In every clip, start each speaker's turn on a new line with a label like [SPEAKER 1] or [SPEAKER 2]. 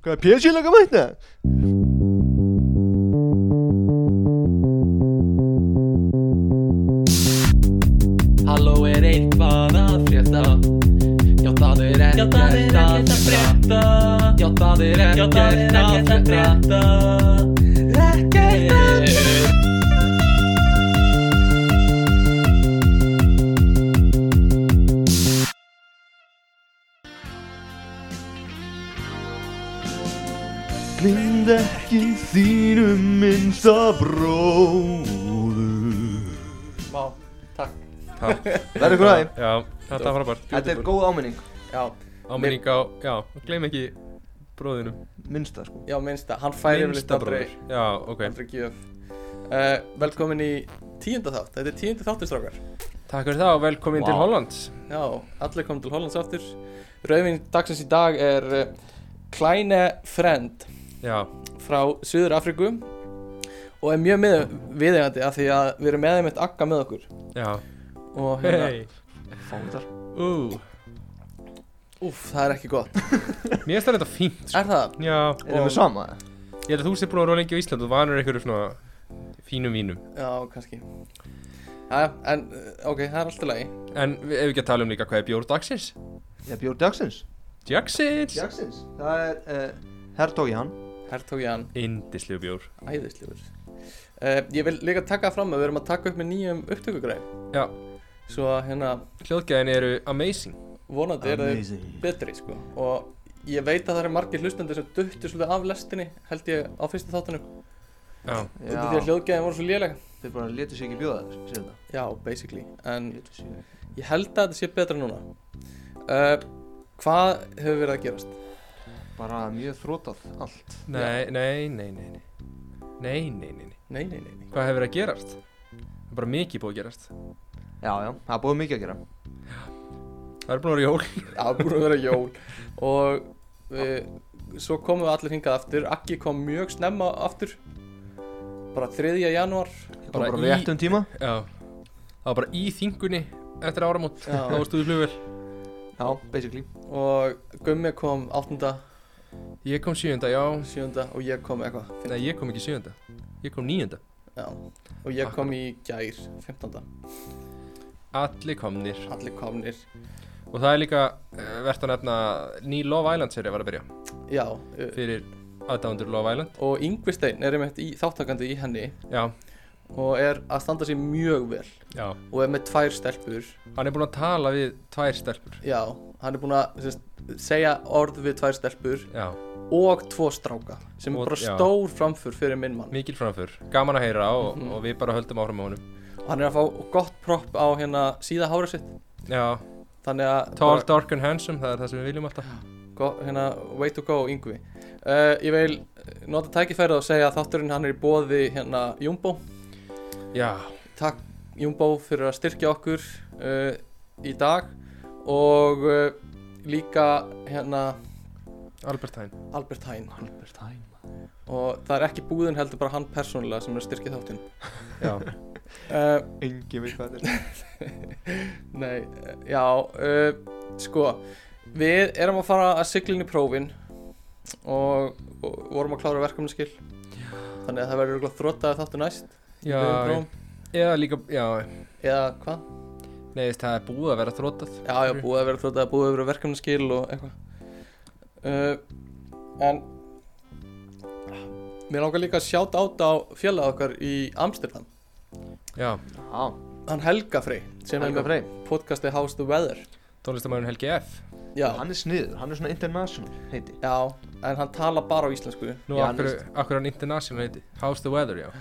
[SPEAKER 1] Hvað, PSG-lega mætt það?
[SPEAKER 2] Halló er eitthvað að frétta Já það er ekkert að frétta Já það er ekkert að frétta Ekkert að frétta
[SPEAKER 1] Blind ekki þínum minnsta bróður
[SPEAKER 3] Vá, takk
[SPEAKER 1] Verður ykkur aðeins
[SPEAKER 4] Já, þetta var frábært
[SPEAKER 1] Þetta er góð áminning
[SPEAKER 3] Já,
[SPEAKER 4] Áminning á, já, gleym ekki bróðinu
[SPEAKER 1] Minnsta sko
[SPEAKER 3] já minnsta, hann færi
[SPEAKER 4] Minnsta
[SPEAKER 3] aldrei
[SPEAKER 4] bróður. Já, ok
[SPEAKER 3] Aldrei gjöf uh, Velkomin í tíunda þátt, þetta er tíundi þáttur strákar
[SPEAKER 4] Takk fyrir það og velkomin til
[SPEAKER 1] Vá.
[SPEAKER 4] Hollands
[SPEAKER 3] Já, allir komum til Hollands aftur Rauðin dagsins í dag er uh, Kleine Friend
[SPEAKER 4] Já,
[SPEAKER 3] frá Suður Afriku og er mjög með, viðegandi af því að við erum með þeim eitt akka með okkur
[SPEAKER 4] já
[SPEAKER 3] og hérna,
[SPEAKER 4] Hei
[SPEAKER 1] Fándar
[SPEAKER 4] Ú,
[SPEAKER 3] úff, það er ekki gott
[SPEAKER 4] mér finnst það þetta fínt sko.
[SPEAKER 3] Er það?
[SPEAKER 4] Já,
[SPEAKER 1] Erum við sama? eða?
[SPEAKER 4] ég held að þú sé búin að róla lengi á Ísland og vanur einhverju svona fínum vínum
[SPEAKER 3] Já, kannski Jæja, en eh, ok, það er alltaf lagi
[SPEAKER 4] En við ef við ekki að tala um líka hvað er bjór dagsins
[SPEAKER 1] Já, Björn Dagsins
[SPEAKER 4] Jacksins
[SPEAKER 1] Dagsins Það er uh, Hertóki hann
[SPEAKER 3] Hertog Jan
[SPEAKER 4] Indislu bjór
[SPEAKER 3] Æðislegur uh, Ég vil líka taka það fram að við erum að taka upp með nýjum upptökugræn
[SPEAKER 4] Já.
[SPEAKER 3] Svo að hérna
[SPEAKER 4] Hljóðgæðin eru amazing
[SPEAKER 3] vonandi er eh, þau
[SPEAKER 1] Amazing
[SPEAKER 3] betri sko Og ég veit að það eru margir hlustendur sem duttu svolítið af lestinni Held ég á fyrsta þáttunum
[SPEAKER 4] Já,
[SPEAKER 3] Út af því að
[SPEAKER 1] Já,
[SPEAKER 3] hljóðgæðin voru svo lélega
[SPEAKER 1] þeir bara letu sig ekki bjóða þér Sér þetta
[SPEAKER 3] Já, basically En
[SPEAKER 1] Létu sig ekki.
[SPEAKER 3] ég held að þetta sé betra núna uh, Hvað hefur verið að gerast?
[SPEAKER 1] Bara mjög þrótað allt
[SPEAKER 4] nei, nei, nei, nei nei. Nei, nei, nei, nei
[SPEAKER 3] Nei, nei, nei, nei.
[SPEAKER 4] Hvað hefur að gerast? Það er bara mikið búið að gerast
[SPEAKER 1] Já, já, það er búið mikið að gera
[SPEAKER 4] Það er búin að vera jól
[SPEAKER 3] Það er búin að vera jól Og við, svo komum við allir hingað aftur Akki kom mjög snemma aftur Bara 3. janúar
[SPEAKER 1] Ég kom
[SPEAKER 4] Bara
[SPEAKER 1] bara
[SPEAKER 4] í-
[SPEAKER 1] rétt um tíma
[SPEAKER 4] Já Það var bara í þingunni eftir áramót
[SPEAKER 3] Já.
[SPEAKER 4] Þá varstu í flugvel
[SPEAKER 1] Já, basically
[SPEAKER 3] Og Gummi kom 8.
[SPEAKER 4] Ég kom sjöunda, já
[SPEAKER 3] 7. og ég kom eitthvað
[SPEAKER 4] Nei, ég kom ekki sjöunda Ég kom níunda
[SPEAKER 3] Já, og ég kom í gær 15.
[SPEAKER 4] Allir komnir
[SPEAKER 3] Allir komnir
[SPEAKER 4] Og það er líka uh, verðt að nefna að Ný Love Island serið var að byrja
[SPEAKER 3] Já, uh,
[SPEAKER 4] Fyrir aðdándur Love Island
[SPEAKER 3] og Yngvi Steinn er einmitt í þáttakandi í henni
[SPEAKER 4] Já,
[SPEAKER 3] og er að standa sér mjög vel
[SPEAKER 4] já
[SPEAKER 3] og er með tvær stelpur
[SPEAKER 4] Hann er búinn að tala við tvær stelpur
[SPEAKER 3] Já, hann er búinn að sem sagt, segja orð við tvær stelpur
[SPEAKER 4] Já,
[SPEAKER 3] og tvo stráka sem
[SPEAKER 4] Og-
[SPEAKER 3] er bara
[SPEAKER 4] já.
[SPEAKER 3] stór framför fyrir minn mann
[SPEAKER 4] mikil framför Gaman að heyra og,
[SPEAKER 3] Mhm.
[SPEAKER 4] og við bara höldum áfram á honum
[SPEAKER 3] og hann er að fá gott propp á hérna síða hára sitt
[SPEAKER 4] Já,
[SPEAKER 3] þannig að
[SPEAKER 4] Tall,
[SPEAKER 3] bara
[SPEAKER 4] Dark and Handsome Það er það sem við viljum alltaf
[SPEAKER 3] go, hérna, way to go Yngvi uh, Ég vil nota tækifærið og segja að þátturinn hann er í bóði hérna Jumbo
[SPEAKER 4] Já,
[SPEAKER 3] takk Jumbo fyrir að styrkja okkur uh, í dag og uh, líka hérna
[SPEAKER 4] Albert Hain
[SPEAKER 3] Albert Hain
[SPEAKER 1] Albert Heim
[SPEAKER 3] og það er ekki búðin heldur bara hann persónulega sem er að styrkja þáttinn
[SPEAKER 4] Já,
[SPEAKER 3] uh,
[SPEAKER 1] Engi veit hvað þetta er
[SPEAKER 3] Nei, eh, já uh, sko, við erum að fara að sigla inn í prófin og, og vorum að klára verkefniskil þannig að það verður örugglega þrótaði þáttu næst í byrjun
[SPEAKER 4] já
[SPEAKER 3] prófum.
[SPEAKER 4] Eða líka, já
[SPEAKER 3] eða hvað?
[SPEAKER 4] Nei, þess, það er búið að vera þrótað
[SPEAKER 3] Já, já, búið að vera þrótaði, búið að vera verkefniskil og eitthvað uh, en mér langar líka að sjáta át á félagið okkar í Amsterdam
[SPEAKER 4] Já,
[SPEAKER 1] Já,
[SPEAKER 3] hann Helga Frey sem
[SPEAKER 1] Helga
[SPEAKER 3] er með
[SPEAKER 1] Frey
[SPEAKER 3] podcasti How's the Weather
[SPEAKER 4] tónlistamæðurinn Helgi F
[SPEAKER 3] já,
[SPEAKER 1] Hann er sniður, hann er svona international heiti
[SPEAKER 3] já, en hann tala bara á íslensku
[SPEAKER 4] Nú,
[SPEAKER 1] Já,
[SPEAKER 4] akkur,
[SPEAKER 1] hann veist.
[SPEAKER 4] akkur hann international heiti How's the weather, já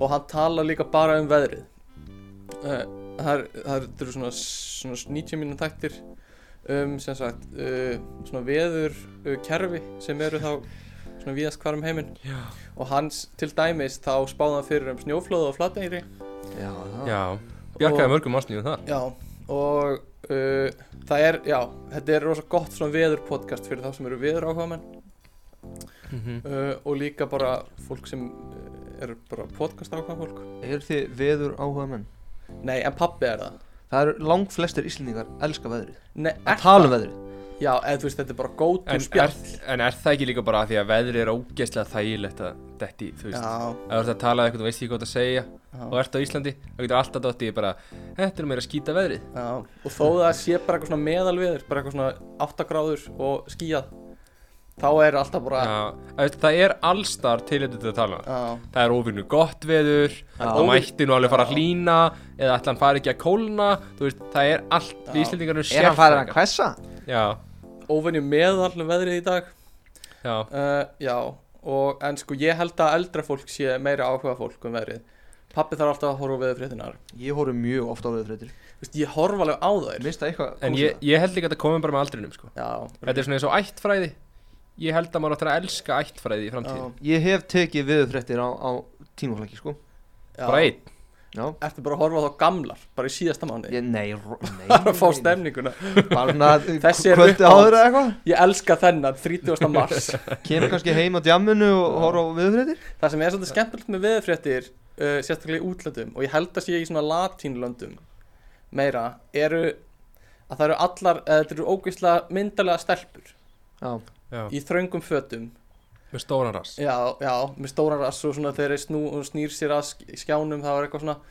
[SPEAKER 3] og hann talar líka bara um veðrið uh, það er- það er- þetta eru svona, svona 90 mínum tættir um sem sagt uh, svona veður uh, kerfi sem eru þá svona víðast hvar um heiminn
[SPEAKER 4] Já,
[SPEAKER 3] og hans til dæmis þá spáði hann fyrir um snjóflóð og flateyri
[SPEAKER 1] Já, það
[SPEAKER 4] bjargaði
[SPEAKER 3] Og-
[SPEAKER 4] mörgum ásnýðum þar
[SPEAKER 3] já og uh, það er já þetta er rosa gott svona veður podcast fyrir þá sem eru veður áhuga menn uh, og líka bara fólk sem uh, eru bara podcast áhuga fólk
[SPEAKER 1] Eru þið veður áhuga menn?
[SPEAKER 3] nei en pabbi er það
[SPEAKER 1] Það eru langflestir íslendingar elska veðrið
[SPEAKER 3] nei,
[SPEAKER 1] Að tala um veðrið
[SPEAKER 3] Já, eða þú veist, þetta er bara góð úr
[SPEAKER 4] En er,
[SPEAKER 3] spjall
[SPEAKER 4] en er það ekki líka bara að því að veðrið er ógeðslega þægilegt að detti, þú veist
[SPEAKER 3] Já,
[SPEAKER 4] Ef þú ert að tala eitthvað, þú veist ekki hvað það segja
[SPEAKER 3] Já.
[SPEAKER 4] og ert á Íslandi, þá getur alltaf dótt í bara Þetta er meira að skýta veðrið
[SPEAKER 3] já Og þó það sé bara eitthvað svona meðalviður Bara eitthvað svona 8 gráður og skíjað Þá er alltaf bara Já,
[SPEAKER 4] Já, þú veist, Það er allstar tilhættu til að tala um það.
[SPEAKER 3] já,
[SPEAKER 4] Það er óvinnu gott veður,
[SPEAKER 3] Já.
[SPEAKER 4] það mætti nú alveg fara að hlína eða ætla hann fari ekki að kólna þú veist, það er allt,
[SPEAKER 3] Já.
[SPEAKER 4] við Íslandingar eru
[SPEAKER 1] Er hann farin að hvessa?
[SPEAKER 4] Já,
[SPEAKER 3] óvenju meðal um veðrið í dag
[SPEAKER 4] já,
[SPEAKER 3] uh, Já, og en sko ég held að eldra fólk sé meira áhuga fólk um veðrið Pappi þarf alltaf að horfa á veðurfréttinar
[SPEAKER 1] Ég horf mjög ofta á veðurfréttir
[SPEAKER 3] Vist, Ég horfa alveg á þær
[SPEAKER 1] Mista eitthvað
[SPEAKER 4] en ég, ég held líka að þetta komi bara með aldrinum sko.
[SPEAKER 3] Já,
[SPEAKER 4] Þetta er svona eins og ættfræði Ég held að maður áttur að elska ættfræði í framtíð
[SPEAKER 3] já,
[SPEAKER 1] Ég hef tekið veðurfréttir á, á tímaflakki sko
[SPEAKER 3] já
[SPEAKER 4] Bara einn
[SPEAKER 1] Já
[SPEAKER 3] Ertu bara að horfa á þá gamlar, bara í síðasta mánu
[SPEAKER 1] ég, Nei, ro- nei
[SPEAKER 3] Það er að fá
[SPEAKER 1] nei, nei.
[SPEAKER 3] stemninguna
[SPEAKER 1] Bara svona
[SPEAKER 3] Þessi er
[SPEAKER 1] kvöldi
[SPEAKER 3] uppáhalds.
[SPEAKER 1] áður eða eitthvað
[SPEAKER 3] Ég elska þennan, 30. mars
[SPEAKER 1] Kemur kannski heim á djamminu og horf á veðurfréttir
[SPEAKER 3] Það sem er svolítið skemmtilegt með veðurfréttir uh, sérstaklega í útlöndum og ég held að sé í svona latínlöndum meira, eru að það eru allar, eða þetta eru ógeðslega myndarlega stelpur
[SPEAKER 1] Já
[SPEAKER 4] Já,
[SPEAKER 3] í þröngum fötum
[SPEAKER 4] með stóran rass
[SPEAKER 3] já, já, með stóran rass og svona þegar þeir snú og snýr sér að sk- skjánum það var eitthvað svona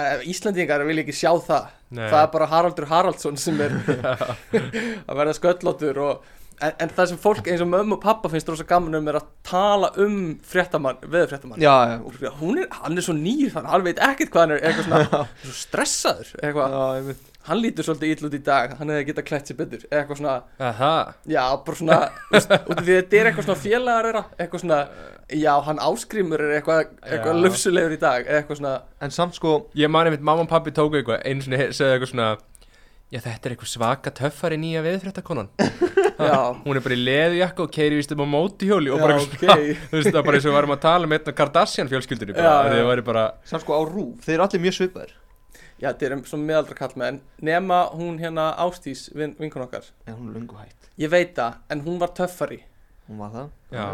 [SPEAKER 3] Eh, Íslendingar vilja ekki sjá það
[SPEAKER 4] Nei.
[SPEAKER 3] það er bara Haraldur Haraldsson sem er að verða sköllóttur og, en, en það sem fólk eins og mömmu og pappa finnst rosa gaman um er að tala um fréttamann, veðurfréttamann
[SPEAKER 1] Já, já
[SPEAKER 3] Og svona, hún er, hann er svo nýr þannig að hann veit ekkert hvað hann er eitthvað svona svo stressaður eitthvað,
[SPEAKER 1] Já, ég veit
[SPEAKER 3] hann lítur svolítið ill út í dag hann hefði getað klætt sér betur eitthvað svona,
[SPEAKER 4] Aha,
[SPEAKER 3] já, bara svona veist, út af því þetta er eitthvað svona félagar þeirra eitthvað svona, já, hann áskrimur er eitthvað, eitthvað
[SPEAKER 4] Já.
[SPEAKER 3] lufsulegur í dag eitthvað svona,
[SPEAKER 1] En samt sko
[SPEAKER 4] ég mani mitt mamma og pappi tóku eitthvað Einu sinni he- sögðu eitthvað svona Já, þetta er eitthvað svaka töffari nýja veðurfréttakonan
[SPEAKER 3] já
[SPEAKER 4] Hún er bara í leðujakka og keiri vístum á mótihjóli og
[SPEAKER 3] Já,
[SPEAKER 4] bara
[SPEAKER 3] ok.
[SPEAKER 4] svona, þú veist, það er bara eins og við varum að tala með einn af Kardashian fjölskyldunni bara,
[SPEAKER 3] Já,
[SPEAKER 4] já,
[SPEAKER 3] já.
[SPEAKER 4] já. Væri bara
[SPEAKER 1] Samt sko á rúf Þeir eru allir mjög svipaðir
[SPEAKER 3] já, þetta er um svona meðaldra kallmenn nema hún hérna Ástís, vin, vinkun okkar
[SPEAKER 1] En hún er löngu hætt
[SPEAKER 3] ég veit það, en hún var töffari
[SPEAKER 1] Hún var það
[SPEAKER 4] Já.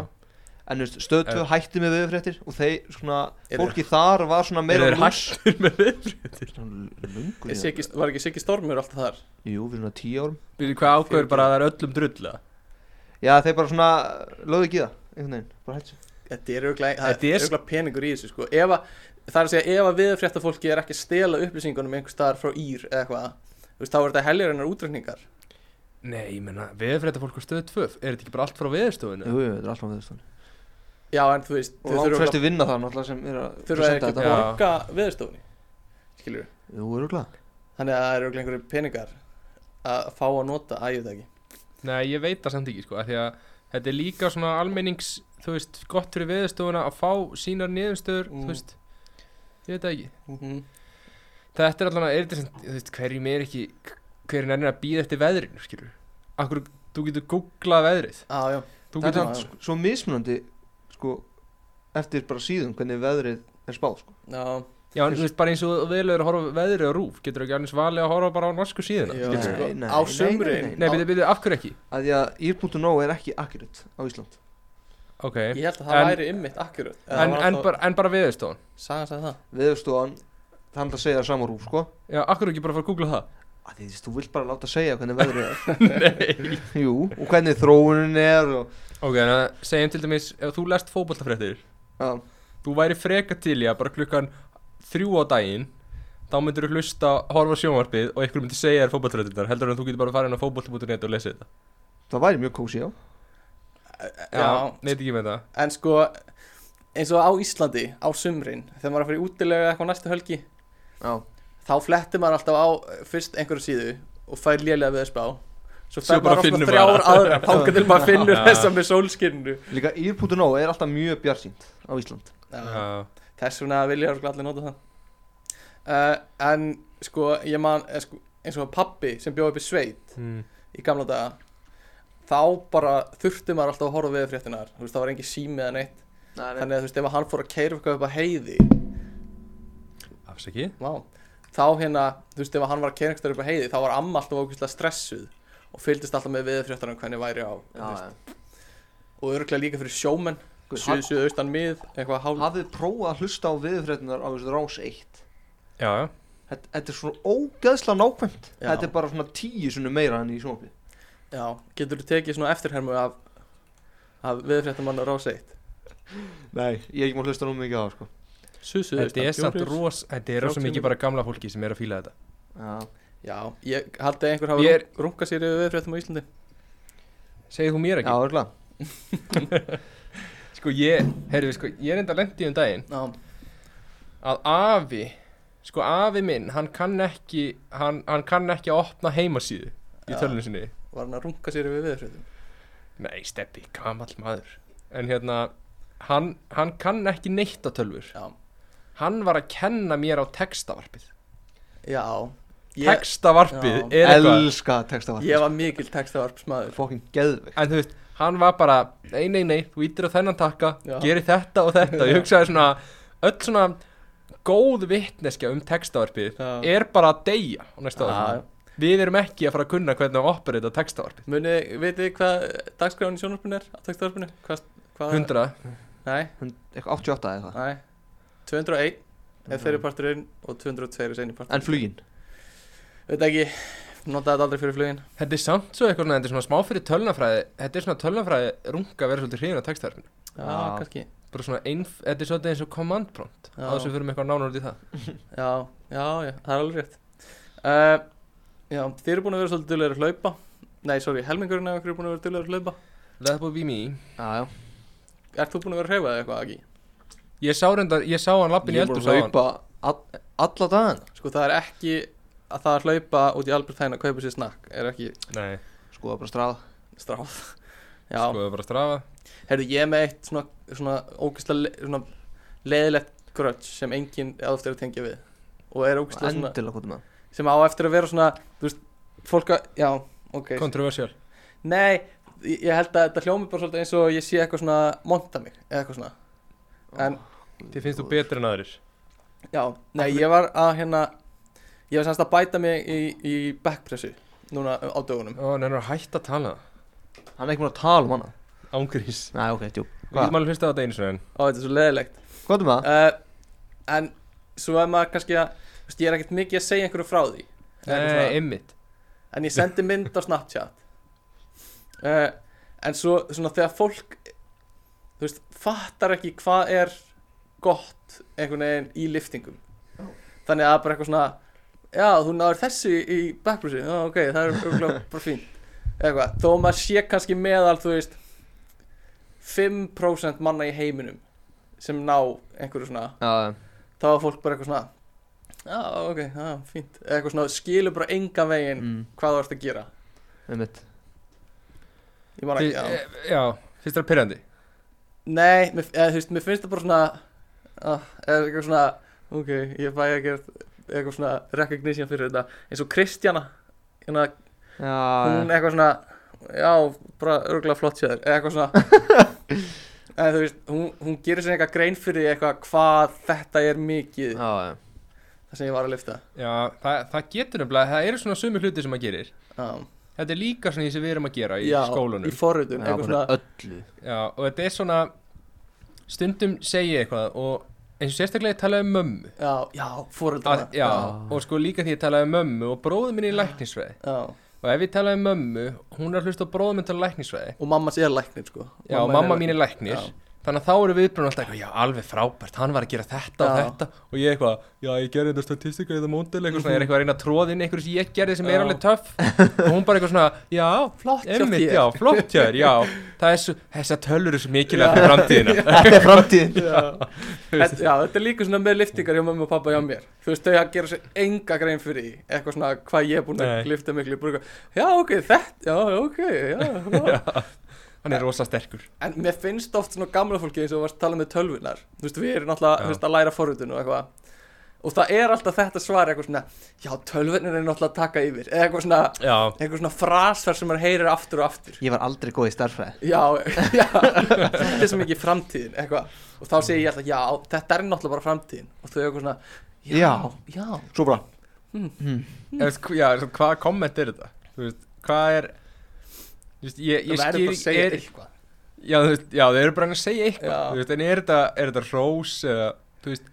[SPEAKER 1] En þú veist, stöð 2 hætti með veðurfréttir og þeir svona,
[SPEAKER 3] Eru-
[SPEAKER 1] fólki þar var svona meira
[SPEAKER 4] Eru þeir
[SPEAKER 1] hættir með veðurfréttir? Lungu,
[SPEAKER 3] Er Siggi, var ekki Siggi Stormur alltaf þar
[SPEAKER 1] Jú, fyrir svona tíu árum
[SPEAKER 4] Býðu hvað ákveður bara að það er öllum drulla
[SPEAKER 1] Já, þeir bara svona lögðu ekki í það, einhvern veginn, bara hættu sig
[SPEAKER 3] Þetta er auðvitað, það
[SPEAKER 4] Þetta
[SPEAKER 3] er
[SPEAKER 4] er-
[SPEAKER 3] auðvitað peningur í þessu sko. ef að, Það er að segja, ef að viðfrétta fólki er ekki að stela upplýsingunum einhver staðar frá ír eða eitthvað þú veist, þá er þetta heljarinnar útrekningar
[SPEAKER 4] Nei, ég menna, veðurfrétta fólk á stöðu tvöf Er þetta ekki bara allt frá veðurstofunni?
[SPEAKER 1] Jú, jú, þetta er alltaf veðurstofan
[SPEAKER 3] Já, en þú veist,
[SPEAKER 1] Og
[SPEAKER 3] þau
[SPEAKER 1] langt
[SPEAKER 3] þurfa
[SPEAKER 1] flesti vinna það náttúrulega sem er að
[SPEAKER 3] þurfa ekki
[SPEAKER 1] presenta
[SPEAKER 3] að
[SPEAKER 1] þetta
[SPEAKER 4] Já.
[SPEAKER 3] borga viðstofunni Skilur
[SPEAKER 1] Jú, eru glæð
[SPEAKER 3] Þannig að það eru auðvitað einhverju peningar að fá að nota, að ég veit það ekki
[SPEAKER 4] Nei, ég veit það samt ekki, sko, af því að þetta er líka svona almennings, þú veist, gott fyrir veðurstofuna að fá sínar niðurstöður,
[SPEAKER 3] Mm.
[SPEAKER 4] þú veist, ég veit það ekki.
[SPEAKER 3] Mhm.
[SPEAKER 4] Þetta er allan að, er þetta sem, þú veist, hverjum er ekki, hverjum er að býða eftir veðrinu, skilur? Akkur, þú getur googlað veðrið,
[SPEAKER 3] Á, já,
[SPEAKER 4] þú
[SPEAKER 1] Það er
[SPEAKER 4] getur,
[SPEAKER 3] Já,
[SPEAKER 1] samt sk- svo mismunandi, sko, eftir bara síðum hvernig veðrið er spáð, sko
[SPEAKER 3] já,
[SPEAKER 4] já, en þú veist, bara eins og viðlegur að horfa á veðrið á rúf, getur ekki annars valið að horfa bara á norsku síðuna,
[SPEAKER 3] já
[SPEAKER 1] Skilur.
[SPEAKER 4] skilur?
[SPEAKER 3] sko,
[SPEAKER 1] Nei, nei,
[SPEAKER 3] Á
[SPEAKER 1] nei,
[SPEAKER 3] sumrin
[SPEAKER 1] nei,
[SPEAKER 4] Nei, byrju, byrju, af hverju ekki?
[SPEAKER 1] Að því að ír.no er ekki akkurat á Ísland
[SPEAKER 4] Ok,
[SPEAKER 3] Ég held að það
[SPEAKER 4] En-
[SPEAKER 3] væri ymmit akkurat
[SPEAKER 4] en, en, bara, en bara veðurstofun,
[SPEAKER 3] Sagan sagði það
[SPEAKER 1] Veðurstofan, það er alltaf að segja það sama rúf, sko
[SPEAKER 4] já, akkur ekki bara að fara að googla það?
[SPEAKER 1] að því þú veist, þú vilt bara láta segja hvernig veðrið er Jú, og hvernig þróunin er og,
[SPEAKER 4] Ok, en að segjum til dæmis, ef þú lest fótboltafréttir,
[SPEAKER 1] já,
[SPEAKER 4] þú væri freka til í að bara klukkan þrjú á daginn þá myndir þú hlusta, horfa á sjónvarpið og einhver myndir segja þér fótballtröðunar heldur en þú getur bara að fara inn á fótballtröðunet og lesa þetta
[SPEAKER 1] það væri mjög kósi á
[SPEAKER 3] Já.
[SPEAKER 4] neitt ekki um með það
[SPEAKER 3] En sko, eins og á Íslandi, á sumrin, þegar maður er að fara í útilega eitthvað næstu helgi,
[SPEAKER 1] Já,
[SPEAKER 3] þá flettir maður alltaf á eh, fyrst einhverju síðu og fær lélega við spá. Svo
[SPEAKER 4] Svo
[SPEAKER 3] fer
[SPEAKER 4] bara
[SPEAKER 3] maður á svona
[SPEAKER 4] finnur
[SPEAKER 3] þrjár
[SPEAKER 4] maður.
[SPEAKER 3] aðra, þángar til maður finnur
[SPEAKER 4] Já.
[SPEAKER 3] þessa með sólskinnu.
[SPEAKER 1] líka ír.no er alltaf mjög bjarsýnt á Ísland
[SPEAKER 3] Já.
[SPEAKER 4] Já.
[SPEAKER 3] Þess vegna vilja örugglega allir nota það. Uh, en sko, ég man, eh, sko, eins og pappi sem bjóði upp í sveit
[SPEAKER 4] Mm.
[SPEAKER 3] í gamla daga, þá bara þurfti maður alltaf að horfa við fréttinar. Þú veist, það var engin sími eða neitt. Þannig að þú veist, ef hann fór að keira eitthvað upp að heiði,
[SPEAKER 4] afsaki
[SPEAKER 3] Vá. Þá hérna, þú veist, ef hann var að kera einhverjum upp á heiði, þá var amma alltaf ókvæmstilega stressuð og fylgdist alltaf með viðfréttar um hvernig væri á. þú veist.
[SPEAKER 1] Já,
[SPEAKER 3] Og örglega líka fyrir sjómenn,
[SPEAKER 1] já
[SPEAKER 3] suðu, suðu, austan, mið, eitthvað hálf.
[SPEAKER 1] Hafið þið prófað að hlusta á viðfréttunar á þessu rás 1
[SPEAKER 4] já, já,
[SPEAKER 1] Þetta, þetta er svona ógeðslega nákvæmt
[SPEAKER 3] Já.
[SPEAKER 1] Þetta er bara svona tíu sunni meira enn í sjónvarpið
[SPEAKER 3] Já, getur þú tekið svona eftirhermu af, af viðfréttamanna rás 1
[SPEAKER 1] Nei, ég er ekki múin að hlusta nú mikið á það, sko
[SPEAKER 3] Susu,
[SPEAKER 4] Þetta er samt ros, þetta er rosa
[SPEAKER 3] Þrjátíu
[SPEAKER 4] mikið bara gamla fólki sem er að fíla þetta
[SPEAKER 1] Já,
[SPEAKER 3] Já, ég haldi að einhver hafa
[SPEAKER 4] Ég er-
[SPEAKER 3] er... runga sér yfir viðfréttum á Íslandi
[SPEAKER 4] Segðu þú mér
[SPEAKER 1] já,
[SPEAKER 4] ekki?
[SPEAKER 1] örgulega
[SPEAKER 4] Sko ég, heyrðu sko, ég er enda lendi um daginn
[SPEAKER 3] Já,
[SPEAKER 4] að afi, sko afi minn, hann kann ekki, hann, hann kann ekki að opna heimasíðu í
[SPEAKER 3] Já.
[SPEAKER 4] tölunum sinni
[SPEAKER 3] var hann að runga sér yfir viðfréttum
[SPEAKER 4] Nei, steppi, gamall maður En hérna, hann, hann kann ekki neitt á tölfur
[SPEAKER 3] Já,
[SPEAKER 4] Hann var að kenna mér á textavarpið
[SPEAKER 3] já Ég,
[SPEAKER 4] Textavarpið
[SPEAKER 3] Já.
[SPEAKER 4] er eitthvað
[SPEAKER 1] Elska textavarp
[SPEAKER 3] ég var mikil textavarpsmaður
[SPEAKER 1] Fokkin geðvig
[SPEAKER 4] En þú veist, hann var bara, nei, nei, nei, þú ítir á þennan takka,
[SPEAKER 3] Já.
[SPEAKER 4] gerir þetta og þetta Ég hugsaði svona, öll svona góð vitneskja um textavarpið
[SPEAKER 3] Já.
[SPEAKER 4] er bara að deyja á næsta
[SPEAKER 3] Já,
[SPEAKER 4] ára
[SPEAKER 3] já.
[SPEAKER 4] Við erum ekki að fara að kunna hvernig að operita textavarpið
[SPEAKER 3] Munið, vitið þið hvað dagskráin í sjónarpinu er á textavarpinu? Hvað, hvað
[SPEAKER 4] 100,
[SPEAKER 3] Nei,
[SPEAKER 1] Hund- eitthvað 88 eða eitthvað
[SPEAKER 3] nei 201 er þeirri parturinn og 202 er seinni parturinn
[SPEAKER 1] En flugin
[SPEAKER 3] Veit ekki, notaði þetta aldrei fyrir flugin
[SPEAKER 4] Þetta er samt svo eitthvað, svona- þetta er svona smá fyrir tölnafræði, þetta er svona tölnafræði runga að vera svolítið hrifin af textaverfinu.
[SPEAKER 3] Já,
[SPEAKER 1] Já.
[SPEAKER 3] kannski
[SPEAKER 4] Bara svona, einf, þetta er svolítið eins og command prompt,
[SPEAKER 3] Já.
[SPEAKER 4] á þess að við fyrir með eitthvað nánar út í það.
[SPEAKER 3] Já, já, já, það er alveg rétt uh, Já, þið eru búin að vera svolítið duðlega að hlaupa Nei, sorry, helmingurinn af ykkur er búin að vera duðlega að hlaupa
[SPEAKER 4] That would be me.
[SPEAKER 1] Já, já
[SPEAKER 3] Ert þú búin að vera að hreyfa eða eitthvað, Aki?
[SPEAKER 4] Ég sá reyndar, ég sá hann lappin í
[SPEAKER 1] Ég er
[SPEAKER 4] eldur,
[SPEAKER 1] búin
[SPEAKER 4] sá
[SPEAKER 1] að
[SPEAKER 4] hann.
[SPEAKER 1] hlaupa all- alla dagan
[SPEAKER 3] Sko, það er ekki að það að hlaupa út í Albert Heijn að kaupa sér snakk Er ekki
[SPEAKER 4] Nei,
[SPEAKER 1] Sko, bara stráð
[SPEAKER 3] stráð Já,
[SPEAKER 4] sko, það er bara að strafa.
[SPEAKER 3] heyrðu, ég er með eitt svona, svona ógeðslega le- svona leðilegt grudge sem enginn á eftir að tengja við og er ógeðslega svona
[SPEAKER 1] Endilega hvað með
[SPEAKER 3] sem á eftir að vera svona, þú veist, fólk að, já, ok
[SPEAKER 4] Controversial.
[SPEAKER 3] Nei, ég ég held að þetta hljómi bara svolítið eins og ég sé eitthvað svona monta mig, eða eitthvað svona En,
[SPEAKER 4] Þið finnst þú betri en aðrir.
[SPEAKER 3] já, nei, ég var að hérna Ég var semst að bæta mig í, í backpressu Núna á dögunum
[SPEAKER 4] Ó, hann er að hætta að tala.
[SPEAKER 1] Hann er ekki múin að tala um hana
[SPEAKER 4] Ángrís.
[SPEAKER 1] Nei, ok, djú
[SPEAKER 4] Við
[SPEAKER 1] Hvað?
[SPEAKER 4] getum alveg hlustað á þetta einu svona en.
[SPEAKER 3] Og þetta er svo leðilegt
[SPEAKER 1] Hvað með um það?
[SPEAKER 3] uh, En, svo er maður kannski að þú veist, Ég er ekkert mikið að segja einhverju frá því eða eitthvað svona.
[SPEAKER 4] Nei, ymmit.
[SPEAKER 3] En ég sendi mynd á Snapchat uh, En svo svona þegar fólk Þú veist, fattar ekki hvað er gott einhvern veginn í liftingum Þannig að bara eitthvað svona Já, þú náður þessu í backbrúsi Já, ok, það er örugglega bara fín Eitthvað, þó maður sé kannski meðal, þú veist 5% manna í heiminum sem ná einhverju svona
[SPEAKER 1] Já,
[SPEAKER 3] þá er fólk bara eitthvað svona Já, ok, já, fínt Eitthvað svona, skilur bara engan veginn
[SPEAKER 1] mm,
[SPEAKER 3] hvað þú ert að gera
[SPEAKER 1] með mitt
[SPEAKER 3] Ég man ekki, já
[SPEAKER 4] Já, finnst það pyrrandi?
[SPEAKER 3] eh, Nei, mér, eða, þú veist, mér finnst það bara svona ah, eða eitthvað svona ok, ég fæ ekkert eitthvað svona recognition fyrir þetta eins og Kristjana hérna,
[SPEAKER 1] Ah, Já,
[SPEAKER 3] hún eitthvað svona já, bara örgulega flott sér eitthvað svona en þú veist, hún, hún gerir sér eitthvað grein fyrir því eitthvað hvað þetta er mikið
[SPEAKER 1] já, já
[SPEAKER 3] það sem ég var að lifta
[SPEAKER 4] Já, það, það getur nefnilega, það eru svona sumi hluti sem maður gerir.
[SPEAKER 3] já,
[SPEAKER 4] Þetta er líka svona því sem við erum að gera í
[SPEAKER 3] já,
[SPEAKER 4] skólanum.
[SPEAKER 3] í forritun,
[SPEAKER 1] Já,
[SPEAKER 3] eitthvað
[SPEAKER 1] bara
[SPEAKER 3] svona
[SPEAKER 1] öllu
[SPEAKER 4] Já, og þetta er svona stundum segi ég eitthvað og eins og sérstaklega ég talaði um mömmu
[SPEAKER 3] já, já,
[SPEAKER 4] að,
[SPEAKER 3] forritun
[SPEAKER 4] já, og sko líka því ég talaði um mömmu og bróðum minn í læknisfræði
[SPEAKER 3] já,
[SPEAKER 4] og ef ég talaði um mömmu, hún er að hlusta á bróðum minn til læknisfræði,
[SPEAKER 3] og mamma sér læknir sko
[SPEAKER 4] já, mamma, mamma mín er læknir
[SPEAKER 3] Já.
[SPEAKER 4] þannig að þá eru viðbrunum alltaf eitthvað, já, alveg frábært, hann var að gera þetta og
[SPEAKER 3] Já.
[SPEAKER 4] þetta og ég eitthvað, já, ég gerði þetta statistika eða móndel, eitthvað svona, ég er eitthvað að reyna að tróða inn eitthvað sem ég gerði sem er
[SPEAKER 3] Mhm. Já.
[SPEAKER 4] alveg töff og hún bara eitthvað svona, já,
[SPEAKER 3] flott hjá
[SPEAKER 4] Einmitt,
[SPEAKER 3] þér.
[SPEAKER 4] já, flott hjá þér, já, það er svo, þessa tölur er svo mikilvægt fyrir framtíðina.
[SPEAKER 1] Það er framtíðin
[SPEAKER 3] Þetta, já, þetta er líka svona með liftingar hjá mamma og pappa hjá mér Þú veist, þau að gera sér enga grein fyrir því Eitthvað svona hvað ég er búin
[SPEAKER 4] Nei.
[SPEAKER 3] að lifta miklu Bara eitthvað, Já, ok, þetta, já, ok, já, já
[SPEAKER 4] Hann er rosa sterkur.
[SPEAKER 3] En mér finnst oft svona gamla fólki eins og þú varst að tala með tölvunar Þú veist, við erum náttúrulega,
[SPEAKER 4] Já.
[SPEAKER 3] þú veist, að læra forritun og eitthvað Og það er alltaf þetta svar eitthvað svona Já, tölvunar er náttúrulega að taka yfir Eða eitthvað svona,
[SPEAKER 4] Já,
[SPEAKER 3] eitthvað svona frasar sem maður heyrir aftur og aftur
[SPEAKER 1] Ég var aldrei góð í starfræði
[SPEAKER 3] Já, já, þetta er svo mikið framtíðin eitthvað Og þá segi ég alltaf, já, þetta er náttúrulega bara framtíðin Og þau eitthvað svona, já, já
[SPEAKER 1] Svo bara
[SPEAKER 4] mm. veist, hva- já svo hvað komment er þetta? Þú veist, hvað er þú veist, ég, ég
[SPEAKER 3] Það verður bara að
[SPEAKER 4] skil
[SPEAKER 3] segja
[SPEAKER 4] er,
[SPEAKER 3] eitthvað
[SPEAKER 4] já, þú veist, já, þeir eru bara að segja eitthvað
[SPEAKER 3] Já.
[SPEAKER 4] þú veist, En er þetta, er þetta rós eða, þú veist,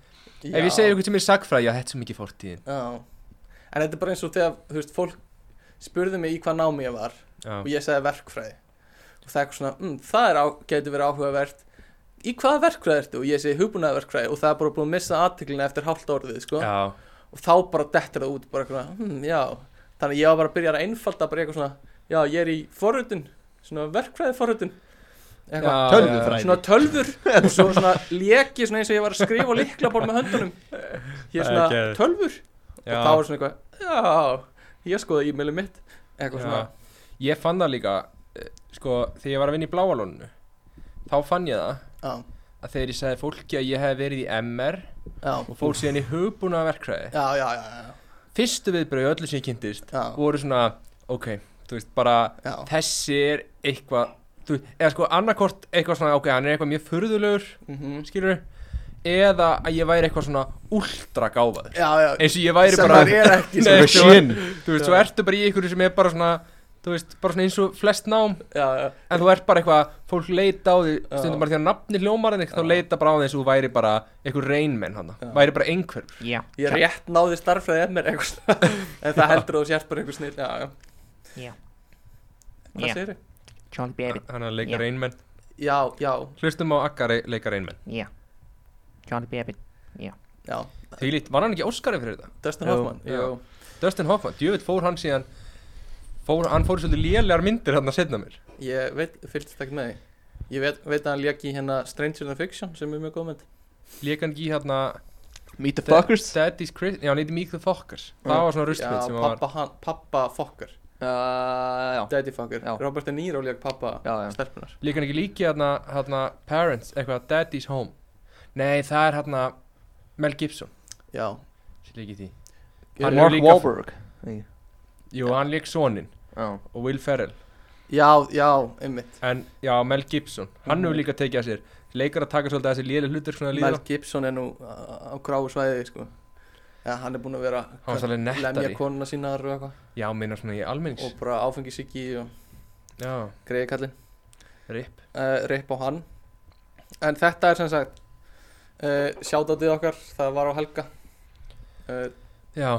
[SPEAKER 3] já.
[SPEAKER 4] ef ég segja eitthvað sem er sagfræði Já, þetta er svo mikið fórtíðin
[SPEAKER 3] já. En þetta er bara eins og þegar, þú veist, fólk spurði mig í hvað námi ég var
[SPEAKER 4] já,
[SPEAKER 3] og ég sagði verkfræði og það er eitthvað svona, mm, það er á, getur verið áhugavert í hvaða verkfræði ertu og ég segi hugbúnaðarverkfræði og það er bara búin að missa aðteklina eftir hálft orðið sko.
[SPEAKER 4] já,
[SPEAKER 3] og þá bara dettur það út bara eitthvað, hm, já, þannig að ég var bara að byrja að einfalda bara eitthvað svona, já, ég er í forröndun, svona verkfræði forröndun eitthvað,
[SPEAKER 4] já,
[SPEAKER 1] Tölvufræði.
[SPEAKER 3] svona tölfur og svo svona leki svona eins og ég var að skrifa líklaborð með höndunum ég er svona
[SPEAKER 4] Það er geðveikt.
[SPEAKER 3] tölfur og
[SPEAKER 4] já.
[SPEAKER 3] þá er svona eitthvað, já, ég skoða e-mailið mitt eitthvað svona,
[SPEAKER 4] Já. Ég fann það líka eh, sko, þegar ég var að vinna í bláalónu þá fann ég það
[SPEAKER 3] já,
[SPEAKER 4] að þegar ég sagði fólki að ég hef verið í MR
[SPEAKER 3] já
[SPEAKER 4] og fór síðan í hugbúna verkræði
[SPEAKER 3] já, já, já, já,
[SPEAKER 4] fyrstu viðbröðu öllu sem ég kynntist
[SPEAKER 3] já,
[SPEAKER 4] voru svona, ok, þú veist, bara
[SPEAKER 3] já,
[SPEAKER 4] þessi er eitthvað þú, eða sko annarkort eitthvað svona, ok, hann er eitthvað mjög furðulegur
[SPEAKER 3] mhm,
[SPEAKER 4] skilur eða að ég væri eitthvað svona últra gáfaður
[SPEAKER 3] já, já,
[SPEAKER 4] eins og ég væri
[SPEAKER 3] sem
[SPEAKER 4] bara
[SPEAKER 3] maður er ekki
[SPEAKER 4] Nei,
[SPEAKER 1] Svona
[SPEAKER 4] þú-
[SPEAKER 1] skinn
[SPEAKER 4] þú veist, svo
[SPEAKER 3] Já.
[SPEAKER 4] ertu bara í einhverju sem er bara svona þú veist, bara svona eins og flest nám
[SPEAKER 3] já, já,
[SPEAKER 4] en þú ert bara eitthvað, fólk leita á því stundum
[SPEAKER 3] Já.
[SPEAKER 4] bara því að nafni hljómar en þá
[SPEAKER 3] Já.
[SPEAKER 4] leita bara á því eins og þú væri bara einhver reynmenn hann,
[SPEAKER 3] Já.
[SPEAKER 4] væri bara einhver
[SPEAKER 3] ég rétt náði starffræði emmer eitthvað svona, en það heldur að þú sért bara einhver snill, já, já
[SPEAKER 2] Já.
[SPEAKER 3] Hvað
[SPEAKER 2] Já.
[SPEAKER 3] segir þið?
[SPEAKER 2] Charlie Baby,
[SPEAKER 4] hann er að leika
[SPEAKER 2] Já.
[SPEAKER 4] reynmenn,
[SPEAKER 3] Já, já,
[SPEAKER 4] hlustum á Akka rey- leika reynmenn
[SPEAKER 2] yeah. Charlie Baby.
[SPEAKER 3] já,
[SPEAKER 4] því lít, var hann ekki Óskari fyrir þetta?
[SPEAKER 3] Dustin
[SPEAKER 1] Jú,
[SPEAKER 3] Hoffman,
[SPEAKER 4] já.
[SPEAKER 3] jú,
[SPEAKER 4] Dustin Hoffman, djöfitt fór hann síðan fór, hann fór í svolítið lélegar myndir hann að setna mér
[SPEAKER 3] ég veit, fylgst ekki með því Ég veit, veit að hann lék í hérna Stranger Than Fiction sem er mjög góð mynd
[SPEAKER 4] léka hann ekki í hérna
[SPEAKER 1] Meet the fuckers
[SPEAKER 4] Daddy's Chris, já hann heiti Meet the Fuckers það var svona ruslið
[SPEAKER 3] Mm. Já,
[SPEAKER 4] sem hann var
[SPEAKER 3] pappa, hann, pappa fokkar,
[SPEAKER 1] Já, já
[SPEAKER 3] daddy fokkar
[SPEAKER 1] Já.
[SPEAKER 3] Robert De Niro lék pappa
[SPEAKER 1] Já, já.
[SPEAKER 3] stelpunar
[SPEAKER 4] Líka hann ekki líki hérna, hérna Parents, eitthvað Daddy's Home Nei, það er hérna Mel Gibson
[SPEAKER 3] Já,
[SPEAKER 4] sem líki því Hann er
[SPEAKER 1] Mark
[SPEAKER 4] líka-
[SPEAKER 1] Wahlberg
[SPEAKER 4] Jú, hann lík sonin
[SPEAKER 1] Já
[SPEAKER 4] og Will Ferrell
[SPEAKER 3] já, já, einmitt
[SPEAKER 4] En já, Mel Gibson, hann hefur líka tekið að sér Leikar að taka svolítið að sér lélega hlutur svona líða
[SPEAKER 3] Mel Gibson er nú á, á gráu svæði, sko Já, hann er búinn að vera
[SPEAKER 4] Hann var svolítið
[SPEAKER 3] lemja
[SPEAKER 4] nettari
[SPEAKER 3] konuna sínar og eitthvað
[SPEAKER 4] Já, minna svona í almennings
[SPEAKER 3] og bara áfengisíki og
[SPEAKER 4] Já,
[SPEAKER 3] greiði kallinn
[SPEAKER 4] rip
[SPEAKER 3] uh, rip á hann en þetta er sem sagt uh, sjátátið okkar, það var á helga uh,
[SPEAKER 4] Já,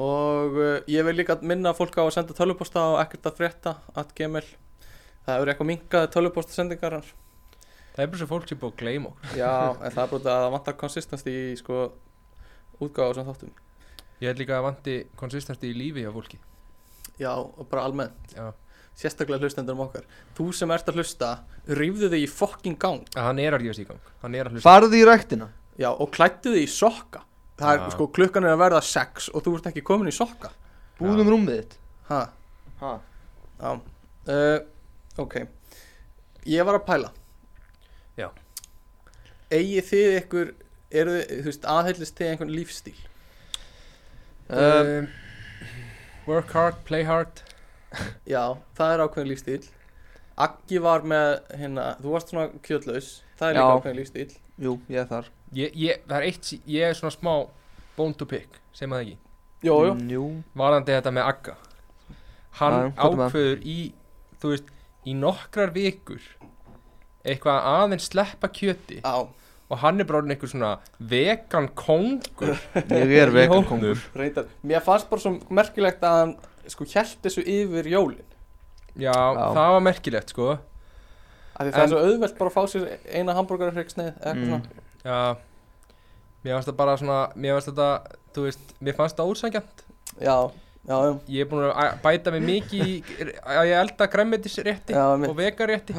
[SPEAKER 3] og uh, ég vil líka minna fólk á að senda töluposta á ekkert að frétta at gmail það hefur eitthvað minkað töluposta sendingar
[SPEAKER 4] það er bara svo fólk sem er búið að gleyma okkur
[SPEAKER 3] já, en það er bara út af að það vantar konsistens í sko útgáfa sem þáttum
[SPEAKER 4] Ég held líka að vanti konsistensti í lífi hjá fólki
[SPEAKER 3] já, og bara almennt
[SPEAKER 4] Já,
[SPEAKER 3] sérstaklega hlustendurum okkar þú sem ert að hlusta, rýfðu þig í fucking gang
[SPEAKER 4] að hann er að rífast í gang Hann er að hlusta
[SPEAKER 1] Farðu í ræktina
[SPEAKER 3] Já, og klættu þið í sokka Það er,
[SPEAKER 4] Já.
[SPEAKER 3] sko, klukkan er að verða sex og þú ert ekki komin í sokka
[SPEAKER 1] Búðum
[SPEAKER 4] Já.
[SPEAKER 1] um rúmið þitt
[SPEAKER 3] Ha,
[SPEAKER 1] Ha
[SPEAKER 3] já uh, Ok Ég var að pæla
[SPEAKER 4] Já.
[SPEAKER 3] Egið þið ykkur, eru þið, þú veist, aðhyllist þið einhvern lífstíl
[SPEAKER 1] um,
[SPEAKER 4] um, Work hard, play hard
[SPEAKER 3] Já, það er ákveðin lífstíl Aggi var með, hérna, þú varst svona kjöldlaus Það er líka
[SPEAKER 1] Já.
[SPEAKER 3] ákveðin lífstíl
[SPEAKER 1] Jú, ég er þar
[SPEAKER 4] Ég, ég, það er eitt, sí- ég er svona smá bone to pick, sem að ekki
[SPEAKER 3] Jó, jó
[SPEAKER 1] Mm, Jú
[SPEAKER 4] Varandi þetta með Agga Hann
[SPEAKER 1] Já, hvað er með hann?
[SPEAKER 4] ákveður í, þú veist, í nokkrar vikur Eitthvað að aðeins sleppa kjöti
[SPEAKER 3] Á,
[SPEAKER 4] Og hann er bara orðinn einhver svona vegan kongur
[SPEAKER 1] Ég er
[SPEAKER 4] í
[SPEAKER 1] vegan
[SPEAKER 4] hópnum.
[SPEAKER 1] kongur
[SPEAKER 3] reyndar Mér fannst bara svo merkilegt að hann, sko, hjælt þessu yfir jólin
[SPEAKER 4] Já,
[SPEAKER 1] Já.
[SPEAKER 4] það var merkilegt, sko
[SPEAKER 3] Af því það er
[SPEAKER 4] En-
[SPEAKER 3] svo auðvelt bara að fá sér eina hambúrgarafryggsneið eða eitthvað
[SPEAKER 1] Mm.
[SPEAKER 3] svona.
[SPEAKER 4] Já, mér fannst það bara svona, mér fannst þetta, þú veist, mér fannst það ósækjant
[SPEAKER 3] Já, já, já,
[SPEAKER 4] Ég er búin að að bæta mig mikið í, að ég elda græmmetisrétti
[SPEAKER 3] já,
[SPEAKER 4] og
[SPEAKER 3] mitt.
[SPEAKER 4] vegarétti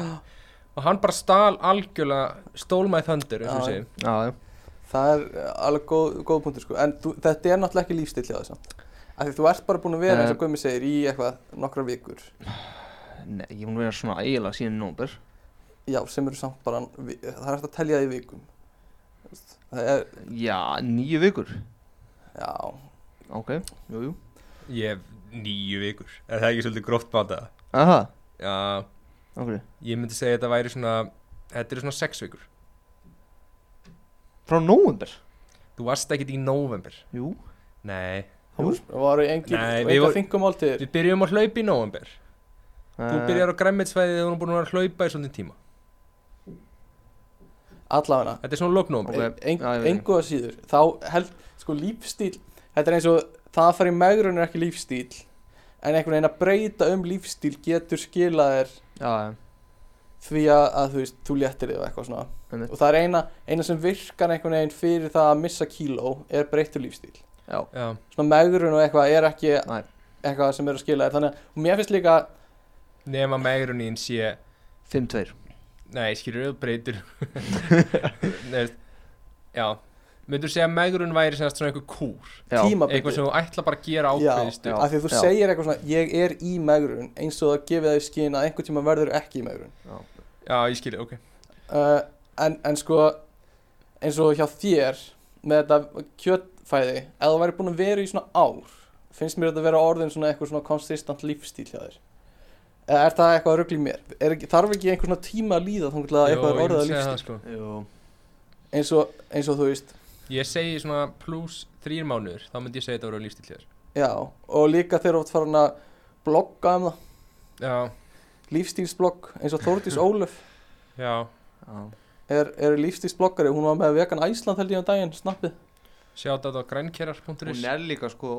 [SPEAKER 4] og hann bara stál algjörlega stól my thunder eins og
[SPEAKER 3] Já,
[SPEAKER 4] við segjum
[SPEAKER 1] Já, já
[SPEAKER 3] Það er eh, alveg góð, góð punktur sko, en þú, þetta er náttúrulega ekki lífstíll hjá þessum. Af því þú ert bara búin að vera
[SPEAKER 1] Nei.
[SPEAKER 3] eins og Guðmi segir í eitthvað nokkra vikur.
[SPEAKER 1] Nei, ég mun vera svona eiginlega síðan nómber
[SPEAKER 3] Já, sem eru samt bara, vi- það er hægt að telja það í vikum. Þú veist, Það er,
[SPEAKER 1] Já, nýju vikur
[SPEAKER 3] já,
[SPEAKER 1] Ok, jú, jú
[SPEAKER 4] ég hef nýju vikur er það ekki svolítið gróft bata
[SPEAKER 1] Aha,
[SPEAKER 4] já,
[SPEAKER 1] ok
[SPEAKER 4] ég myndi segja að þetta væri svona þetta eru svona sex vikur
[SPEAKER 1] Frá nómber
[SPEAKER 4] þú varst ekkert í nóvember
[SPEAKER 1] Jú
[SPEAKER 4] nei,
[SPEAKER 1] Jú.
[SPEAKER 3] það voru- það voru engin,
[SPEAKER 4] Nei,
[SPEAKER 3] og
[SPEAKER 4] við
[SPEAKER 3] eitthvað
[SPEAKER 4] voru-
[SPEAKER 3] þingum áltíðir.
[SPEAKER 4] við byrjum að hlaupa í nóvember þú
[SPEAKER 1] Eh,
[SPEAKER 4] byrjar á græmmitsvæði þegar hún er búin að vera að hlaupa í svolítið tíma
[SPEAKER 3] Allavega,
[SPEAKER 4] þetta er svona lóknóvember
[SPEAKER 1] Ok,
[SPEAKER 3] okay.
[SPEAKER 1] já, ég veit.
[SPEAKER 3] engu að síður, þá held, sko lífstíll, þetta er eins og það að fara í megrun er ekki lífstíll, en einhvern veginn að breyta um lífstíl getur skila þér
[SPEAKER 1] já,
[SPEAKER 3] því að, að þú veist, þú léttir þig og eitthvað svona
[SPEAKER 1] Einmitt.
[SPEAKER 3] og það er eina, eina sem virkar einhvern veginn fyrir það að missa kíló er breytur lífstíl
[SPEAKER 1] já,
[SPEAKER 4] já,
[SPEAKER 3] svona megrun og eitthvað er ekki
[SPEAKER 1] Nei.
[SPEAKER 3] eitthvað sem er að skila þér þannig að og mér finnst líka
[SPEAKER 4] nema megrunin sé
[SPEAKER 1] 5-2
[SPEAKER 4] nei, skilur þú breytur Nei, veist, já myndur segja að megrun væri sem sagt svona einhver kúr
[SPEAKER 1] Já.
[SPEAKER 4] eitthvað
[SPEAKER 3] tímabundið
[SPEAKER 4] sem þú ætla bara að
[SPEAKER 3] Já,
[SPEAKER 4] gera ákveðið
[SPEAKER 1] já.
[SPEAKER 4] stund
[SPEAKER 3] af því að þú
[SPEAKER 1] Já.
[SPEAKER 3] segir eitthvað svona ég er í megrun eins og það gefið þau skyn að einhvern tíma verður ekki í megrun
[SPEAKER 4] já, ég skilur, ok
[SPEAKER 3] uh, en, en sko eins og hjá þér með þetta kjötfæði ef þú væri búin að vera í svona ár finnst mér þetta að vera orðin svona eitthvað svona konsistant lífstíl hjá þér eða er það eitthvað að rugla í mér er, ekki- þarf ekki einhver svona tíma að líða þannig að eitthvað er
[SPEAKER 4] Jó, ég
[SPEAKER 3] orðið
[SPEAKER 4] myndi
[SPEAKER 3] að lífstíl
[SPEAKER 4] segja það, sko.
[SPEAKER 1] Jú.
[SPEAKER 3] eins, og, eins og þú veist
[SPEAKER 4] ég segi svona pluss þrýr mánuður þá myndi ég segja þetta voru lífstíl hér
[SPEAKER 3] já, og líka þegar þú ert farin að blogga um það
[SPEAKER 4] já,
[SPEAKER 3] lífstílsblogg eins og Þórdís Ólöf
[SPEAKER 4] já,
[SPEAKER 1] Já.
[SPEAKER 3] er, er lífstílsbloggari, hún var með vegan Æsland held ég um daginn, snappið
[SPEAKER 4] sjá þetta á grænkerar.is
[SPEAKER 1] hún er líka sko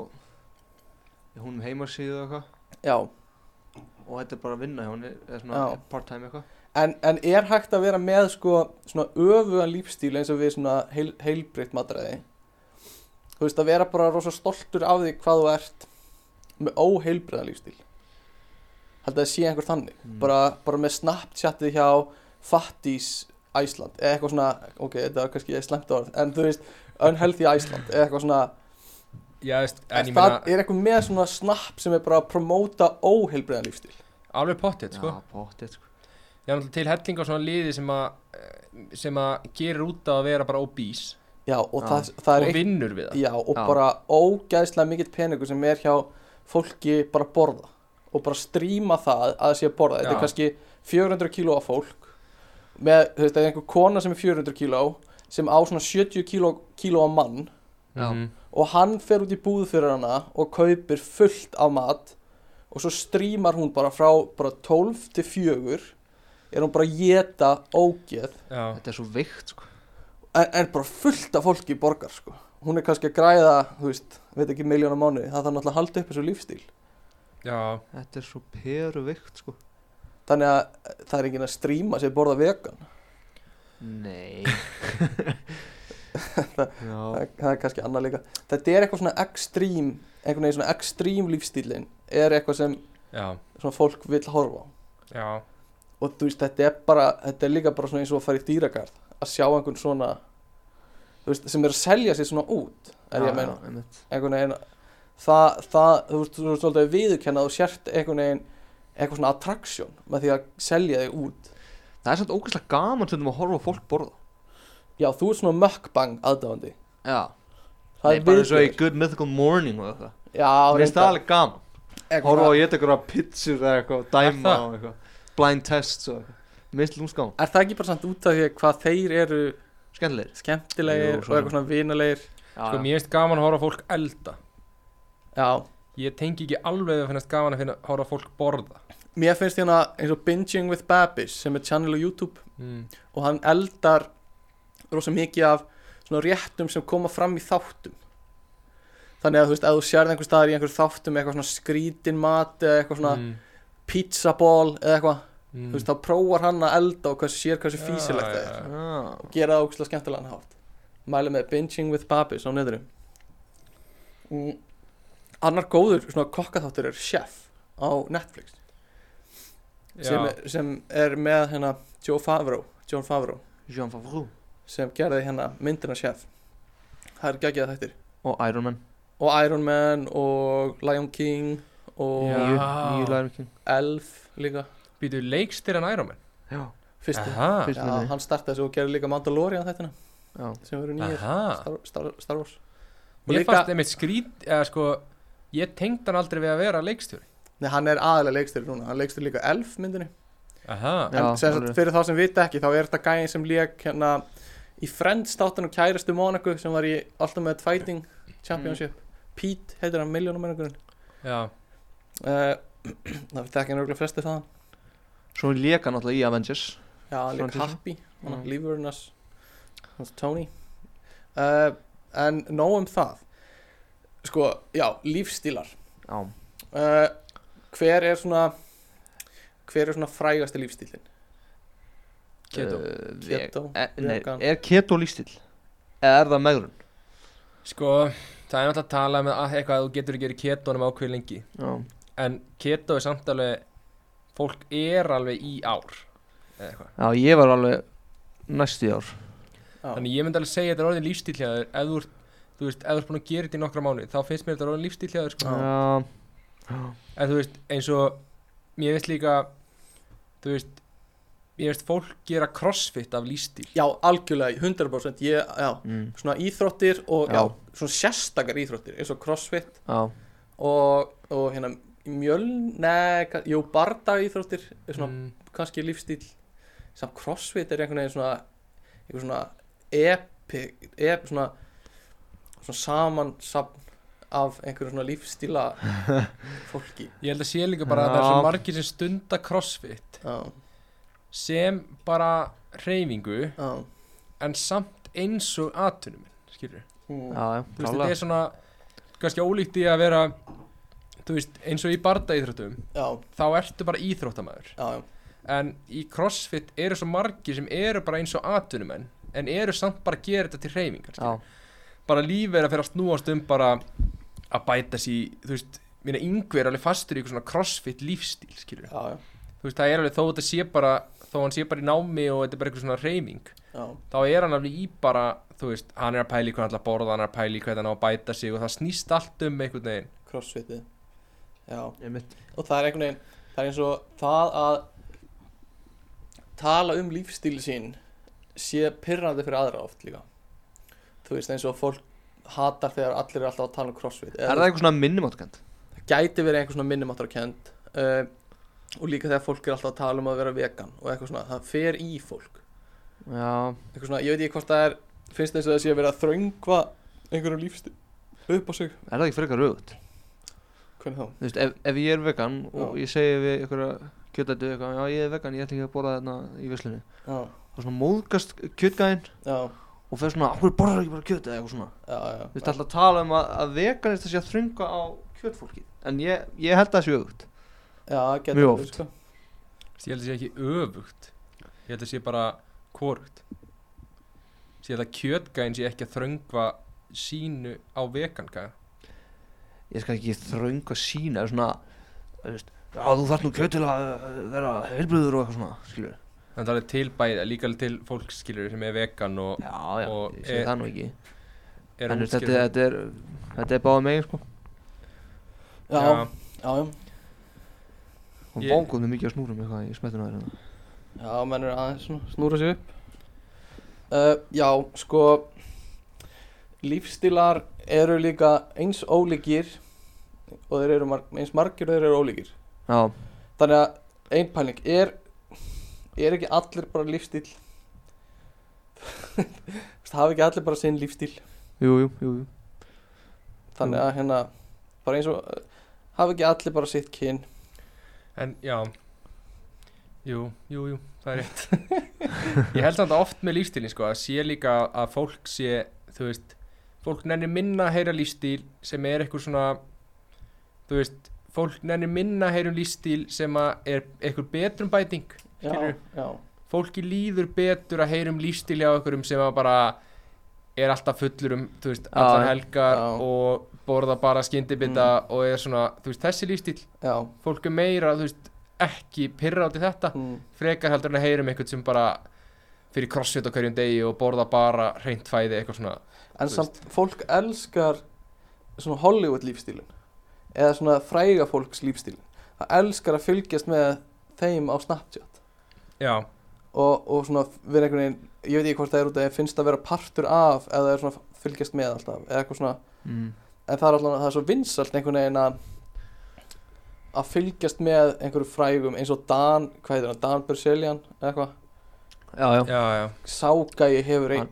[SPEAKER 1] hún er heimasíðu og eitthvað
[SPEAKER 3] já,
[SPEAKER 1] og þetta er bara að vinna hjá hún eða
[SPEAKER 3] Já.
[SPEAKER 1] svona part time eitthvað
[SPEAKER 3] En, en er hægt að vera með sko svona öfugan lífstíl eins og við svona heil, heilbritt matræði? Þú veist að vera bara rosa stoltur af því hvað þú ert með óheilbriðan lífstíl. Held að það sé einhver þannig.
[SPEAKER 1] Mm.
[SPEAKER 3] Bara, bara með Snapchatið hjá Fattis Æsland eða eitthvað svona, ok, þetta er kannski slemt orð, en þú veist, Unhealthy Æsland eða eitthvað svona,
[SPEAKER 4] já, veist, en
[SPEAKER 3] er,
[SPEAKER 4] ég
[SPEAKER 3] það,
[SPEAKER 4] meina
[SPEAKER 3] er eitthvað með svona Snap sem er bara að promóta óheilbriðan lífstíl?
[SPEAKER 4] alveg pottið, sko
[SPEAKER 1] já, pottet sko
[SPEAKER 4] ég er náttúrulega til helling á svona liði sem að eh, sem að gerir út af að vera bara obís
[SPEAKER 3] Já,
[SPEAKER 1] Já.
[SPEAKER 3] og það, það er
[SPEAKER 4] og vinnur við það
[SPEAKER 3] Já, og
[SPEAKER 1] Já.
[SPEAKER 3] bara ógæðslega mikill peningur sem er hjá fólki bara að borða og bara stríma það að það sé að borða þetta
[SPEAKER 4] Já.
[SPEAKER 3] er kannski 400 kíló af fólk með, þú veist, það er einhver kona sem er 400 kíló sem á svona 70 kíló, kíló af mann
[SPEAKER 1] Já.
[SPEAKER 4] Mhm.
[SPEAKER 3] og hann fer út í búð fyrir hana og kaupir fullt af mat og svo strímar hún bara frá bara 12 til 4 er hún bara að geta ógeð
[SPEAKER 4] já,
[SPEAKER 1] þetta er svo veikt sko
[SPEAKER 3] en, en bara fullt af fólki borgar sko. hún er kannski að græða þú veist, veit ekki miljónum mánuði það þarf náttúrulega að halda upp þessu lífstíl
[SPEAKER 4] já,
[SPEAKER 1] þetta er svo peru veikt sko
[SPEAKER 3] þannig að eh, það er enginn að stríma sér borða vegan
[SPEAKER 1] nei
[SPEAKER 3] það,
[SPEAKER 1] já,
[SPEAKER 3] er- það er kannski annað líka þetta er eitthvað svona ekstrím einhvern veginn svona ekstrím lífstílin er eitthvað sem
[SPEAKER 4] já,
[SPEAKER 3] svona fólk vil horfa á
[SPEAKER 4] já
[SPEAKER 3] og þú veist þetta er bara þetta er líka bara svona eins og að fara í dýragarð að sjá einhvern svona þú veist, sem er að selja sér svona út er ég að meina
[SPEAKER 1] já, einmitt.
[SPEAKER 3] einhvern veginn það, það þú veist, þú veist svolítið að viðurkenna að þú sért einhvern veginn eitthvað svona attraction með því að selja þig út
[SPEAKER 1] það er samt ógeðslega gaman sem að horfa á fólk borða
[SPEAKER 3] já, þú ert svona mukbang aðdáðandi
[SPEAKER 1] já
[SPEAKER 3] það
[SPEAKER 1] Nei, bara eins og í
[SPEAKER 3] viðbjóður.
[SPEAKER 1] Good Mythical Morning og það
[SPEAKER 3] já,
[SPEAKER 1] Mér finnst það
[SPEAKER 3] reyndar.
[SPEAKER 1] alveg gaman
[SPEAKER 3] Eitthvað-
[SPEAKER 1] Horfa á að geta ykkur að pitsur eða eitthvað Dæma
[SPEAKER 4] það?
[SPEAKER 1] og eitthvað Blind tests og eitthvað Mér finnst lúmst gaman
[SPEAKER 3] er það ekki bara samt út af því hvað þeir eru
[SPEAKER 1] Skemmtilegir
[SPEAKER 3] skemmtilegir
[SPEAKER 1] Jú,
[SPEAKER 3] og
[SPEAKER 1] svona.
[SPEAKER 3] eitthvað svona vinalegir
[SPEAKER 4] sko mér finnst gaman að horfa á fólk elda
[SPEAKER 3] já,
[SPEAKER 4] ég tengi ekki alveg að finnast gaman að finna horfa á fólk borða
[SPEAKER 3] mér finnst hérna eins og Binging with Babish sem er channel á YouTube
[SPEAKER 4] mm.
[SPEAKER 3] og hann eldar rosa mikið af svona réttum sem koma fram í þáttum þannig að þú veist, ef þú sérð einhver staðar í einhver þáttum eitthvað svona skrítin mat eða eitthvað svona
[SPEAKER 4] mm.
[SPEAKER 3] pizza ball eða eitthvað,
[SPEAKER 4] Mm.
[SPEAKER 3] þú veist, þá prófar hann að elda og hversu sér hversu
[SPEAKER 4] Já,
[SPEAKER 3] físilegt það er
[SPEAKER 4] já, já.
[SPEAKER 1] ah,
[SPEAKER 3] og gera það ógustlega skemmtilegan hátt mæli með Binging with Babis á neðru mm. annar góður svona kokkaþáttur er Chef á Netflix sem
[SPEAKER 4] já,
[SPEAKER 3] er, sem er með hérna Joe Favreau, John Favreau
[SPEAKER 1] Jean Favreau
[SPEAKER 3] sem gerði hérna myndina chef það er geggjað þættir
[SPEAKER 1] Og Iron Man
[SPEAKER 3] og Iron Man og Lion King og
[SPEAKER 4] Já.
[SPEAKER 1] Nýju, nýju Lion King
[SPEAKER 3] Elf líka
[SPEAKER 4] býtu leikstir en Iron Man
[SPEAKER 1] Já,
[SPEAKER 3] fyrstu
[SPEAKER 4] aha,
[SPEAKER 1] Fyrstu.
[SPEAKER 3] Já, hann startaði þessu og gerði líka Mandalorian þættina
[SPEAKER 1] já
[SPEAKER 3] sem eru nýjir
[SPEAKER 4] aha
[SPEAKER 3] Star, Star, Star Wars Og
[SPEAKER 4] mér
[SPEAKER 3] líka-
[SPEAKER 4] fannst einmitt skrít eða sko ég tengd hann aldrei við að vera leikstjóri
[SPEAKER 3] Nei, hann er aðalega leikstur núna, hann leikstur líka Elf myndinni
[SPEAKER 4] aha,
[SPEAKER 1] Já,
[SPEAKER 3] en sem sagt,
[SPEAKER 1] alveg.
[SPEAKER 3] fyrir þá sem vita ekki þá er þetta gæðin sem lék hérna í Friends þáttunum kærastu Monaco sem var í Ultimate Fighting Championship
[SPEAKER 4] Mm.
[SPEAKER 3] Pete heitir hann miljónum menningurinn
[SPEAKER 4] já, Eh,
[SPEAKER 3] uh, það tekja nörgulega flesti þaðan
[SPEAKER 1] Svo léka náttúrulega í Avengers
[SPEAKER 3] Já, hann leik
[SPEAKER 1] Francis.
[SPEAKER 3] Happy, hann
[SPEAKER 1] Mm.
[SPEAKER 3] mm. lífurinnars Tony uh, En nóg um það Sko, já, lífstílar
[SPEAKER 1] Já
[SPEAKER 3] uh, hver er svona hver er svona frægasti lífstílin
[SPEAKER 4] Keto.
[SPEAKER 1] Uh, veg-
[SPEAKER 3] keto,
[SPEAKER 1] eh, nei,
[SPEAKER 3] vegan.
[SPEAKER 1] Er keto lífstil? Eða er það megrun?
[SPEAKER 4] Sko, það er náttúrulega að tala með að eitthvað að þú getur ekki verið keto nema ákveð lengi
[SPEAKER 1] Já,
[SPEAKER 4] En keto er samt alveg, fólk er alveg í ár eða eitthvað
[SPEAKER 1] Já ég var alveg næstu í ár
[SPEAKER 3] Já.
[SPEAKER 4] Þannig ég myndi alveg segja að þetta er orðin lífstíl hjá þér ef þú ert, þú veist, ef þú ert búin að gera þetta í nokkra mánu þá finnst mér þetta orðin lífstíl hjá þér sko.
[SPEAKER 1] Já,
[SPEAKER 4] en þú veist, eins og mér veist líka þú veist, ég veist fólk gera crossfit af lífstíl
[SPEAKER 3] já, algjörlega, 100% ég, já,
[SPEAKER 1] mm.
[SPEAKER 3] svona íþróttir og já.
[SPEAKER 1] Já.
[SPEAKER 3] svona sérstakar íþróttir eins og crossfit
[SPEAKER 1] já.
[SPEAKER 3] og, og hérna mjöln, nei, ka- jú, barda íþróttir svona
[SPEAKER 4] mm,
[SPEAKER 3] kannski lífstíl samt crossfit er einhvern veginn svona einhvern svona epic, ep, svona, svona saman safn af einhverju svona lífstíla fólki
[SPEAKER 4] ég held að sé líka bara að það er
[SPEAKER 1] Já.
[SPEAKER 4] svo margir sem stunda crossfit
[SPEAKER 3] já,
[SPEAKER 4] sem bara hreyfingu
[SPEAKER 3] já,
[SPEAKER 4] en samt eins og atunum skilur
[SPEAKER 3] mm,
[SPEAKER 1] já, já,
[SPEAKER 4] þú veist,
[SPEAKER 1] klálega.
[SPEAKER 4] þetta er svona kannski ólíkt í að vera þú veist, eins og í barda íþróttum
[SPEAKER 3] já,
[SPEAKER 4] þá ertu bara íþróttamæður
[SPEAKER 3] já, já,
[SPEAKER 4] en í crossfit eru svo margir sem eru bara eins og atvinnumenn en eru samt bara að gera þetta til hreyfingar
[SPEAKER 1] Já,
[SPEAKER 4] skilur. bara lífið er að fyrir að snúast um bara að bæta sér þú veist, minna yngver er alveg fastur í eitthvað svona crossfit lífstíl skilur.
[SPEAKER 3] já, já,
[SPEAKER 4] þú veist, það er alveg þó þetta sé bara þó hann sé bara í námi og þetta er bara eitthvað svona hreyfing
[SPEAKER 3] já,
[SPEAKER 4] þá er hann alveg í bara, þú veist, hann er að pæli hvað hann ætla að borða, hann er að pæli hvað hann á að bæta sig og það snýst allt um einhvern veginn
[SPEAKER 3] crossfitið já,
[SPEAKER 1] einmitt.
[SPEAKER 3] og það er einhvern veginn það er eins og það að tala um lífstíl sín sé pyrrandi fyrir aðra oft líka þú veist eins og fólk hatar þegar allir eru alltaf að tala um crossfit
[SPEAKER 1] Er það eitthvað svona minnumátkant?
[SPEAKER 3] það gæti verið einhver svona minnumáttarkend uh, og líka þegar fólk er alltaf að tala um að vera vegan og eitthvað svona, það fer í fólk
[SPEAKER 1] Já,
[SPEAKER 3] eitthvað svona, ég veit ekki hvort það er finnst eins og það sé að vera að þröngva einhverjum lífstíl upp á sig
[SPEAKER 1] er það ekki frekar raugt?
[SPEAKER 3] hvernig þá?
[SPEAKER 1] Þú veist, ef, ef ég er vegan og
[SPEAKER 3] Já.
[SPEAKER 1] ég segi við ykkur að kjötættu eitthvað, já ég er vegan, ég ætla ekki að borða þarna í visslunni
[SPEAKER 3] Já,
[SPEAKER 1] og svona móðgast kjötgæðin
[SPEAKER 3] já,
[SPEAKER 1] og fer svona, okkur borðar ekki bara kjöt eða eitthvað svona
[SPEAKER 3] já, já,
[SPEAKER 1] Þú veist, alltaf að tala um að, að veganist sé að þrunga á kjötfólki en ég, ég held að það sé auðvögt
[SPEAKER 3] já, getur
[SPEAKER 1] Mjög
[SPEAKER 3] verið,
[SPEAKER 1] oft.
[SPEAKER 3] sko.
[SPEAKER 4] Þú veist, ég held að sé ekki öfugt ég held að sé bara korugt ég held að kjötgæn sé ekki að þröngva sínu á veganka
[SPEAKER 1] ég skal ekki þrunga sína eða svona, þú veist, já þú þarf nú kjöt til að uh, vera heilbröður og eitthvað svona, skilur
[SPEAKER 4] en það er alveg til bæði, líka alveg til fólkskilur sem er vegan og
[SPEAKER 1] Já, já,
[SPEAKER 4] Og
[SPEAKER 1] ég segi
[SPEAKER 4] er-
[SPEAKER 1] það nú ekki
[SPEAKER 4] er
[SPEAKER 1] En
[SPEAKER 4] að
[SPEAKER 1] þú veist, þetta,
[SPEAKER 4] útskýra-
[SPEAKER 1] þetta er, þetta er báða megin sko
[SPEAKER 3] já, já, já,
[SPEAKER 1] Hún
[SPEAKER 4] Ég-
[SPEAKER 1] bókuð með mikið að snúrum eitthvað í smettuna þér hérna.
[SPEAKER 3] já menn eru aðeins svona, snúra sig upp uh, já, sko lífstílar eru líka eins ólíkir og þeir eru mar eins margir og þeir eru ólíkir
[SPEAKER 1] Já,
[SPEAKER 3] Þannig að einn pæling er, er ekki allir bara lífstíl Það hafa ekki allir bara sinn lífstíl
[SPEAKER 1] jú, jú, jú, jú.
[SPEAKER 3] Þannig að hérna bara eins og uh, hafa ekki allir bara sitt kyn
[SPEAKER 4] en já jú, jú, jú, það er rétt ég held samt að oft með lífstílin sko, að sé líka að fólk sé þú veist, fólk nenni minna að heyra lífstíl sem er eitthvað svona þú veist, fólk nenni minna að heyra um lífstíl sem að er eitthvað betrum bæting
[SPEAKER 3] Já,
[SPEAKER 4] Skilurðu?
[SPEAKER 3] já,
[SPEAKER 4] fólki líður betur að heyra um lífstíl hjá einhverjum sem að bara er alltaf fullur um, þú veist,
[SPEAKER 1] Já,
[SPEAKER 4] allar
[SPEAKER 1] já.
[SPEAKER 4] helgar
[SPEAKER 3] Já. Mm.
[SPEAKER 4] og borða bara skyndibita og er svona, þú veist, þessi lífstíl
[SPEAKER 3] já
[SPEAKER 4] fólk er meira, þú veist, ekki pyrra út í þetta,
[SPEAKER 3] mm,
[SPEAKER 4] frekar heldur en að heyra um einhvern sem bara fyrir crossfit á hverjum degi og borða bara reynt fæði eitthvað svona,
[SPEAKER 3] En
[SPEAKER 4] Þú
[SPEAKER 3] samt fólk elskar svona Hollywood lífstílin eða svona fræga fólks lífstílin Það elskar að fylgjast með þeim á Snapchat
[SPEAKER 4] já,
[SPEAKER 3] og, og svona vera einhvern veginn ég veit ekki hvort það er út að ég finnst að vera partur af eða það er svona að fylgjast með alltaf eða eitthvað svona,
[SPEAKER 1] Mm.
[SPEAKER 3] en það er alltaf það er svo vinsalt einhvern veginn að að fylgjast með einhverju frægum eins og Dan, hvað heitir hann, Dan Berselian eða eitthvað,
[SPEAKER 1] já, já
[SPEAKER 4] já, já
[SPEAKER 3] ságæi hefur einn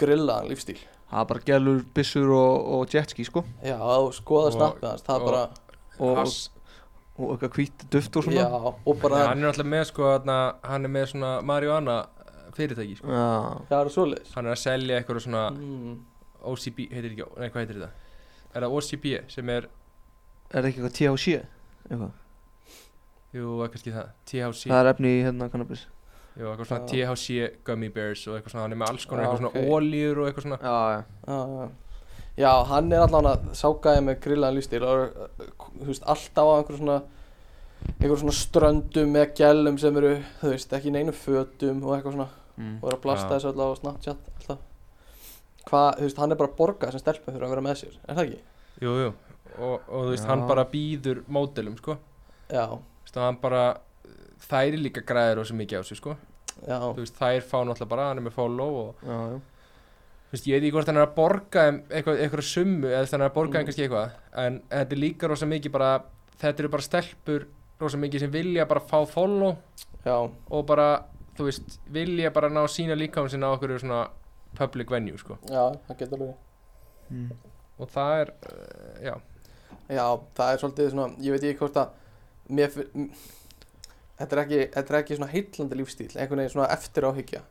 [SPEAKER 3] grillaðan lífstíl
[SPEAKER 1] Það er bara gælur, byssur og, og jetski sko
[SPEAKER 3] já, og skoða
[SPEAKER 4] Og-
[SPEAKER 3] snappið hans, það
[SPEAKER 4] og-
[SPEAKER 3] er bara
[SPEAKER 1] Og, og,
[SPEAKER 4] Hass-
[SPEAKER 1] og eitthvað hvít duft og svona
[SPEAKER 3] já, og
[SPEAKER 4] Já,
[SPEAKER 3] bara,
[SPEAKER 4] hann er alltaf með sko, þarna, hann er með svona marihuana fyrirtæki, sko.
[SPEAKER 1] Já,
[SPEAKER 3] það er svoleiðis
[SPEAKER 4] hann er að selja eitthvað svona
[SPEAKER 3] mm,
[SPEAKER 4] OCB, heitir ekki, nei hvað heitir þetta? Er það OCB E sem er,
[SPEAKER 1] er það ekki eitthvað THC? Eitthvað
[SPEAKER 4] Jú, það er kannski það THC
[SPEAKER 1] Það er efni í hérna cannabis
[SPEAKER 4] E, Jú, eitthvað svona
[SPEAKER 3] Já.
[SPEAKER 4] THC E gummy bears og eitthvað svona Hann er með alls konar,
[SPEAKER 3] Já,
[SPEAKER 4] eitthvað svona
[SPEAKER 3] ok.
[SPEAKER 4] okay. ólíur og eitthvað svona
[SPEAKER 1] Já, já
[SPEAKER 3] Já, já. já, hann er allan að sákaði með grillaðan lífstíl og er, uh, þú veist, alltaf á einhver svona einhver svona ströndum með gælum sem eru, þú veist, ekki í neinu fötum og eitthvað svona,
[SPEAKER 1] mm.
[SPEAKER 3] og er að blasta
[SPEAKER 4] Já.
[SPEAKER 3] þessu alltaf á Snapchat alltaf hvað, þú veist, hann er bara að borga sem stelpum fyrir að vera með sér, er það ekki?
[SPEAKER 4] Jú, jú Og, og þú veist,
[SPEAKER 1] Já.
[SPEAKER 4] hann bara býður módelum, sko
[SPEAKER 3] Já,
[SPEAKER 4] Þú veist, og hann bara Þær er líka græðir og svo mikið á sig, sko Þú
[SPEAKER 3] já,
[SPEAKER 4] veist, þær fá náttúrulega bara, hann er með follow og
[SPEAKER 1] Já, já
[SPEAKER 4] Þú veist, ég veit ekki hvort hann er að borga þeim eitthvað, eitthvað summu eða þannig að borga þeim
[SPEAKER 3] Mm.
[SPEAKER 4] kannski eitthvað en þetta er líka rosa mikið bara þetta eru bara stelpur rosa mikið sem vilja bara fá follow
[SPEAKER 3] já,
[SPEAKER 4] og bara, þú veist, vilja bara ná sína líkam sinna á okkur svona public venue, sko
[SPEAKER 3] já, það getur alveg
[SPEAKER 1] mm.
[SPEAKER 4] og það er, uh, já,
[SPEAKER 3] Já, það er svolítið svona, ég veit ekki hvort að mér, fi- m- þetta er ekki, þetta er ekki svona heillandi lífstíl, einhvern veginn svona eftir áhyggja.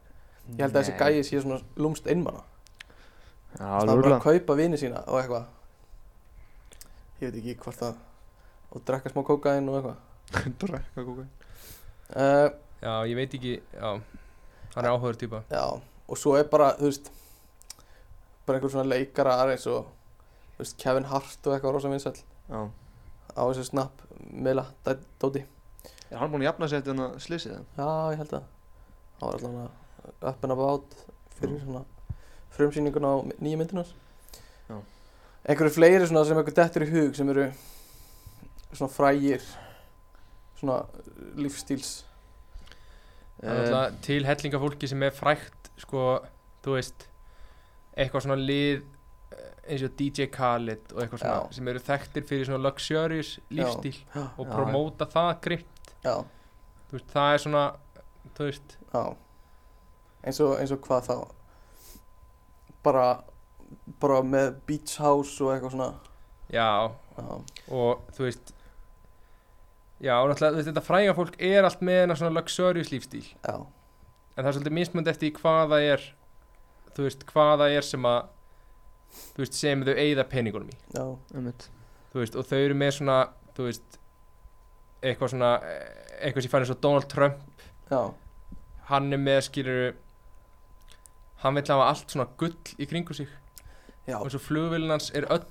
[SPEAKER 3] Ég held að þessi gæi sé svona lúmst innmanna.
[SPEAKER 1] Já,
[SPEAKER 3] Það er bara
[SPEAKER 1] lúrlega
[SPEAKER 3] að kaupa vini sína og eitthvað. Ég veit ekki hvort að, og drekka smá kókain og eitthvað.
[SPEAKER 1] Drekka kúka
[SPEAKER 3] Uh,
[SPEAKER 4] já, ég veit ekki já, hann er áhugaður týpa
[SPEAKER 3] já, og svo er bara, þú veist, bara einhver svona leikara aðeins og, þú veist, Kevin Hart og eitthvað rosa vinsall
[SPEAKER 1] Já
[SPEAKER 3] á þessu snapp, meila, dóti.
[SPEAKER 1] Er hann búin að jafna sig eftir hann að slysið það?
[SPEAKER 3] Já, ég held að það var allavega up and about fyrir svona frumsýninguna á mi- nýju myndinars
[SPEAKER 1] Já.
[SPEAKER 3] einhverju fleiri svona sem einhver dettur í hug sem eru svona frægir svona uh, lífstíls
[SPEAKER 4] Það er alltaf til hellinga fólki sem er frækt sko, þú veist eitthvað svona lið eh, eins og DJ Khaled og eitthvað svona
[SPEAKER 3] Já.
[SPEAKER 4] sem eru þekktir fyrir svona luxurious lífstíl
[SPEAKER 3] já,
[SPEAKER 4] og
[SPEAKER 1] Já,
[SPEAKER 4] promóta það grimmt
[SPEAKER 3] já,
[SPEAKER 4] þú veist, það er svona þú veist,
[SPEAKER 3] já eins og, eins og hvað þá bara bara með beach house og eitthvað svona
[SPEAKER 4] já
[SPEAKER 3] já,
[SPEAKER 4] og þú veist já, og náttúrulega þú veist, þetta fræga fólk er allt með hennar svona luxurious lífstíl
[SPEAKER 3] já,
[SPEAKER 4] en það er svolítið mismund eftir því hvað það er þú veist, hvað það er sem að þú veist, sem þau eigða peningunum í
[SPEAKER 3] já,
[SPEAKER 1] Eh, Einmitt
[SPEAKER 4] þú veist, og þau eru með svona, þú veist, eitthvað svona, eh, eitthvað sem fann eins og Donald Trump,
[SPEAKER 3] já,
[SPEAKER 4] hann er með, skilur, hann vil hafa allt svona gull í kringu sig
[SPEAKER 3] já
[SPEAKER 4] og eins og flugvélin hans er öll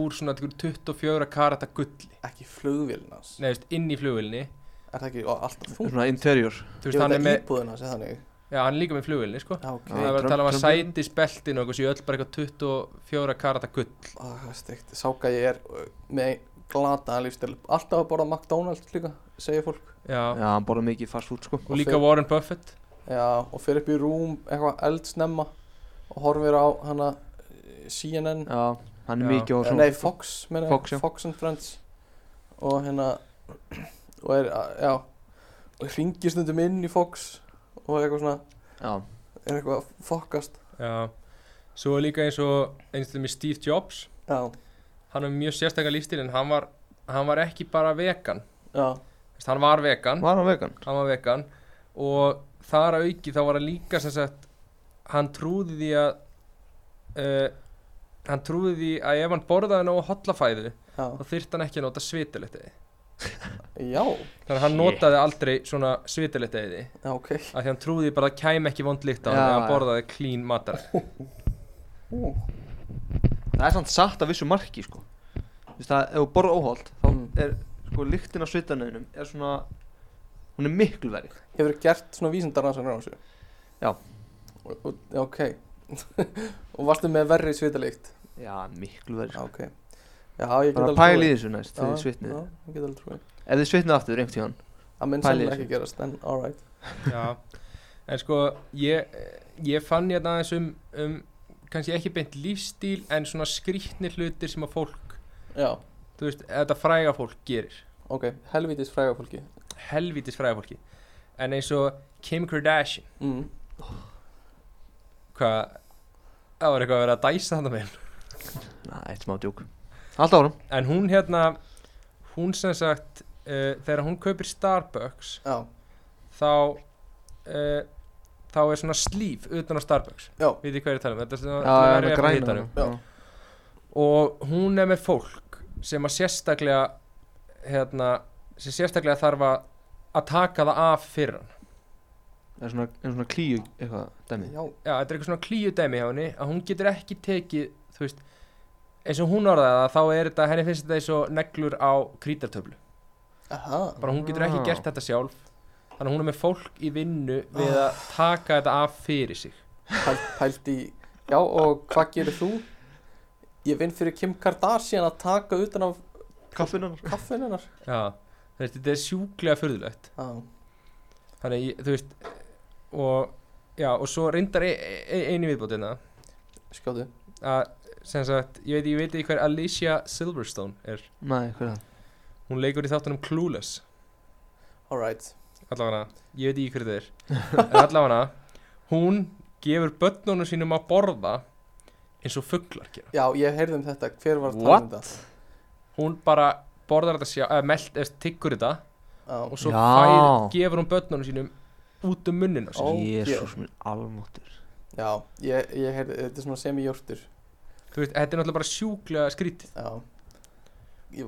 [SPEAKER 4] úr svona einhverju 24 karata gulli,
[SPEAKER 3] ekki flugvélnans
[SPEAKER 4] Nei, þú veist, inn í flugvélinni,
[SPEAKER 3] er það ekki ó, alltaf þungt?
[SPEAKER 1] Svona interior
[SPEAKER 4] þú
[SPEAKER 3] Ég
[SPEAKER 4] veist,
[SPEAKER 3] veit
[SPEAKER 4] hann er
[SPEAKER 3] að
[SPEAKER 4] með,
[SPEAKER 3] íbúðina sé þannig
[SPEAKER 4] já, hann er líka með flugvélinni, sko.
[SPEAKER 3] Já, ok
[SPEAKER 1] Já.
[SPEAKER 4] Það er verið að
[SPEAKER 1] Trump-
[SPEAKER 4] tala um að
[SPEAKER 1] Trump-vélin.
[SPEAKER 4] sætisbeltin og eitthvað séu öll bara eitthvað 24 karata gull.
[SPEAKER 3] Ah, Það er steikt, sáka ég er uh, með glataðan lífstil Alltaf að borða McDonalds líka, segir fólk
[SPEAKER 4] Já,
[SPEAKER 1] Já, hann borða mikið fast food sko
[SPEAKER 4] og líka
[SPEAKER 3] fer-
[SPEAKER 4] Warren Buffett.
[SPEAKER 3] Já, og fer upp í rúm eitthvað eldsnemma Og horfir á hana eh, CNN
[SPEAKER 1] Já, hann er
[SPEAKER 4] Já.
[SPEAKER 1] mikið á
[SPEAKER 3] eh,
[SPEAKER 1] svona
[SPEAKER 3] Nei, Fox, meina ég,
[SPEAKER 1] Fox, já.
[SPEAKER 3] Fox and Friends Og hérna Og er, að- já Og hringir stundum inn í Fox Og eitthvað svona,
[SPEAKER 1] Já,
[SPEAKER 3] er eitthvað að fokkast
[SPEAKER 4] Já, svo er líka eins og, eins og með Steve Jobs.
[SPEAKER 3] Já,
[SPEAKER 4] hann var með mjög sérstakar lífstíl en hann var, hann var ekki bara vegan
[SPEAKER 3] já,
[SPEAKER 4] Þess, hann var vegan,
[SPEAKER 1] var hann vegan?
[SPEAKER 4] hann var vegan og þar að auki þá var hann líka sem sagt, hann trúði því að uh, hann trúði því að ef hann borðaði nógu hollafæðu
[SPEAKER 3] já
[SPEAKER 4] þá þyrfti hann ekki að nota svitilettiði
[SPEAKER 3] Já,
[SPEAKER 4] þannig að hann
[SPEAKER 1] Shit.
[SPEAKER 4] notaði aldrei svona svitilettiði
[SPEAKER 3] já, ok
[SPEAKER 4] af því hann trúði bara að það kæmi ekki vond líkt á hann
[SPEAKER 1] Já,
[SPEAKER 4] ef hann
[SPEAKER 1] já.
[SPEAKER 4] borðaði clean matar
[SPEAKER 3] Ú,
[SPEAKER 1] Það er samt satt af vissu marki sko Þú veist það, ef þú borða óholt þá
[SPEAKER 3] Mm.
[SPEAKER 1] er sko lyktin af svitanauðinum er svona hún er miklu verið
[SPEAKER 3] Hefur gert svona vísindarrannsóknir á þessu?
[SPEAKER 1] Já.
[SPEAKER 3] Og, og, já, ok. og varstu með verri svitalikt?
[SPEAKER 1] Já, miklu verið
[SPEAKER 3] Já,
[SPEAKER 1] sko
[SPEAKER 3] ok. Já, ég get
[SPEAKER 1] Bara
[SPEAKER 3] alveg
[SPEAKER 1] pæli
[SPEAKER 3] trúið.
[SPEAKER 1] í þessu næst þegar þið
[SPEAKER 3] Já,
[SPEAKER 1] svitnið
[SPEAKER 3] Já, ég get alveg trúið.
[SPEAKER 1] Ef þið svitnið aftur einhvern tíðan
[SPEAKER 3] Það minn
[SPEAKER 1] Pælið í
[SPEAKER 3] sannlega
[SPEAKER 1] þessu.
[SPEAKER 3] ekki gerast, en alright.
[SPEAKER 4] Já, en sko ég, ég fann ég aðeins um, um kannski ekki beint lífstíl en svona skrýtni hlutir sem að fólk
[SPEAKER 3] Já,
[SPEAKER 4] þú veist, þetta fræga fólk gerir
[SPEAKER 3] ok. Helvítis fræga fólki.
[SPEAKER 4] helvítis fræga fólki en eins og Kim Kardashian
[SPEAKER 3] Mm.
[SPEAKER 4] hvað, það var eitthvað að vera að dæsa þetta með
[SPEAKER 1] Næ, eitt smá djúk Alltaf árum
[SPEAKER 4] en hún hérna hún sem sagt, uh, þegar hún kaupir Starbucks
[SPEAKER 3] Já,
[SPEAKER 4] þá uh, þá er svona slíf utan á Starbucks
[SPEAKER 3] já,
[SPEAKER 4] við því hvað ég er að tala um, þetta er svona
[SPEAKER 1] Já,
[SPEAKER 4] til að
[SPEAKER 1] það
[SPEAKER 4] verja
[SPEAKER 1] er
[SPEAKER 4] fyrir
[SPEAKER 1] græna
[SPEAKER 4] hitanum.
[SPEAKER 1] hana.
[SPEAKER 3] Já.
[SPEAKER 1] Já.
[SPEAKER 4] og hún er með fólk sem að sérstaklega hérna, sem sérstaklega þarf að að taka það af fyrir hann
[SPEAKER 1] er svona, er svona klíu eitthvað dæmi
[SPEAKER 3] Já,
[SPEAKER 4] já, þetta er eitthvað svona klíu dæmi hjá henni að hún getur ekki tekið, þú veist eins og hún orðaði það, þá er þetta henni finnst þetta eins og neglur á krítartöflu
[SPEAKER 3] aha
[SPEAKER 4] bara hún getur ekki
[SPEAKER 1] Já.
[SPEAKER 4] gert þetta sjálf þannig að hún er með fólk í vinnu við að taka þetta af fyrir sig
[SPEAKER 3] pælt, pælt í Já, og hvað gerir þú? Ég vinn fyrir Kim Kardashian að taka utan af
[SPEAKER 1] Kaffinu hennar
[SPEAKER 3] kaffin hennar
[SPEAKER 4] já, þú veist, þetta er sjúklega furðulegt
[SPEAKER 3] Já,
[SPEAKER 4] þannig að ég- þú veist og já og svo reyndar e e einu viðbótina
[SPEAKER 3] skjóðu
[SPEAKER 4] að sem sagt ég veit, ég veit ekki hver Alicia Silverstone er
[SPEAKER 1] Nei, hver er það?
[SPEAKER 4] hún leikur í þáttunum Clueless
[SPEAKER 3] Alright
[SPEAKER 4] allavega ég veit ekki hver það er en allavega hún gefur börnunum sínum að borða eins og fugglar gera
[SPEAKER 3] Já, ég heyrði um þetta, hver var að tala um
[SPEAKER 1] What?
[SPEAKER 3] þetta?
[SPEAKER 4] hún bara borðar þetta sjá eða meld eða tyggur þetta
[SPEAKER 3] Já,
[SPEAKER 4] og svo
[SPEAKER 1] Já.
[SPEAKER 4] fær, gefur hún börnunum sínum út um munnina sér
[SPEAKER 3] Ó,
[SPEAKER 1] Jésús minn almóttur
[SPEAKER 3] já ég, ég heyrði, þetta er svona semi-jórtur
[SPEAKER 4] þú veist þetta er náttúrulega bara sjúklega skrítið
[SPEAKER 3] Já ég,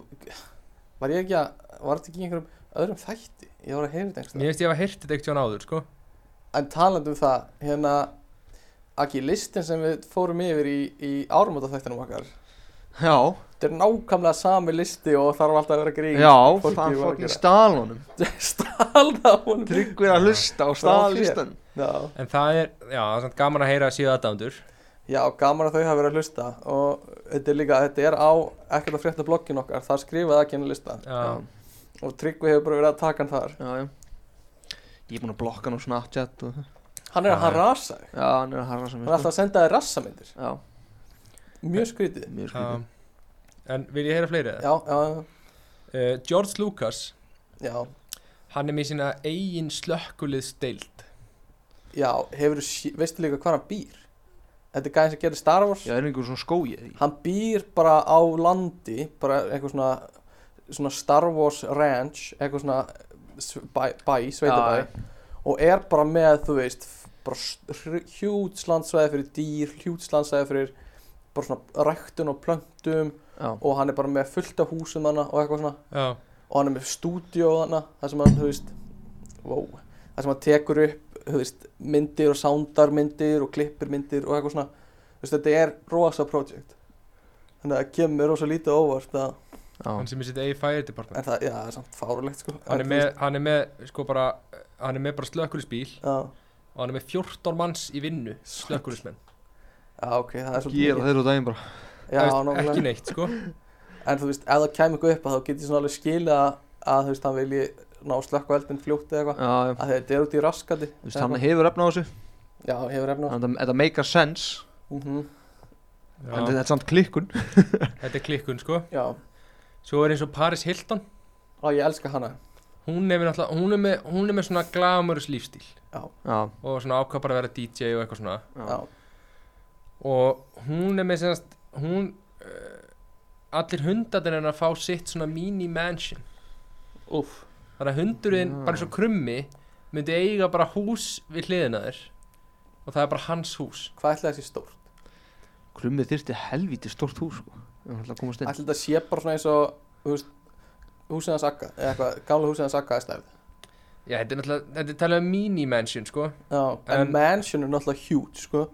[SPEAKER 3] Var ég ekki að, var þetta ekki í einhverjum öðrum þætti? Ég var að heyra þetta
[SPEAKER 4] mér
[SPEAKER 3] einhverjum
[SPEAKER 4] finnst ég hafa heyrt þetta ekkert jón áður sko
[SPEAKER 3] En talandi um það, hérna Aki, listin sem við fórum yfir í, í áramótaþættinum okkar
[SPEAKER 1] Já,
[SPEAKER 3] Þetta er nákvæmlega sami listi og þarf alltaf að vera grín
[SPEAKER 1] já,
[SPEAKER 3] fólkið var
[SPEAKER 1] það
[SPEAKER 3] að
[SPEAKER 1] fokkin
[SPEAKER 3] gera.
[SPEAKER 1] stál honum
[SPEAKER 3] Stalda hún
[SPEAKER 1] Tryggvir að hlusta og stál
[SPEAKER 3] Það var fé.
[SPEAKER 1] listan
[SPEAKER 3] Já
[SPEAKER 4] En það er, já, það er samt gaman að heyra að síða aðdándur
[SPEAKER 3] Já, gaman að þau hafa verið að hlusta og þetta er líka, þetta er á ekkert að frétta bloggin okkar, það skrifaði ekki henni lista
[SPEAKER 4] Já,
[SPEAKER 3] og Tryggvi hefur bara verið að taka hann þar
[SPEAKER 1] já, já Ég er búinn að blokka hann á Snapchat og
[SPEAKER 3] Hann er
[SPEAKER 4] Já,
[SPEAKER 3] að hann
[SPEAKER 4] já.
[SPEAKER 3] rasa þig,
[SPEAKER 1] Já, hann er að harra sem
[SPEAKER 3] hann er alltaf að senda þig rassamyndir
[SPEAKER 1] Já,
[SPEAKER 3] Mjög skrítið Já,
[SPEAKER 1] mjög
[SPEAKER 4] já
[SPEAKER 1] skrifin
[SPEAKER 4] um, En vil ég heyra fleiri það?
[SPEAKER 3] já,
[SPEAKER 4] Uh, George Lucas,
[SPEAKER 3] já
[SPEAKER 4] hann er með sína eigin slökkulið steild
[SPEAKER 3] Já, hefur, veistu líka hvað hann býr? Þetta er gæðin sem gerir Star Wars
[SPEAKER 1] Já, er einhver svona skói eða ekki?
[SPEAKER 3] Hann býr bara á landi, bara eitthvað svona, svona Star Wars ranch, eitthvað svona s- bæ, bæ sveitabæ
[SPEAKER 1] Já,
[SPEAKER 3] og er bara með, þú veist, f- bara hjúts landsvæði fyrir dýr, hjúts landsvæði fyrir bara svona ræktun og plöntum
[SPEAKER 1] Já,
[SPEAKER 3] og hann er bara með fullt af húsum hana og eitthvað svona
[SPEAKER 4] Já,
[SPEAKER 3] og hann er með stúdíó hana, þar sem hann, þú veist, wow, þar sem hann tekur upp, þú veist, myndir og soundar myndir og klippir myndir og eitthvað svona, þú veist, þetta er rosa project. Þannig að það kemur mér rosa lítið á óvart að,
[SPEAKER 1] já
[SPEAKER 4] hann sem er sitt eigin fire department
[SPEAKER 3] en það, já, það er samt fárulegt, sko.
[SPEAKER 4] hann er, með, hann er með, sko bara, eh, hann er með bara slökkulisbíl
[SPEAKER 3] Já,
[SPEAKER 4] og hann er með 14 manns í vinnu, slökkulismenn
[SPEAKER 3] já, ok, það er svolítið
[SPEAKER 1] Ég er að þeirra út daginn bara
[SPEAKER 3] Já, nákvæmlega.
[SPEAKER 4] Ekki neitt, sko
[SPEAKER 3] En þú veist, ef það kæmi eitthvað upp að þá get ég svona alveg skilið að, að þú veist, hann vilji ná slökku eldin fljótt eða eitthvað
[SPEAKER 1] Já, já,
[SPEAKER 3] að þetta er út í raskandi
[SPEAKER 1] þú veist, hann hefur efna á þessu
[SPEAKER 3] Já, hefur efna
[SPEAKER 1] Þannig að þetta make a sense
[SPEAKER 3] mm -hmm.
[SPEAKER 4] já,
[SPEAKER 1] En þetta er samt klikkun
[SPEAKER 4] Þetta er klikkun, sko
[SPEAKER 3] Já,
[SPEAKER 4] Svo er eins og Paris Hilton
[SPEAKER 3] á ég elska hana
[SPEAKER 4] Hún er, með náttúrulega- hún er, með, hún er með svona glamurus lífstíl
[SPEAKER 1] Já,
[SPEAKER 4] og svona ákvað bara að vera DJ og eitthvað svona
[SPEAKER 1] já,
[SPEAKER 3] Já,
[SPEAKER 4] og hún er með semast hún uh, allir hundarnir hennar fá sitt svona mini mansion
[SPEAKER 3] úff Ah.
[SPEAKER 4] þannig að hundurinn
[SPEAKER 1] Já.
[SPEAKER 4] bara eins og krummi myndi eiga bara hús við hliðina þér og það er bara hans hús
[SPEAKER 3] Hvað ætla þessi stórt?
[SPEAKER 1] Krummið þyrfti helvíti stórt hús sko. Ef hann ætlaði að komast inn.
[SPEAKER 3] Ætla þetta sé bara svona eins og, þú veist, húsið hans akka eða eitthvað, gamla húsið hans akka eða stæð
[SPEAKER 4] já þetta er náttúrulega þetta er talað um mini mansion sko en
[SPEAKER 3] Já, en,
[SPEAKER 4] En-
[SPEAKER 3] mansion er náttúrulega huge, sko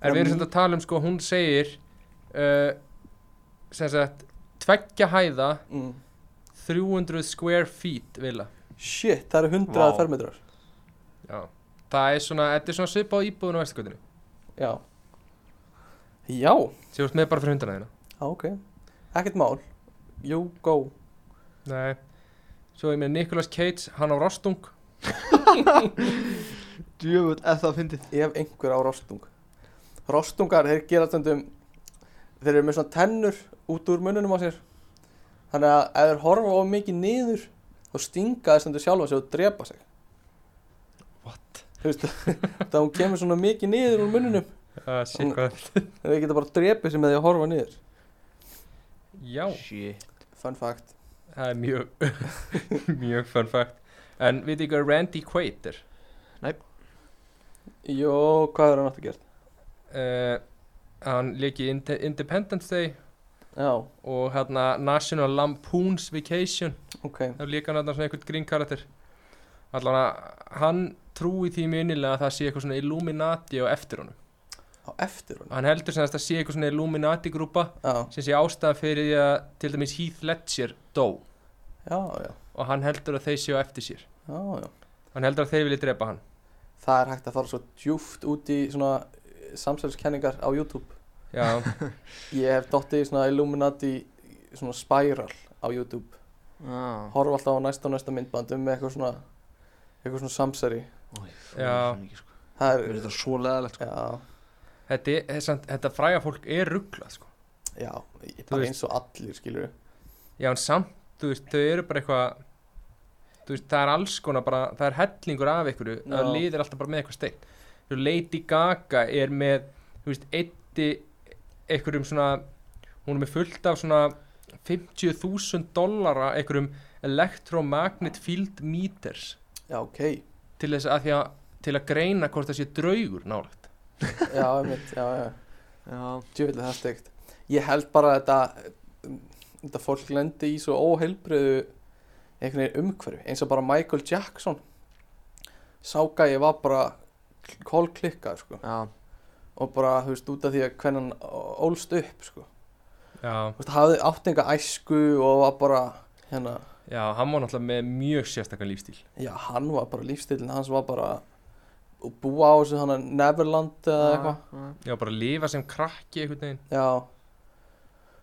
[SPEAKER 3] Já,
[SPEAKER 4] við erum
[SPEAKER 3] mi-
[SPEAKER 4] sem þetta að tala um sko hún segir uh, sem sagt tveggja hæða
[SPEAKER 3] mm.
[SPEAKER 4] 300 square feet vila
[SPEAKER 3] Shit, það eru hundrað
[SPEAKER 1] Vá.
[SPEAKER 3] fermetrar
[SPEAKER 4] já það er svona þetta er svona svipað á íbúðun á vestakotinu
[SPEAKER 3] Já Já,
[SPEAKER 4] sem þú ert með bara fyrir hundarna þína
[SPEAKER 3] á, ok Ekkert mál You go
[SPEAKER 4] Nei Svo ég með Nicolas Cage, hann á Rostung
[SPEAKER 1] Djöfull ef það fyndið
[SPEAKER 3] ef einhver á rostung rostungar, þeir gera stundum þeir eru með svona tennur út úr mununum á sér þannig að ef þeir horfa of mikið niður þá stinga þeir stundum sjálfa sig og drepa sig
[SPEAKER 4] What?
[SPEAKER 3] þú veist, þá hún kemur svona mikið niður úr mununum
[SPEAKER 4] Uh,
[SPEAKER 3] shit,
[SPEAKER 4] hvað
[SPEAKER 3] en þeir geta bara drepið sig með því að horfa niður
[SPEAKER 4] Já,
[SPEAKER 1] Shit
[SPEAKER 3] fun fact
[SPEAKER 4] það er mjög Mjög fun fact En við þið hvað Randy Quaid er
[SPEAKER 3] Jó, hvað er hann aftur gert?
[SPEAKER 4] uh, Hann leiki Ind Independence Day
[SPEAKER 3] Já,
[SPEAKER 4] Og hérna National Lampoon's Vacation
[SPEAKER 3] ok
[SPEAKER 4] Það er líka hann þarna svona einhvern grín karakter allan að hann trúi því mjög innilega að það sé eitthvað svona Illuminati á eftir honum
[SPEAKER 3] á eftir honum
[SPEAKER 4] hann heldur sem þess að það sé eitthvað svona Illuminati grúpa
[SPEAKER 3] já,
[SPEAKER 4] sem sé ástæðan fyrir því að til dæmis Heath Ledger dó
[SPEAKER 3] já, já,
[SPEAKER 4] og hann heldur að þeir séu á eftir sér
[SPEAKER 3] já, já
[SPEAKER 4] hann heldur að þeir vilja drepa hann
[SPEAKER 3] það er hægt að fara svo djúft út í svona eh, samsælskenningar á YouTube
[SPEAKER 4] já,
[SPEAKER 3] ég hef dottið í svona Illuminati svona spiral á YouTube
[SPEAKER 1] Já.
[SPEAKER 3] horfa alltaf á næsta og næsta myndband um eitthvað svona eitthvað svona samsæri
[SPEAKER 1] Ói, það
[SPEAKER 4] Já.
[SPEAKER 1] er svo mikið, sko.
[SPEAKER 3] það
[SPEAKER 1] Mér
[SPEAKER 3] er,
[SPEAKER 1] er þetta svo leðalegt, sko.
[SPEAKER 3] já,
[SPEAKER 4] þetta, er- þetta, samt- þetta fræga fólk er rugglað sko.
[SPEAKER 3] já ég,
[SPEAKER 4] Þú
[SPEAKER 3] bara
[SPEAKER 4] veist-
[SPEAKER 3] eins og allir skilur
[SPEAKER 4] Já, en samt, þú veist, þau eru bara eitthvað Þú veist, það er alls konar bara Það er hellingur af ykkur Það
[SPEAKER 3] Já.
[SPEAKER 4] liðir alltaf bara með eitthvað stein Þú veist, Lady Gaga er með Þú veist, eitti einhverjum svona Hún er með fullt af svona 50.000 dollara einhverjum Electromagnet Field Meters
[SPEAKER 3] já, ok,
[SPEAKER 4] Til þess að því að Til að greina hvort það sé draugur nálægt
[SPEAKER 3] já, einmitt, já, já
[SPEAKER 1] Já.
[SPEAKER 3] djúvillig það stegt ég held bara að þetta þetta fólk lendi í svo óheilbriðu einhvern veginn umhverfi eins og bara Michael Jackson sáka ég var bara kólklikkað sko
[SPEAKER 1] Já.
[SPEAKER 3] og bara þú veist út af því að hvernig hann ólst upp sko
[SPEAKER 4] Já,
[SPEAKER 3] Þú veist, hafði áttinga æsku og var bara hérna,
[SPEAKER 4] já, hann var náttúrulega með mjög sérstakann lífstíl
[SPEAKER 3] já hann var bara lífstillin hans var bara og búa á þessu hana Neverland eða eitthvað
[SPEAKER 1] Já.
[SPEAKER 4] Já, bara lifa sem krakki einhvern veginn
[SPEAKER 3] já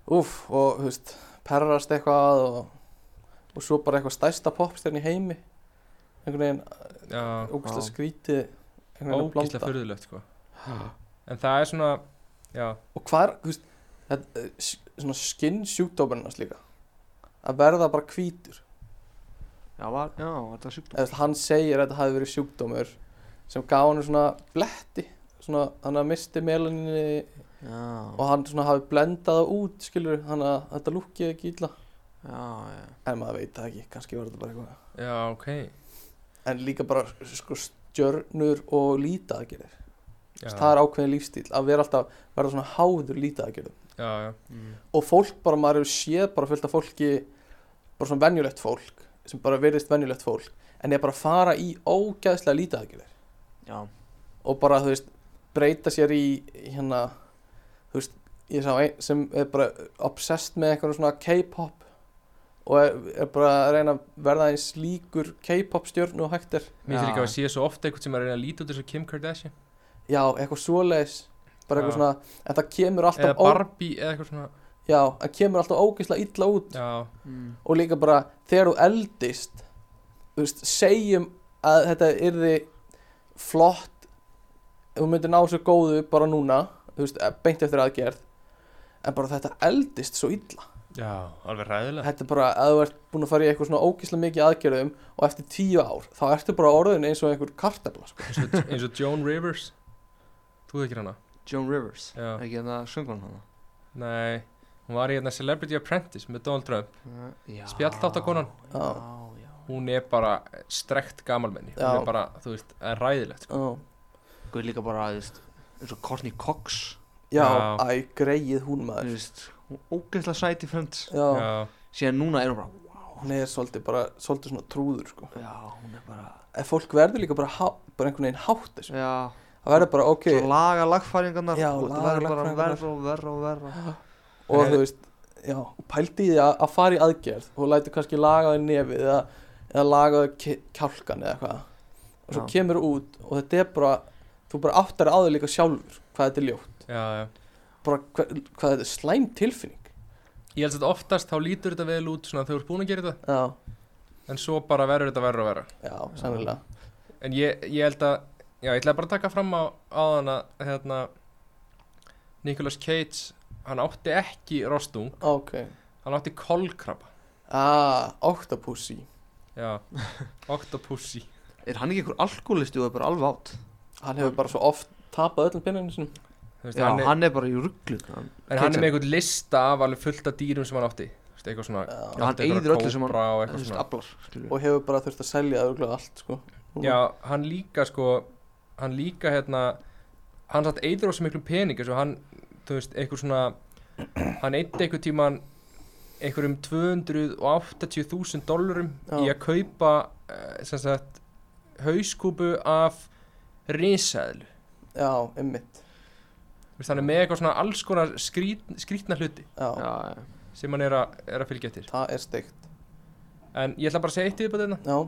[SPEAKER 3] úf og þú veist perrast eitthvað og, og svo bara eitthvað stærsta popstjarn í heimi einhvern veginn
[SPEAKER 4] Já,
[SPEAKER 3] ógæslega
[SPEAKER 1] Já.
[SPEAKER 3] skrítið einhvern veginn að
[SPEAKER 4] ógísla
[SPEAKER 3] blanda
[SPEAKER 4] furðulegt sko en það er svona já,
[SPEAKER 3] og hvað er þú veist þetta, eh, s- svona skinn sjúkdómarinnast líka að verða bara hvítur
[SPEAKER 1] Já, var, já, var þetta sjúkdóm?
[SPEAKER 3] eða þú veist, hann segir að þetta hafi verið sjúkdómur sem gaf hann svona bletti svona, hann að misti melinni
[SPEAKER 1] Já,
[SPEAKER 3] og hann svona hafi blendað það út skilur, hann að þetta lúkkið ekki illa
[SPEAKER 1] já, já.
[SPEAKER 3] en maður veit það ekki, kannski var þetta bara eitthvað
[SPEAKER 4] já, ok
[SPEAKER 3] en líka bara sko stjörnur og lítadagerir
[SPEAKER 4] já,
[SPEAKER 3] það er ákveðin lífstíl að vera alltaf verða svona háður lítadagerum
[SPEAKER 4] já, já,
[SPEAKER 1] Mm.
[SPEAKER 3] og fólk bara, maður hefur séð bara fullt af fólki bara svona venjulegt fólk sem bara verðist venjulegt fólk en er bara að fara í ógæðslega lítadagerir
[SPEAKER 1] Já,
[SPEAKER 3] og bara þú veist breyta sér í í hérna þú veist ég sá ein sem er bara obsessed með eitthvað svona K-pop og er, er bara að reyna að verða eins líkur K-pop stjörnu og hægt er
[SPEAKER 4] mér finnst
[SPEAKER 1] Já.
[SPEAKER 4] líka að sé svo ofta eitthvað sem er að reyna að líta út eins og Kim Kardashian
[SPEAKER 3] já eitthvað svoleiðis bara eitthvað
[SPEAKER 4] Já.
[SPEAKER 3] svona en það kemur
[SPEAKER 4] eða
[SPEAKER 3] alltaf ó,
[SPEAKER 4] Barbie eða eitthvað svona
[SPEAKER 3] já það kemur alltaf ógeðslega illa út
[SPEAKER 4] já,
[SPEAKER 1] mm.
[SPEAKER 3] og líka bara þegar þú eldist þú veist segjum að þetta yrði flott ef þú myndir ná svo góðu bara núna þú veist eh, beint eftir aðgerð en bara þetta eldist svo illa
[SPEAKER 4] já, alveg ræðilega
[SPEAKER 3] þetta er bara að þú ert búin að fara í eitthvað svona ógislega mikið aðgerðum og eftir tíu ár þá ertu bara orðin eins og einhver kartabla sko.
[SPEAKER 4] eins og, eins og Joan Rivers þú þekkir hana
[SPEAKER 1] Joan Rivers. Er
[SPEAKER 4] já,
[SPEAKER 1] ekki hérna söngun hana?
[SPEAKER 4] nei, hún var í hérna Celebrity Apprentice með Donald Trump
[SPEAKER 1] Já.
[SPEAKER 4] Spjallþáttakonan.
[SPEAKER 1] Já, já.
[SPEAKER 4] hún er bara strekt gamalmenni
[SPEAKER 3] Já.
[SPEAKER 4] hún er bara, þú veist, það er ræðilegt sko.
[SPEAKER 3] já,
[SPEAKER 1] Guð líka bara, þú veist, eins og Courtney Cox,
[SPEAKER 3] já,
[SPEAKER 4] Já.
[SPEAKER 3] æ, greið hún
[SPEAKER 1] þú
[SPEAKER 3] maður
[SPEAKER 1] veist, hún ógeðslega sæti frönd.
[SPEAKER 3] já,
[SPEAKER 4] já,
[SPEAKER 1] Síðan núna er hún bara,
[SPEAKER 3] hún er svolítið bara svolítið svona trúður sko.
[SPEAKER 1] já, hún er bara,
[SPEAKER 3] en fólk verður líka bara, há, bara einhvern veginn hátt þessu
[SPEAKER 1] já,
[SPEAKER 3] það verður bara ok
[SPEAKER 1] svo laga lagfæringarnar,
[SPEAKER 3] Já,
[SPEAKER 1] og þetta
[SPEAKER 3] laga
[SPEAKER 1] verður bara
[SPEAKER 3] lagfæringarnar.
[SPEAKER 1] verra og verra og verra.
[SPEAKER 3] og
[SPEAKER 4] Nei.
[SPEAKER 3] þú veist, já, pældi í því að, að fara í aðgerð og læti kannski lagaði nefið eða, eða lagaði kjálkan eða eitthvað og svo
[SPEAKER 1] Já.
[SPEAKER 3] kemur út og þetta er bara þú bara áttar að þau líka sjálfur hvað þetta er ljótt,
[SPEAKER 4] já, já
[SPEAKER 3] bara hvað, hvað þetta er slæm tilfinning
[SPEAKER 4] ég held að oftast þá lítur þetta vel út svona þegar þú ert búin að gera þetta
[SPEAKER 3] já,
[SPEAKER 4] en svo bara verður þetta verra og verra
[SPEAKER 3] já, sannilega
[SPEAKER 4] En ég, ég held að Já, ég ætlaði bara að taka fram á áðan að hérna, Nicolas Cage hann átti ekki rostung
[SPEAKER 3] ok,
[SPEAKER 4] hann átti kolkrabba
[SPEAKER 3] ah, octopussy
[SPEAKER 4] Já, octopussy
[SPEAKER 1] Er hann ekki einhver alkoholisti og er bara alveg átt?
[SPEAKER 3] hann hefur bara svo oft tapað öllum pinninu sinum
[SPEAKER 4] Þú veist,
[SPEAKER 1] Já,
[SPEAKER 4] hann er,
[SPEAKER 1] hann er bara í rugglu. Hann,
[SPEAKER 4] En hann er með einhvern lista af alveg fullt af dýrum sem hann átti Þú veist, eitthvað svona
[SPEAKER 3] Já.
[SPEAKER 1] Já, hann
[SPEAKER 4] átti einhverja
[SPEAKER 1] eyðir öllu sem hann-
[SPEAKER 4] kóbra og
[SPEAKER 1] þú
[SPEAKER 4] eitthvað
[SPEAKER 1] veist,
[SPEAKER 4] svona.
[SPEAKER 1] aflar, skilur við.
[SPEAKER 3] og hefur bara þurft að selja örugglega allt sko. núna.
[SPEAKER 4] Já, hann líka sko hann líka hérna hann satt eitur á svo miklu pening eins og hann, þú veist, einhver svona hann eitt einhver tíman einhverjum 280.000 dollurum
[SPEAKER 3] Já.
[SPEAKER 4] í að kaupa uh, sem sagt hauskúpu af risaðlu
[SPEAKER 3] já, ymmit
[SPEAKER 4] þannig með eitthvað svona alls konar skrít, skrítna hluti
[SPEAKER 3] já,
[SPEAKER 1] já, já.
[SPEAKER 4] sem hann er, að- er að fylgja eftir
[SPEAKER 3] það er steikt
[SPEAKER 4] en ég ætla bara að segja eitt í þetta
[SPEAKER 3] já,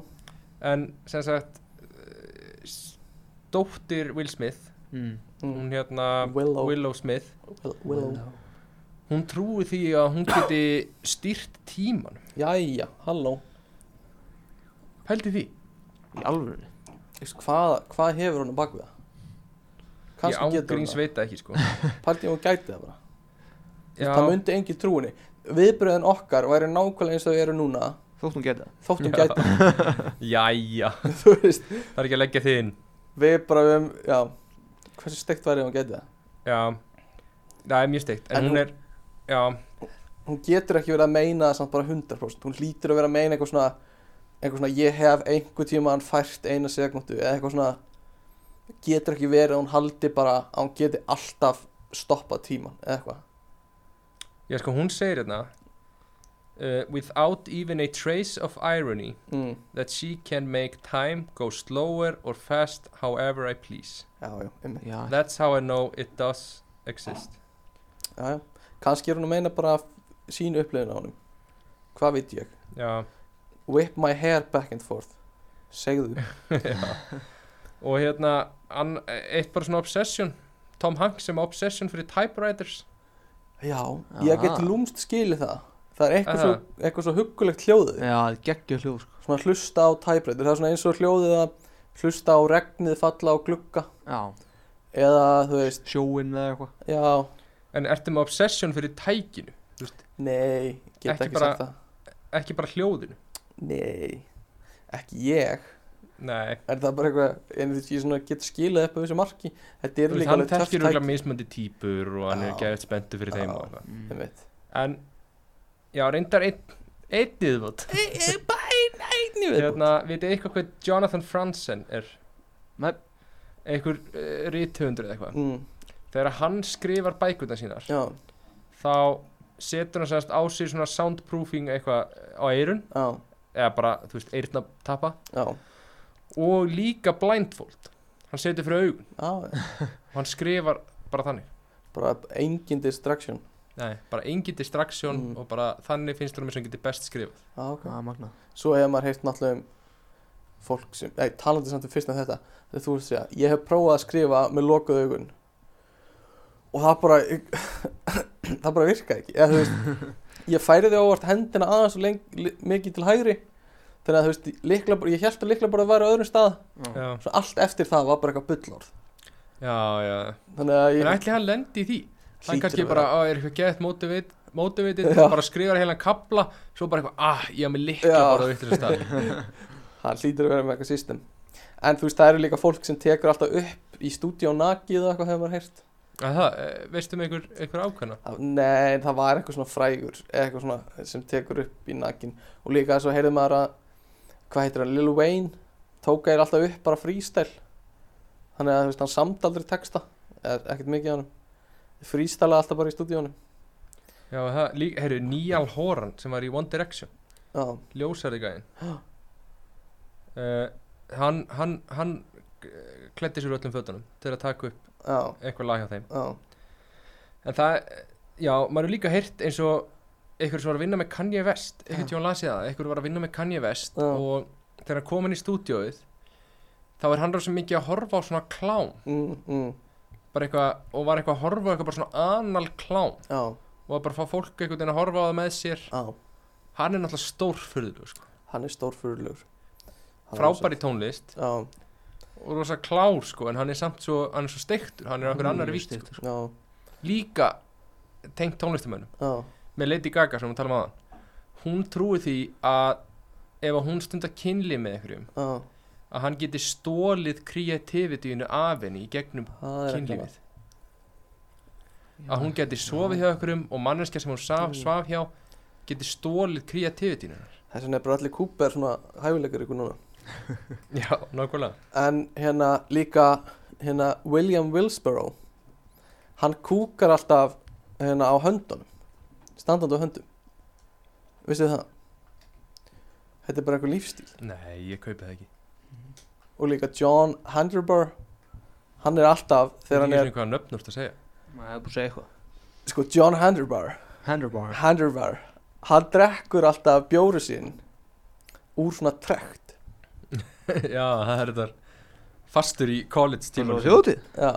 [SPEAKER 4] en sem sagt eh, s- dóttir Will Smith
[SPEAKER 1] Mm.
[SPEAKER 3] mm.
[SPEAKER 4] hún hérna
[SPEAKER 3] Willow.
[SPEAKER 4] Willow Smith
[SPEAKER 3] Will- Willow
[SPEAKER 4] hún trúi því að hún geti stýrt tíman
[SPEAKER 3] jæja, halló
[SPEAKER 4] pældi því
[SPEAKER 1] Í alvöru
[SPEAKER 3] Veistu, hvað, hvað hefur hún á bakvið það? kannski
[SPEAKER 4] ég
[SPEAKER 3] getur hún
[SPEAKER 4] ángríns
[SPEAKER 3] það
[SPEAKER 4] veit það ekki sko
[SPEAKER 3] pælti hún gæti það bara
[SPEAKER 4] Já,
[SPEAKER 3] það myndi engin trúinni viðbröðin okkar væri nákvæmlega eins og þau eru núna
[SPEAKER 1] Þótt hún geta
[SPEAKER 3] þótt hún gæti
[SPEAKER 4] jæja,
[SPEAKER 3] það, þú veist
[SPEAKER 4] það er ekki að leggja þið inn
[SPEAKER 3] viðbröðum, já hversu steikt væri ef hún gæti það?
[SPEAKER 4] já, það er mjög steikt en,
[SPEAKER 3] En
[SPEAKER 4] hún er, já,
[SPEAKER 3] hún getur ekki verið að meina það samt bara 100% hún hlýtur að vera að meina eitthvað svona eitthvað svona ég hef einhver tímaðan fært eina sekundu eða eitthvað svona getur ekki verið að hún haldi bara að hún geti alltaf stoppað tíman eða eitthvað
[SPEAKER 4] já sko hún segir hérna uh, without even a trace of irony
[SPEAKER 3] mm.
[SPEAKER 4] that she can make time go slower or fast however I please
[SPEAKER 3] já, já, einmitt.
[SPEAKER 1] Já,
[SPEAKER 4] That's how I know it does exist
[SPEAKER 3] já, já. kannski er hún að meina bara sínu upplifin á honum hvað veit ég
[SPEAKER 4] Já,
[SPEAKER 3] whip my hair back and forth segðu
[SPEAKER 4] já. Og hérna an, Eitt bara svona obsession Tom Hanks sem er obsession fyrir typewriters
[SPEAKER 3] já, ég get
[SPEAKER 1] Aha.
[SPEAKER 3] lúmst skilið það það er eitthvað,
[SPEAKER 4] Ah. Aha. Eh.
[SPEAKER 3] svo, eitthvað svo huggulegt hljóðið
[SPEAKER 1] já geggjur hljóð sko.
[SPEAKER 3] svona hlusta á typewriter það er svona eins og hljóðið að hlusta á regnið falla á glugga
[SPEAKER 1] Já,
[SPEAKER 3] eða þú veist,
[SPEAKER 1] sjóinn eða eitthvað
[SPEAKER 3] já,
[SPEAKER 4] En ertu með obsession fyrir tækinu
[SPEAKER 3] nei get
[SPEAKER 4] Ekki
[SPEAKER 3] ekki,
[SPEAKER 4] bara-
[SPEAKER 3] sagt það,
[SPEAKER 4] Ekki bara hljóðinu
[SPEAKER 3] nei ekki ég,
[SPEAKER 4] Nei,
[SPEAKER 3] er það bara eitthvað en því ég svona get skilað upp á þessu marki þetta
[SPEAKER 4] Þú
[SPEAKER 3] er
[SPEAKER 4] veist,
[SPEAKER 3] líka
[SPEAKER 4] hann
[SPEAKER 3] alveg töff
[SPEAKER 4] þekkir
[SPEAKER 3] tæk
[SPEAKER 4] auðvitað mismandi típur og hann er
[SPEAKER 3] Já.
[SPEAKER 4] geðið spenntu fyrir þeim
[SPEAKER 3] Já.
[SPEAKER 4] og eitthvað
[SPEAKER 1] mm.
[SPEAKER 3] einmitt.
[SPEAKER 4] En, já, reyndar einn Einn viðbót
[SPEAKER 3] Einnig við
[SPEAKER 4] Hérna, vitið eitthvað hvað Jonathan Franzen er?
[SPEAKER 1] Nei.
[SPEAKER 4] Einhver uh, rithöfundur eða eitthvað
[SPEAKER 3] mm,
[SPEAKER 4] Þegar hann skrifar bækurnar sínar
[SPEAKER 3] já,
[SPEAKER 4] þá setur hann semst á sig svona soundproofing eitthvað eh, á eirun
[SPEAKER 3] já,
[SPEAKER 4] eða bara, þú veist, eirnatappa
[SPEAKER 3] já,
[SPEAKER 4] og líka blindfold hann setur fyrir augun
[SPEAKER 3] já
[SPEAKER 4] og hann skrifar bara þannig
[SPEAKER 3] bara engin distraction
[SPEAKER 4] Nei. bara engin distraction
[SPEAKER 3] Mm.
[SPEAKER 4] og bara þannig finnst hann mér sem getur best skrifað
[SPEAKER 3] já, ok
[SPEAKER 1] Það er magna
[SPEAKER 3] svo hefur maður heyrt náttúrulega um fólk sem, ei, talandi samt um fyrst með þetta þegar þú veist segja, ég hef prófað að skrifa með lokuð augun og það bara það bara virkaði ekki eða þú veist, ég færi því ávart hendina aðeins og leng, li, mikið til hægri þannig að þú veist, líkla, ég held að líkla bara að vera á öðrum stað,
[SPEAKER 1] Já,
[SPEAKER 4] já,
[SPEAKER 3] svo allt eftir það var bara eitthvað bullorð
[SPEAKER 4] já, já.
[SPEAKER 3] þannig að
[SPEAKER 4] en
[SPEAKER 3] ég
[SPEAKER 4] ætli hann lendi í því hann
[SPEAKER 3] hlýtur
[SPEAKER 4] kannski
[SPEAKER 3] að
[SPEAKER 4] bara,
[SPEAKER 3] vera-
[SPEAKER 4] á, er eitthvað gett motivate motivated,
[SPEAKER 3] Já.
[SPEAKER 4] bara skrifar heilan kapla svo bara eitthvað, ah, ég haf mig líkla
[SPEAKER 3] Já.
[SPEAKER 4] bara á vitlega stað
[SPEAKER 3] það hlýtur að vera með eitthvað system en þú veist, það eru líka fólk sem tekur alltaf upp í stúdíó nakið og eitthvað hefur maður heyrt
[SPEAKER 4] að það, eh, veistu með einhver, einhver ákvæmna
[SPEAKER 3] Það- Nei, það var eitthvað svona frægur eða eitthvað svona sem tekur upp í nakin og líka svo heyrði maður að hvað heitir hann, Lil Wayne tók eir alltaf upp bara freestyle þannig að þú veist, hann samt aldrei texta eða ekkert mikið á hann freestylaði alltaf bara í stúdíónu
[SPEAKER 4] já, það, líka, herru, Níal Horan sem var í One Direction
[SPEAKER 3] Já,
[SPEAKER 4] ljósari gæðin uh, hann, hann, hann kletti sér úr öllum fötunum til að taka upp
[SPEAKER 3] já,
[SPEAKER 4] eitthvað lag hjá þeim
[SPEAKER 3] já,
[SPEAKER 4] en það, eh, já, maður hefur líka heyrt eins og einhver sem var að vinna með Kanye West einhvern
[SPEAKER 3] Já.
[SPEAKER 4] tíma lasið það, einhver var að vinna með Kanye West
[SPEAKER 3] Já.
[SPEAKER 4] og þegar hann kom inn í stúdíóið þá er hann rosa mikið að horfa á svona klám
[SPEAKER 3] mm, mm,
[SPEAKER 4] bara eitthvað, og var eitthvað að horfa á eitthvað bara svona anal klám
[SPEAKER 3] já,
[SPEAKER 4] og var bara að fá fólk einhvern veginn að horfa á það með sér
[SPEAKER 3] já
[SPEAKER 4] hann er náttúrulega stórfurður sko.
[SPEAKER 3] hann er stórfyrirlegur Hann er
[SPEAKER 4] frábær í tónlist
[SPEAKER 3] svo- Já,
[SPEAKER 4] og rosa klár sko en hann er samt svo, hann er svo steiktur hann er okkur
[SPEAKER 3] Mm,
[SPEAKER 4] annar vítt sko.
[SPEAKER 1] Steiktur.
[SPEAKER 3] já,
[SPEAKER 4] líka tengt tónlistamönnum
[SPEAKER 3] já,
[SPEAKER 4] með Lady Gaga sem hún tala um aðan hún trúi því að ef að hún stundar kynli með einhverjum
[SPEAKER 3] já
[SPEAKER 4] að hann geti stólið kreativitíinu af henni í gegnum
[SPEAKER 3] það er ekki
[SPEAKER 4] kynlífið að hún geti sofið hjá einhverjum og manneskja sem hún saf,
[SPEAKER 3] Mm.
[SPEAKER 4] svaf hjá geti stólið kreativitíinu hennar.
[SPEAKER 3] Þess vegna er bara allir kúper svona hæfilegur ykkur núna
[SPEAKER 4] já, nákvæmlega
[SPEAKER 3] en hérna líka hérna William Wilsborough hann kúkar alltaf hérna á höndunum standandi á höndum vissið það þetta er bara eitthvað lífstíl
[SPEAKER 4] nei, ég kaupi það ekki
[SPEAKER 3] og líka John Handerbar hann er alltaf þegar hann er
[SPEAKER 4] Hvaða nöfn ertu að segja?
[SPEAKER 1] Maður hefur búin að segja eitthvað
[SPEAKER 3] sko John Handerbar
[SPEAKER 1] Handlebar
[SPEAKER 3] Handerbar hann drekkur alltaf bjóru sín úr svona trekt
[SPEAKER 4] Já, það er þetta Fastur í college
[SPEAKER 1] Tíma
[SPEAKER 4] tíma
[SPEAKER 1] og þjótið
[SPEAKER 3] já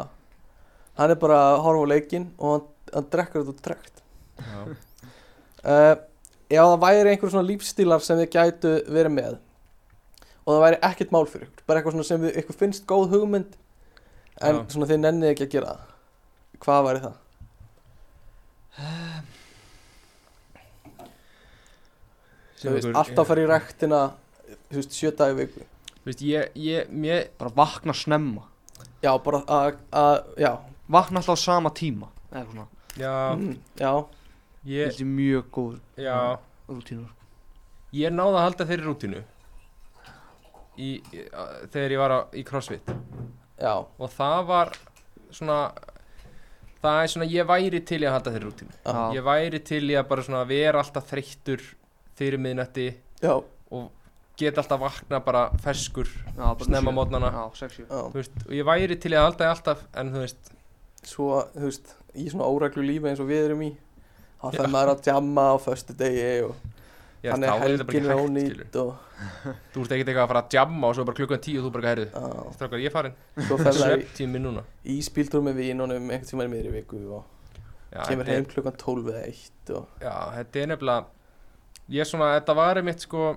[SPEAKER 3] hann er bara að horfa á leikinn og hann, hann drekkur þetta úr trekt uh, ef það væri einhver svona lífstílar sem þið gætu verið með og það væri ekkert mál fyrir ykkur bara eitthvað svona sem við, ykkur finnst góð hugmynd en
[SPEAKER 4] Já.
[SPEAKER 3] svona þið nennið ekki að gera það hvað væri það? Þú veist, alltaf fara í rektina þú veist, sjö dagi í viku
[SPEAKER 4] Þú veist, ég, ég, mér
[SPEAKER 1] Bara vakna snemma
[SPEAKER 3] já, bara að, að já,
[SPEAKER 1] Vakna alltaf á sama tíma Eða eitthvað svona
[SPEAKER 4] Já,
[SPEAKER 3] mm, já,
[SPEAKER 4] ég,
[SPEAKER 1] Þetta er mjög góður
[SPEAKER 4] já
[SPEAKER 1] rútínur
[SPEAKER 4] Ég náði að halda þeirri rútinu í, í, að- Þegar ég var á, í crossfit
[SPEAKER 3] já
[SPEAKER 4] Og það var svona Það er svona, ég væri til í að halda þeirri rútinu
[SPEAKER 1] Já.
[SPEAKER 4] Ég væri til í að bara svona vera alltaf þreyttur Fyrir miðnætti
[SPEAKER 3] já,
[SPEAKER 4] Og geta alltaf vakna bara ferskur
[SPEAKER 1] Já, bara
[SPEAKER 4] Snemma
[SPEAKER 1] sjö.
[SPEAKER 4] mótnana
[SPEAKER 1] Já, sexju
[SPEAKER 3] já
[SPEAKER 4] Þú veist, og ég væri til í að halda því alltaf En þú veist,
[SPEAKER 3] svo, þú veist, í svona óreglu lífi eins og við erum í þá
[SPEAKER 4] Já.
[SPEAKER 3] þegar maður er að jamma á föstu degi og
[SPEAKER 4] ég
[SPEAKER 3] þannig
[SPEAKER 4] þá
[SPEAKER 3] er
[SPEAKER 4] er þetta bara
[SPEAKER 3] helgin
[SPEAKER 4] ekki hægt skilur.
[SPEAKER 3] ónýtt og
[SPEAKER 4] Þú ert ekkert eitthvað að fara að jamma og svo bara klukkan tíu og þú bara herðu
[SPEAKER 3] á,
[SPEAKER 4] Strákar, ég er farin,
[SPEAKER 3] svo fer það í-
[SPEAKER 4] svepp tími núna
[SPEAKER 3] í spíldur með vínunum einhvern tíma í miðri viku og
[SPEAKER 4] Já,
[SPEAKER 3] kemur
[SPEAKER 4] þetta er-
[SPEAKER 3] heim klukkan 12 eða 1 og
[SPEAKER 4] Já, þetta er nefnilega Ég svona, þetta var einmitt sko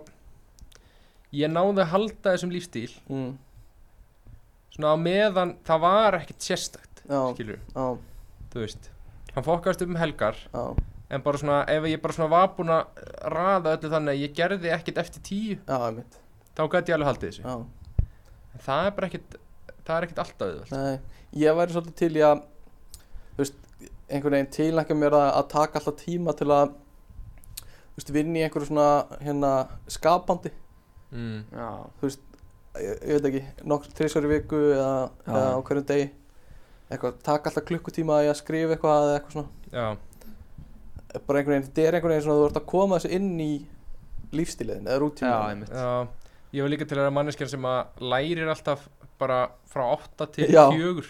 [SPEAKER 4] Ég náði að halda þessum lífstíl
[SPEAKER 3] mm,
[SPEAKER 4] Svona á meðan það var ekkert sérstakt
[SPEAKER 3] á,
[SPEAKER 4] Skilur,
[SPEAKER 3] á,
[SPEAKER 4] þú veist Hann fokkast upp um helgar
[SPEAKER 3] á,
[SPEAKER 4] En bara svona, ef ég bara svona var búinn að raða öllu þannig að ég gerði ekkert eftir tíu
[SPEAKER 3] á, einmitt
[SPEAKER 4] Þá gæti ég alveg haldið þessu
[SPEAKER 3] á,
[SPEAKER 4] En það er bara ekkert, það er ekkert alltaf auðvöld
[SPEAKER 3] nei, ég væri svolítið til í að þú veist, einhvern veginn tilnækja mér að, að taka alltaf tíma til að þú veist, vinna í einhverju svona hérna skapandi
[SPEAKER 4] mm.
[SPEAKER 1] Já
[SPEAKER 3] ég, ég veit ekki, nokkur trísvar í viku eða,
[SPEAKER 1] Já.
[SPEAKER 3] eða á hverjum degi eitthvað, taka alltaf klukkutíma í að skrifa eitthvað eða eitthvað svona
[SPEAKER 4] Já,
[SPEAKER 3] bara einhvern veginn, þetta er einhvern veginn svona þú ert að koma þessu inn í lífstíliðin eða
[SPEAKER 1] Já,
[SPEAKER 3] rútíma
[SPEAKER 1] einmitt
[SPEAKER 4] já Ég var líka til að vera manneskjan sem að lærir alltaf bara frá 8 til
[SPEAKER 3] Já.
[SPEAKER 4] 4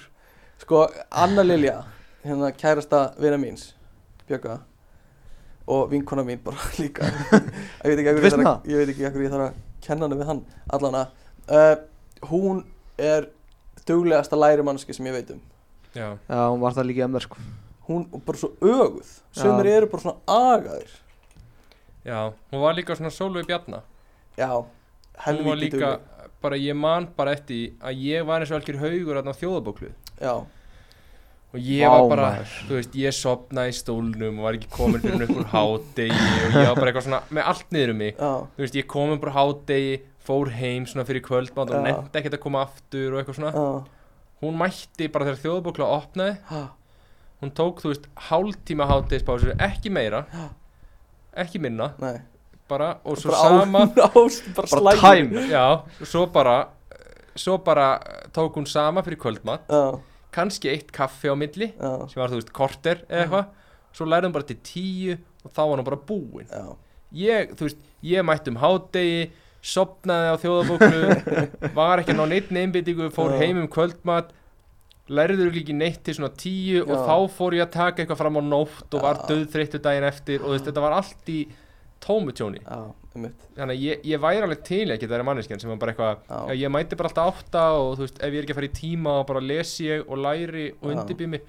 [SPEAKER 3] Sko, Anna Lilja, hérna kærasta vina míns, Björga og vinkona mín bara líka ég veit ekki af hverju ég
[SPEAKER 1] Veistu
[SPEAKER 3] þarf
[SPEAKER 1] það?
[SPEAKER 3] að, ég veit ekki af hverju ég þarf að kenna hana við hann allan að uh, hún er duglegasta lærimannski sem ég veit um
[SPEAKER 4] Já,
[SPEAKER 1] Já, hún var það líka í MR sko
[SPEAKER 3] hún er bara svo öguð sömur
[SPEAKER 1] Já.
[SPEAKER 3] eru bara svona agaðir
[SPEAKER 4] já Hún var líka svona sólu í bjarna
[SPEAKER 3] já,
[SPEAKER 4] hún var
[SPEAKER 3] helviti
[SPEAKER 4] líka,
[SPEAKER 3] dugleg
[SPEAKER 4] bara ég man bara eftir því að ég var eins og algjör haugur þarna á þjóðabóklu
[SPEAKER 3] já,
[SPEAKER 4] og ég
[SPEAKER 1] Vá,
[SPEAKER 4] var bara,
[SPEAKER 1] maður.
[SPEAKER 4] þú veist, ég sopnaði í stólnum og var ekki komin fyrir upp úr hádegi og ég var bara eitthvað svona með allt niður um mig
[SPEAKER 3] já,
[SPEAKER 4] þú veist, ég kom upp úr hádegi fór heim svona fyrir kvöldmátt og
[SPEAKER 3] Já.
[SPEAKER 4] nefndi ekkert að koma aftur og eitthvað svona
[SPEAKER 3] já
[SPEAKER 4] hún mætti bara þegar þjóðabókla opnaði
[SPEAKER 3] ha,
[SPEAKER 4] hún tók, þú veist, hálftíma hádegispásu ekki meira, ekki minna
[SPEAKER 3] nei
[SPEAKER 4] bara, og svo
[SPEAKER 3] bara á-
[SPEAKER 4] sama
[SPEAKER 3] ást, bara
[SPEAKER 1] Bara
[SPEAKER 3] slægir
[SPEAKER 1] time
[SPEAKER 4] já, svo bara svo bara tók hún sama fyrir kvöldmátt
[SPEAKER 3] já,
[SPEAKER 4] kannski eitt kaffi á milli
[SPEAKER 3] já,
[SPEAKER 4] sem var þú veist korter eða eitthvað svo lærði hún bara til tíu og þá var hún bara búin
[SPEAKER 3] já,
[SPEAKER 4] ég, þú veist, ég mætti um hádegi sopnaði á þjóðabóklu var ekki að ná neitt neinbyttingu fór
[SPEAKER 3] Já.
[SPEAKER 4] heim um kvöldmat lærður ekki neitt til svona tíu
[SPEAKER 3] Já.
[SPEAKER 4] og þá fór ég að taka eitthvað fram á nótt og var
[SPEAKER 3] Já.
[SPEAKER 4] döðþreyttu daginn eftir og þú veist, þetta var allt í tómutjóni
[SPEAKER 3] já, einmitt
[SPEAKER 4] þannig að ég, ég væri alveg til í að geta þeirra manneskjan sem var bara eitthvað
[SPEAKER 3] já,
[SPEAKER 4] Já, ég mæti bara alltaf átta og þú veist, ef ég er ekki að fara í tíma og bara lesi ég og læri og
[SPEAKER 3] Já.
[SPEAKER 4] undirbý mig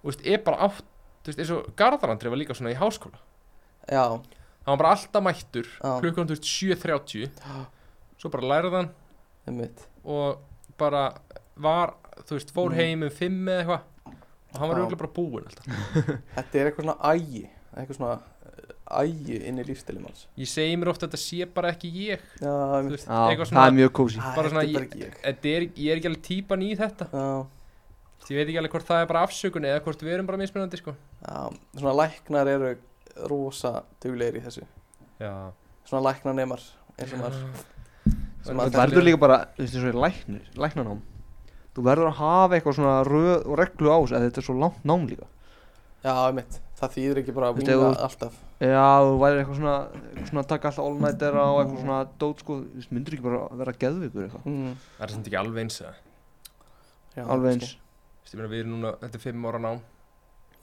[SPEAKER 4] Þú veist, er bara átt, þú veist, eins og Garðarandri var líka svona í háskóla
[SPEAKER 3] já,
[SPEAKER 4] Hann var bara alltaf mættur,
[SPEAKER 3] Já.
[SPEAKER 4] klukkan, þú veist, 7.30
[SPEAKER 3] Já.
[SPEAKER 4] Svo bara lærið hann
[SPEAKER 3] einmitt
[SPEAKER 4] og bara var, þú veist, fór
[SPEAKER 3] Mm.
[SPEAKER 4] heim um 5 eða eitthvað Og hann var
[SPEAKER 3] Já.
[SPEAKER 4] auðvitað bara búinn alltaf
[SPEAKER 3] Þetta er eitthvað svona ægi eitthvað svona eh, ægi inn í lífstilum hans
[SPEAKER 4] Ég segi mér ofta að þetta sé bara ekki ég,
[SPEAKER 3] Já,
[SPEAKER 4] þú
[SPEAKER 3] einmitt.
[SPEAKER 4] veist,
[SPEAKER 1] Já,
[SPEAKER 4] eitthvað
[SPEAKER 1] það er
[SPEAKER 4] svona
[SPEAKER 1] mjög kósi
[SPEAKER 3] Æ,
[SPEAKER 4] bara
[SPEAKER 3] þetta
[SPEAKER 4] svona
[SPEAKER 3] er
[SPEAKER 4] ég-
[SPEAKER 3] bara ekki ég
[SPEAKER 4] Þetta er, ég er ekki alveg típan í þetta
[SPEAKER 3] Já,
[SPEAKER 4] Því Ég veit ekki alveg hvort það er bara afsökun eða hvort við erum bara mismunandi, sko
[SPEAKER 3] já, svona læknar eru rosa duglegir í þessu
[SPEAKER 4] Já,
[SPEAKER 3] svona læknar nemar eins og maður sem
[SPEAKER 1] Þú
[SPEAKER 3] maður
[SPEAKER 1] verður líka bara, þú veist, eins og í læknir, læknarnám Þú verður að hafa eitthvað svona röð og reglu á þessu að þetta er svo langt nám líka
[SPEAKER 3] Já, einmitt, það þýðir ekki bara að
[SPEAKER 1] Veistu,
[SPEAKER 3] vinga
[SPEAKER 1] ef þú-
[SPEAKER 3] alltaf
[SPEAKER 1] Já, þú væri eitthvað svona, eitthvað svona að taka alltaf all-nightera og eitthvað svona dót sko, þú veist, myndir ekki bara vera geðvikur eitthvað,
[SPEAKER 3] mm.
[SPEAKER 4] Það er samt ekki alveg eins að
[SPEAKER 3] já,
[SPEAKER 1] alveg eins.
[SPEAKER 4] Vist, ég meina, Við erum núna, þetta er fimm ára nám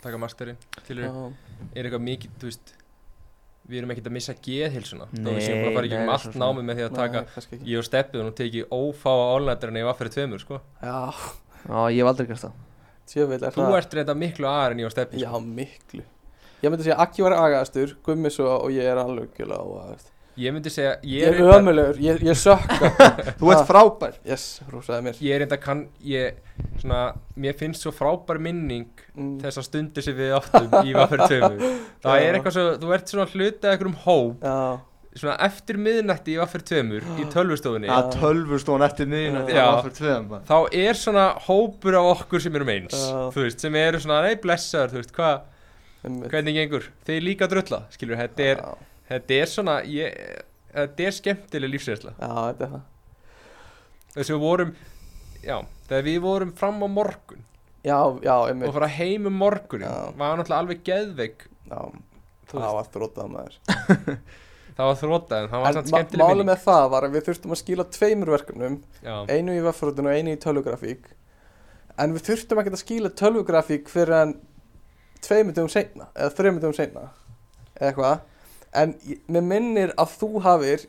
[SPEAKER 4] Taka masterinn til
[SPEAKER 3] kannski.
[SPEAKER 4] er
[SPEAKER 3] Já,
[SPEAKER 4] eitthvað mikið, þú veist Við erum ekkert að missa geðhilsuna Þó
[SPEAKER 1] Nei,
[SPEAKER 4] við séum bara að fara í
[SPEAKER 1] nei,
[SPEAKER 4] gegnum
[SPEAKER 1] svo
[SPEAKER 4] allt
[SPEAKER 1] sem.
[SPEAKER 4] námi með því að taka
[SPEAKER 3] nei, kannski ekki.
[SPEAKER 4] Ég og Steppið og nú tekið ófáa álnætturinn Ég var fyrir tveimur, sko
[SPEAKER 3] já,
[SPEAKER 1] Já, ég hef aldrei gert það.
[SPEAKER 3] tjöfell er
[SPEAKER 4] Þú
[SPEAKER 3] það
[SPEAKER 4] ert reynda miklu aðar en ég og sko. Steppið
[SPEAKER 3] já, miklu ég myndi segja að Akki var agaðastur Gummi svo og ég er alveg gjöla og,
[SPEAKER 4] Ég myndi segja,
[SPEAKER 3] ég,
[SPEAKER 4] ég
[SPEAKER 3] er ömulegur, ég, ég sökka Ah,
[SPEAKER 1] Þú ert frábær.
[SPEAKER 3] yes, rúsaði mér
[SPEAKER 4] Ég er reynda kann, ég, svona, mér finnst svo frábær minning
[SPEAKER 3] mm.
[SPEAKER 4] þessar stundir sem við áttum í Vaffer 2 Það
[SPEAKER 3] Já.
[SPEAKER 4] er eitthvað svo, þú ert svona hlutað einhverjum hóp
[SPEAKER 3] já,
[SPEAKER 4] Svona eftir miðnætti í Vaffer 2 í tölvustofunni
[SPEAKER 1] Það tölvustón eftir
[SPEAKER 3] miðnætti,
[SPEAKER 4] það var
[SPEAKER 1] fyrir tveðum bara.
[SPEAKER 4] Þá er svona hópur af okkur sem erum eins
[SPEAKER 3] Já.
[SPEAKER 4] Þú veist, sem eru svona, nei blessaður, þú veist, hvað,
[SPEAKER 3] einmitt.
[SPEAKER 4] hvernig gengur Þið er líka að drulla, skilur, þetta er,
[SPEAKER 3] já,
[SPEAKER 4] þetta er svona, ég, þetta er skemmtileg lífsreynsla
[SPEAKER 3] já, þetta er það
[SPEAKER 4] Þess að við vorum, já, þegar við vorum fram á morgun
[SPEAKER 3] já, já,
[SPEAKER 4] og
[SPEAKER 3] einmitt
[SPEAKER 4] fara heim um morgunin
[SPEAKER 3] Já.
[SPEAKER 4] var náttúrulega alveg geðveik
[SPEAKER 3] já,
[SPEAKER 4] Þú
[SPEAKER 3] það var þrótað maður
[SPEAKER 4] það var þrótað en það var
[SPEAKER 3] en
[SPEAKER 4] samt
[SPEAKER 3] ma-
[SPEAKER 4] skemmtileg
[SPEAKER 3] málið
[SPEAKER 4] minning
[SPEAKER 3] með það var að við þurftum að skila tveimur verkefnum
[SPEAKER 4] já,
[SPEAKER 3] einu í veffrútinu og einu í tölvugrafík en við þurftum ekkert að skila tölvugrafík fyrir en tveimundum seinna eða þreimundum seinna eða eitthvað en ég- mér minnir að þú hafir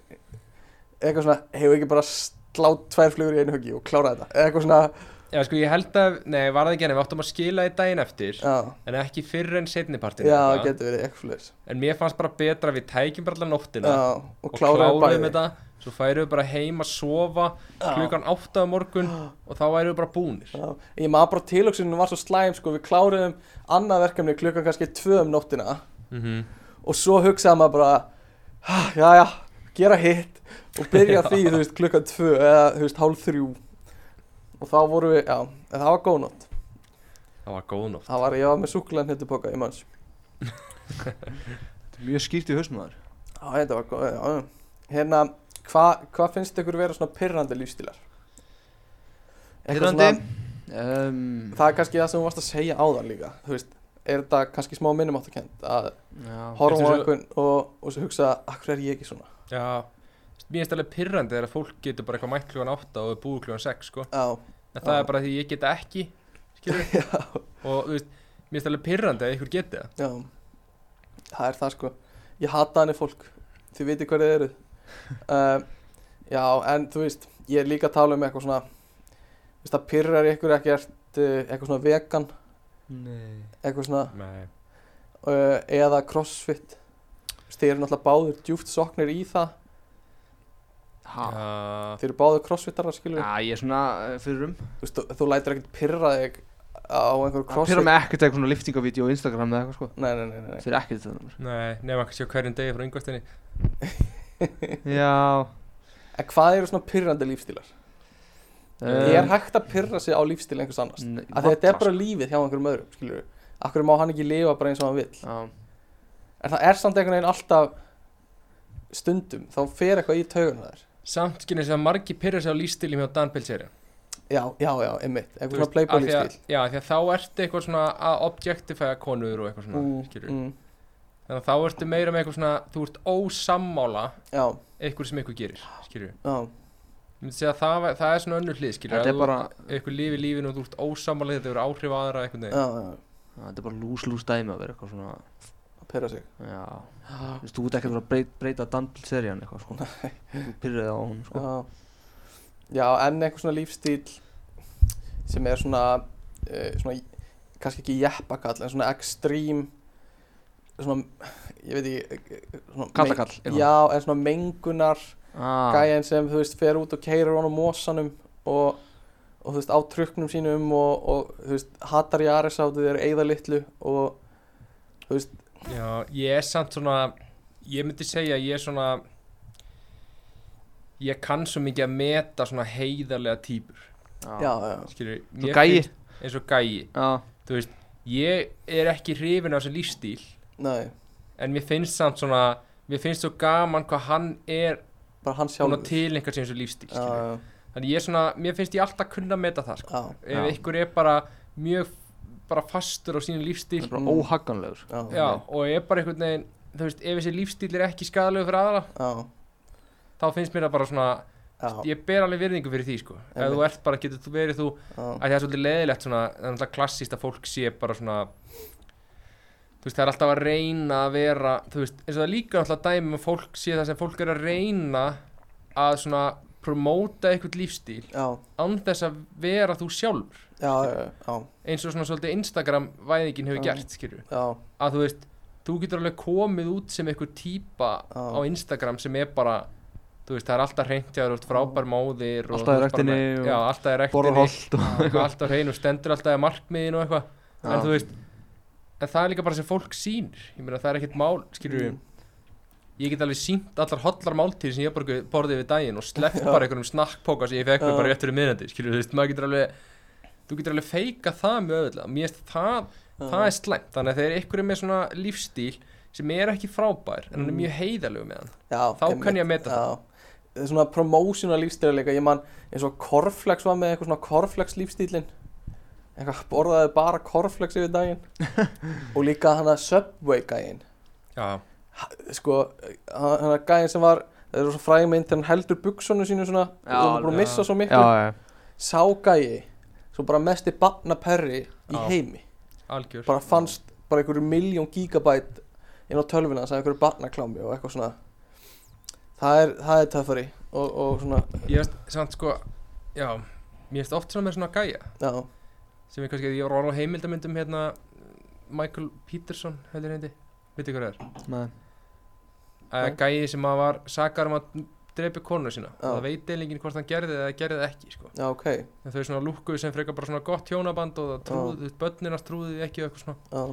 [SPEAKER 3] eitthvað svona, hefur ekki bara slá tvær flugur í einu huggi og klára þetta eða eitthvað svona,
[SPEAKER 4] já sko ég held að nei var það ekki en við áttum að skila í daginn eftir
[SPEAKER 3] já,
[SPEAKER 4] en ekki fyrr en setnipartin
[SPEAKER 3] já, getur verið eitthvað fleis
[SPEAKER 4] en mér fannst bara betra að við tækjum bara allar nóttina
[SPEAKER 3] já, og
[SPEAKER 4] og
[SPEAKER 3] klára
[SPEAKER 4] kláruðum þetta svo færum við bara heim að sofa klukkan 8 um morgun og þá værum við bara búnir
[SPEAKER 3] Já, ég maður bara tilöksunum var svo slæm sko, við kláruðum annað verkefni klukkan kannski tvö um nóttina
[SPEAKER 4] mm -hmm.
[SPEAKER 3] og svo hugsaði maður bara "Ha, já já, gera hitt og byrja því, þú veist, klukkan tvö eða, þú veist, hálf þrjú og þá voru við, já, en það var góð nótt
[SPEAKER 4] það var góð nótt
[SPEAKER 3] það var, ég var með súkulegan hittupoka í manns
[SPEAKER 1] Þetta er Mjög skýrt í hausnum þar.
[SPEAKER 3] já, þetta var góð, já, já hérna, hvað hva finnst ykkur vera svona pyrrandi lífstílar? Eitthvað
[SPEAKER 1] Heyrandi,
[SPEAKER 3] svona-
[SPEAKER 1] um,
[SPEAKER 3] það er kannski það sem þú varst að segja áðan líka þú veist, er þetta kannski smá minnumáttakend að
[SPEAKER 1] já,
[SPEAKER 3] horfa á
[SPEAKER 4] Ertu svo-
[SPEAKER 3] einhvern og, og svo hugsa, akkur er ég ekki svona
[SPEAKER 4] já mér finnst alveg pyrrandi þegar fólk getur bara eitthvað mætt klukkan 8 og er búið klukkan 6 sko
[SPEAKER 3] já,
[SPEAKER 4] en það
[SPEAKER 3] Já.
[SPEAKER 4] er bara því ég get það ekki skilur
[SPEAKER 3] já,
[SPEAKER 4] og þú veist, mér finnst alveg pyrrandi að ykkur geti það
[SPEAKER 3] já það er það sko ég hata hannig fólk, þið viti hver þið eru um, já, en þú veist ég er líka að tala um eitthvað svona þú veist, það pyrrar ykkur ekkert uh, eitthvað svona vegan,
[SPEAKER 1] Nei.
[SPEAKER 3] eitthvað svona
[SPEAKER 4] Nei.
[SPEAKER 3] uh, eða crossfit Þú veist, þeir eru náttúrulega báður djúft soknir í það
[SPEAKER 1] Ha.
[SPEAKER 4] Uh,
[SPEAKER 3] þeir eru báður crossfitarar skilur
[SPEAKER 1] Já, ég er svona uh, fyrir um.
[SPEAKER 3] þú, veist, þú, þú lætir ekkert pyrra þig á einhverju
[SPEAKER 1] Það
[SPEAKER 3] crossfit
[SPEAKER 1] pyrra mig ekkert eitthvað svona liftingavídeó á Instagram eða eitthvað sko.
[SPEAKER 3] nei, nei, nei, nei, nei.
[SPEAKER 1] Þeir er ekkert þetta.
[SPEAKER 4] nei, nefnum kannski á hverjum degi frá yngvastinni
[SPEAKER 1] Já.
[SPEAKER 3] en hvað eru svona pyrrandi lífstílar?
[SPEAKER 1] Eh. Ehm,
[SPEAKER 3] Er hægt að pyrra sig á lífstíl einhvers annars? Af því að þetta er bara lífið hjá einhverjum öðrum, skilur við. Akkur má hann ekki lifa bara eins og hann vill.
[SPEAKER 1] Já,
[SPEAKER 3] En það er samt einhvern veginn alltaf stundum, þá fer eitthvað í taugunum þær.
[SPEAKER 4] samt skynir þess að margi pyrra sig á lífstíli hjá Dan Pilseri
[SPEAKER 3] Já, já, já, einmitt. Eitthvað svona playboy lífstíl.
[SPEAKER 4] já, af því að þá ertu eitthvað svona að objectifæja konur og eitthvað svona mm,
[SPEAKER 3] mm,
[SPEAKER 4] þannig að þá ertu meira með eitthvað svona þú ert ósammála
[SPEAKER 3] já,
[SPEAKER 4] eitthvað sem eitthvað gerir skilur
[SPEAKER 3] já,
[SPEAKER 4] Ég myndi segja að það, væ- það er svona önnur hlið skilur
[SPEAKER 1] þetta er bara,
[SPEAKER 4] eitthvað lífi lífinu og þú ert ósammála þetta verður áhrif á aðra eitthvað
[SPEAKER 3] já, já,
[SPEAKER 1] já, þetta er bara lús-lús dæmi að vera eitthvað svona,
[SPEAKER 3] að pyrra sig.
[SPEAKER 1] já, þú veist, þú ert ekki að vera að breyta, breyta Danbill-serían eitthvað, sko, þú pyrrið á hún, sko,
[SPEAKER 3] Já. já, en eitthvað svona lífstíl sem er svona, uh, svona kannski ekki jeppakall, en svona ekstrím, svona, ég veit ekki, eh, svona...
[SPEAKER 1] kallakall, eitthvað,
[SPEAKER 3] Já, en svona mengunar
[SPEAKER 1] ah,
[SPEAKER 3] gæjan sem, þú veist, fer út og keirir honum mósanum og, og þú veist, á trukknum sínum og, og þú veist, hatar í Ares áttu þér eigða litlu og, þú veist,
[SPEAKER 4] Já, ég er samt svona ég myndi segja að ég er svona ég kann svo mikið að meta svona heiðarlega típur
[SPEAKER 3] já,
[SPEAKER 1] já,
[SPEAKER 3] já,
[SPEAKER 4] skilur,
[SPEAKER 1] svo gæi,
[SPEAKER 4] eins og gæi
[SPEAKER 1] já,
[SPEAKER 4] ég er ekki hrifin á þessu lífstíl
[SPEAKER 3] nei,
[SPEAKER 4] en mér finnst samt svona mér finnst svo gaman hvað hann er
[SPEAKER 3] bara hann
[SPEAKER 4] svona
[SPEAKER 3] sjálfur.
[SPEAKER 4] tilengar sem þessu lífstíl
[SPEAKER 3] Já,
[SPEAKER 4] skilurðu.
[SPEAKER 3] já,
[SPEAKER 4] þannig ég er svona, mér finnst ég alltaf kunna að meta það sko.
[SPEAKER 3] já,
[SPEAKER 4] ef
[SPEAKER 1] Já.
[SPEAKER 4] ykkur er bara mjög bara fastur á sínum lífstíl
[SPEAKER 1] er bara
[SPEAKER 3] Mm.
[SPEAKER 1] óhagganlegur sko.
[SPEAKER 3] já,
[SPEAKER 4] Já, og er bara einhvern veginn þú veist, ef þessi lífstíl er ekki skadalegur fyrir aðra
[SPEAKER 3] já,
[SPEAKER 4] þá finnst mér það bara svona
[SPEAKER 3] já,
[SPEAKER 4] ég ber alveg virðingu fyrir því sko ef
[SPEAKER 3] Einmitt.
[SPEAKER 4] þú ert bara, getur þú verið þú
[SPEAKER 3] já,
[SPEAKER 4] að það er svolítið leðilegt svona, það er náttúrulega klassíst að fólk sé bara svona þú veist, það er alltaf að reyna að vera þú veist, eins og það er líka náttúrulega dæmi um að fólk sé það sem fólk er að reyna að svona promóta einhvern lífstíl
[SPEAKER 3] já,
[SPEAKER 4] án þess að vera þú sjálfur
[SPEAKER 3] já, já, já,
[SPEAKER 4] eins og svona svolítið Instagram væðingin hefur
[SPEAKER 3] Já.
[SPEAKER 4] gert, skilju
[SPEAKER 3] já,
[SPEAKER 4] að þú veist, þú getur alveg komið út sem einhver típa
[SPEAKER 3] Já.
[SPEAKER 4] á Instagram sem er bara þú veist, það er alltaf hreint hjá þér, þú ert frábær móðir og
[SPEAKER 1] Alltaf í
[SPEAKER 4] þú ert bara
[SPEAKER 1] ræktinni
[SPEAKER 4] með-
[SPEAKER 1] og
[SPEAKER 4] já, alltaf
[SPEAKER 1] borðar
[SPEAKER 4] í rektinni
[SPEAKER 1] holdt og
[SPEAKER 4] eitthvað alltaf hrein og stendur alltaf í markmiðin og eitthvað en
[SPEAKER 1] Já.
[SPEAKER 4] þú veist en það er líka bara sem fólk sýnir ég meina það er ekkert mál skilur
[SPEAKER 3] Mm.
[SPEAKER 4] ég get alveg sínt allar hollar máltíð sem ég bara borðið við daginn og sleppt
[SPEAKER 3] Já.
[SPEAKER 4] bara einhverjum snakkpóka sem ég fekk
[SPEAKER 3] Já.
[SPEAKER 4] mig bara rétt fyrir miðnandi skilur þú veist maður getur alveg þú getur alveg feika það mjög öðvöldlega mér finnst það það er slæmt þannig að þegar ykkur er með svona lífstíl sem er ekki frábær en hann er
[SPEAKER 3] Mm.
[SPEAKER 4] mjög heiðalög með hann
[SPEAKER 3] já,
[SPEAKER 4] þá kann ég að meta það.
[SPEAKER 3] já. það svona promotion að lífstíla líka ég man eins og Corflex var með eitthvað svona Corflex lífstílin eitthvað borðaði bara Corflex yfir daginn og líka hann að Subway gæinn
[SPEAKER 4] já,
[SPEAKER 3] sko, hann að gæinn sem var það eru svo fræg mynd þegar hann heldur buksonu sínu svona og
[SPEAKER 1] Já,
[SPEAKER 3] hann er búin að
[SPEAKER 4] já.
[SPEAKER 3] missa svo
[SPEAKER 1] já,
[SPEAKER 3] miklu
[SPEAKER 1] já,
[SPEAKER 3] sá gæi, svo bara mesti barnaperri í
[SPEAKER 4] Já.
[SPEAKER 3] heimi
[SPEAKER 4] algjör
[SPEAKER 3] bara fannst bara einhverju miljón gigabæt inn á tölvina sem einhverju barnaklámi og eitthvað svona það er, það er töffari og, og svona,
[SPEAKER 4] ég veist samt sko já, mér finnst oft svona með svona gæja
[SPEAKER 3] já,
[SPEAKER 4] sem er kannski, ég var orðin á heimildamyndum hérna Michael Peterson heldur hendi, veitir hvað það
[SPEAKER 1] nei,
[SPEAKER 4] er
[SPEAKER 3] Nei.
[SPEAKER 4] uh, gæði sem að var sakar um að dreipi konu sína
[SPEAKER 3] Já.
[SPEAKER 4] og það veit eilingin hvort hann gerði eða gerði það ekki sko.
[SPEAKER 3] já, ok já,
[SPEAKER 4] en þau svona lúkkuðu sem frekar bara svona gott hjónaband og það trúðu, þú veist, börninas trúðu því ekki og eitthvað svona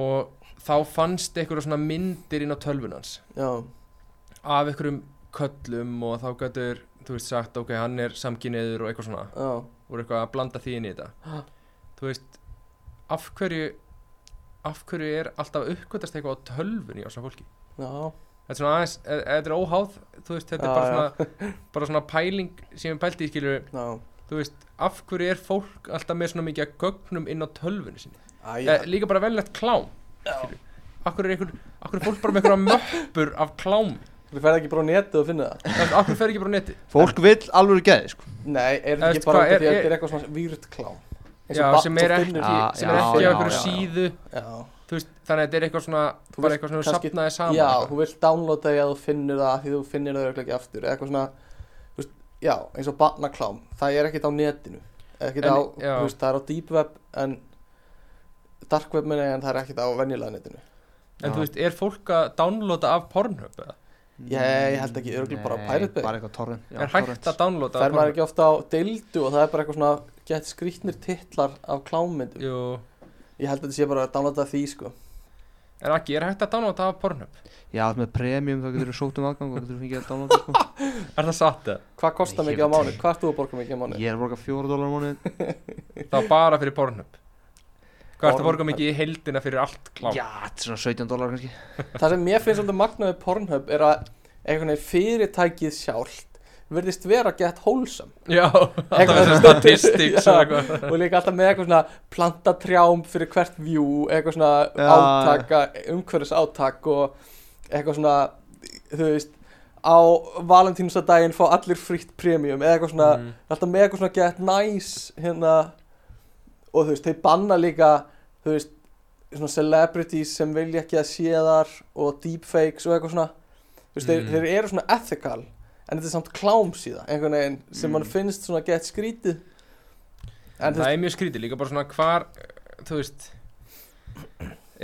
[SPEAKER 4] og þá fannst einhverja svona myndir inn á tölvunans
[SPEAKER 3] já,
[SPEAKER 4] af einhverjum köllum og þá gætur, þú veist, sagt ok, hann er samkynniður og eitthvað svona
[SPEAKER 3] já
[SPEAKER 4] voru eitthvað að blanda því inn í þetta
[SPEAKER 3] Ha.
[SPEAKER 4] þú veist af hverju af hverju er alltaf að uppgötast eitthvað á tölvunni á svona fólki
[SPEAKER 3] já,
[SPEAKER 4] þetta er svona aðeins, e- e- þetta er óháð þú veist,
[SPEAKER 3] Já,
[SPEAKER 4] þetta er bara svona, bara svona pæling sem ég pælti í skilur
[SPEAKER 3] já
[SPEAKER 4] þú veist, af hverju er fólk alltaf með svona mikið að gögnum inn á tölvunni sinni
[SPEAKER 3] Æ,
[SPEAKER 4] ja. líka bara velnett klám skilur. af hverju er einhver, af hverju er fólk bara með einhverja möppur af klám,
[SPEAKER 3] þú ferð ekki bara á netið og finna það
[SPEAKER 4] Þú veist, af hverju fer ekki bara á neti
[SPEAKER 1] fólk vill alveg geði sko.
[SPEAKER 3] Nei, er þetta
[SPEAKER 4] Þú Eh, veist
[SPEAKER 3] ekki bara út
[SPEAKER 4] hvað,
[SPEAKER 3] af því að
[SPEAKER 4] er-
[SPEAKER 3] þetta er eitthvað svona výrt klám Eins
[SPEAKER 4] já,
[SPEAKER 3] og barn
[SPEAKER 4] sem er ekki,
[SPEAKER 3] finnur
[SPEAKER 1] Já,
[SPEAKER 3] því-
[SPEAKER 4] sem er
[SPEAKER 1] já,
[SPEAKER 4] ekki
[SPEAKER 1] já,
[SPEAKER 4] á
[SPEAKER 1] já,
[SPEAKER 4] einhverju
[SPEAKER 1] já.
[SPEAKER 4] síðu
[SPEAKER 3] Já,
[SPEAKER 4] þú veist, þannig að þetta er eitthvað svona
[SPEAKER 3] Þú
[SPEAKER 4] bara
[SPEAKER 3] vilt
[SPEAKER 4] eitthvað svona
[SPEAKER 3] kannski-
[SPEAKER 4] sapnaði saman
[SPEAKER 3] já
[SPEAKER 4] eitthvað.
[SPEAKER 3] þú vilt downloada því að þú finnir það af því þú finnir það örugglega ekki aftur eða eitthvað svona, þú veist, já, eins og barnaklám það er ekkert á netinu ekkert á,
[SPEAKER 4] En- já.
[SPEAKER 3] þú veist, það er á deep web en dark web minni en það er ekkert á venjulega netinu
[SPEAKER 1] Já.
[SPEAKER 4] en þú veist, er fólk að downloada af Pornhub eða?
[SPEAKER 3] Ég- ég held ekki, örugglega bara á
[SPEAKER 1] Nei,
[SPEAKER 3] Pirate Bay.
[SPEAKER 1] bara eitthvað torrent já,
[SPEAKER 4] er hægt
[SPEAKER 1] torrent.
[SPEAKER 4] að downloada
[SPEAKER 3] fer maður ekki ofta á deildu og það er bara eitthvað svona gett skrýtnir titlar af klámyndum
[SPEAKER 4] Jú,
[SPEAKER 3] ég held að þetta sé bara að downloada því sko
[SPEAKER 4] en ekki, er hægt að downloada af Pornhub
[SPEAKER 1] já, þetta með premium þá getur þú sótt um aðgang og getur þú fengið að downloada sko.
[SPEAKER 4] er það satt eða?
[SPEAKER 3] hvað kostar
[SPEAKER 1] Nei, ég
[SPEAKER 3] mikið á
[SPEAKER 1] veit
[SPEAKER 3] mánu, hvað ert þú að borga mikið á mánu
[SPEAKER 1] ég er að borga fjóra dólar á mánuði
[SPEAKER 4] það var bara fyrir Pornhub hvað ertu að borga
[SPEAKER 3] Pornhub.
[SPEAKER 4] mikið í heildina fyrir allt klám
[SPEAKER 1] já, þetta er svona 17 dólar kannski
[SPEAKER 3] Það sem mér finnst svolítið magnaðið Pornhub er að einhvern veginn fyrirtækið sjálft virðist vera gett hólsam
[SPEAKER 4] já alltaf
[SPEAKER 3] Eitthvað-
[SPEAKER 4] þessi statistics og
[SPEAKER 3] Já.
[SPEAKER 4] eitthvað
[SPEAKER 3] og líka alltaf með eitthvað svona plantatrjám fyrir hvert vjú, eitthvað svona
[SPEAKER 1] Já,
[SPEAKER 3] átaka, umhverfis átak og eitthvað svona þú veist, á valentínusadaginn fá allir fritt premium eða eitthvað svona,
[SPEAKER 4] Mm.
[SPEAKER 3] alltaf með eitthvað svona gett næs hérna og þú veist, þeir banna líka þú veist, svona celebrities sem vilja ekki að sé þar og deepfakes og eitthvað svona þú veist,
[SPEAKER 4] Mm.
[SPEAKER 3] þeir, þeir eru svona ethical en þetta er samt klámsíða einhvern veginn sem
[SPEAKER 1] Mm.
[SPEAKER 3] mann finnst svona gett skrítið en þú
[SPEAKER 4] það
[SPEAKER 3] veist,
[SPEAKER 4] er mjög skrítið líka bara svona hvar þú veist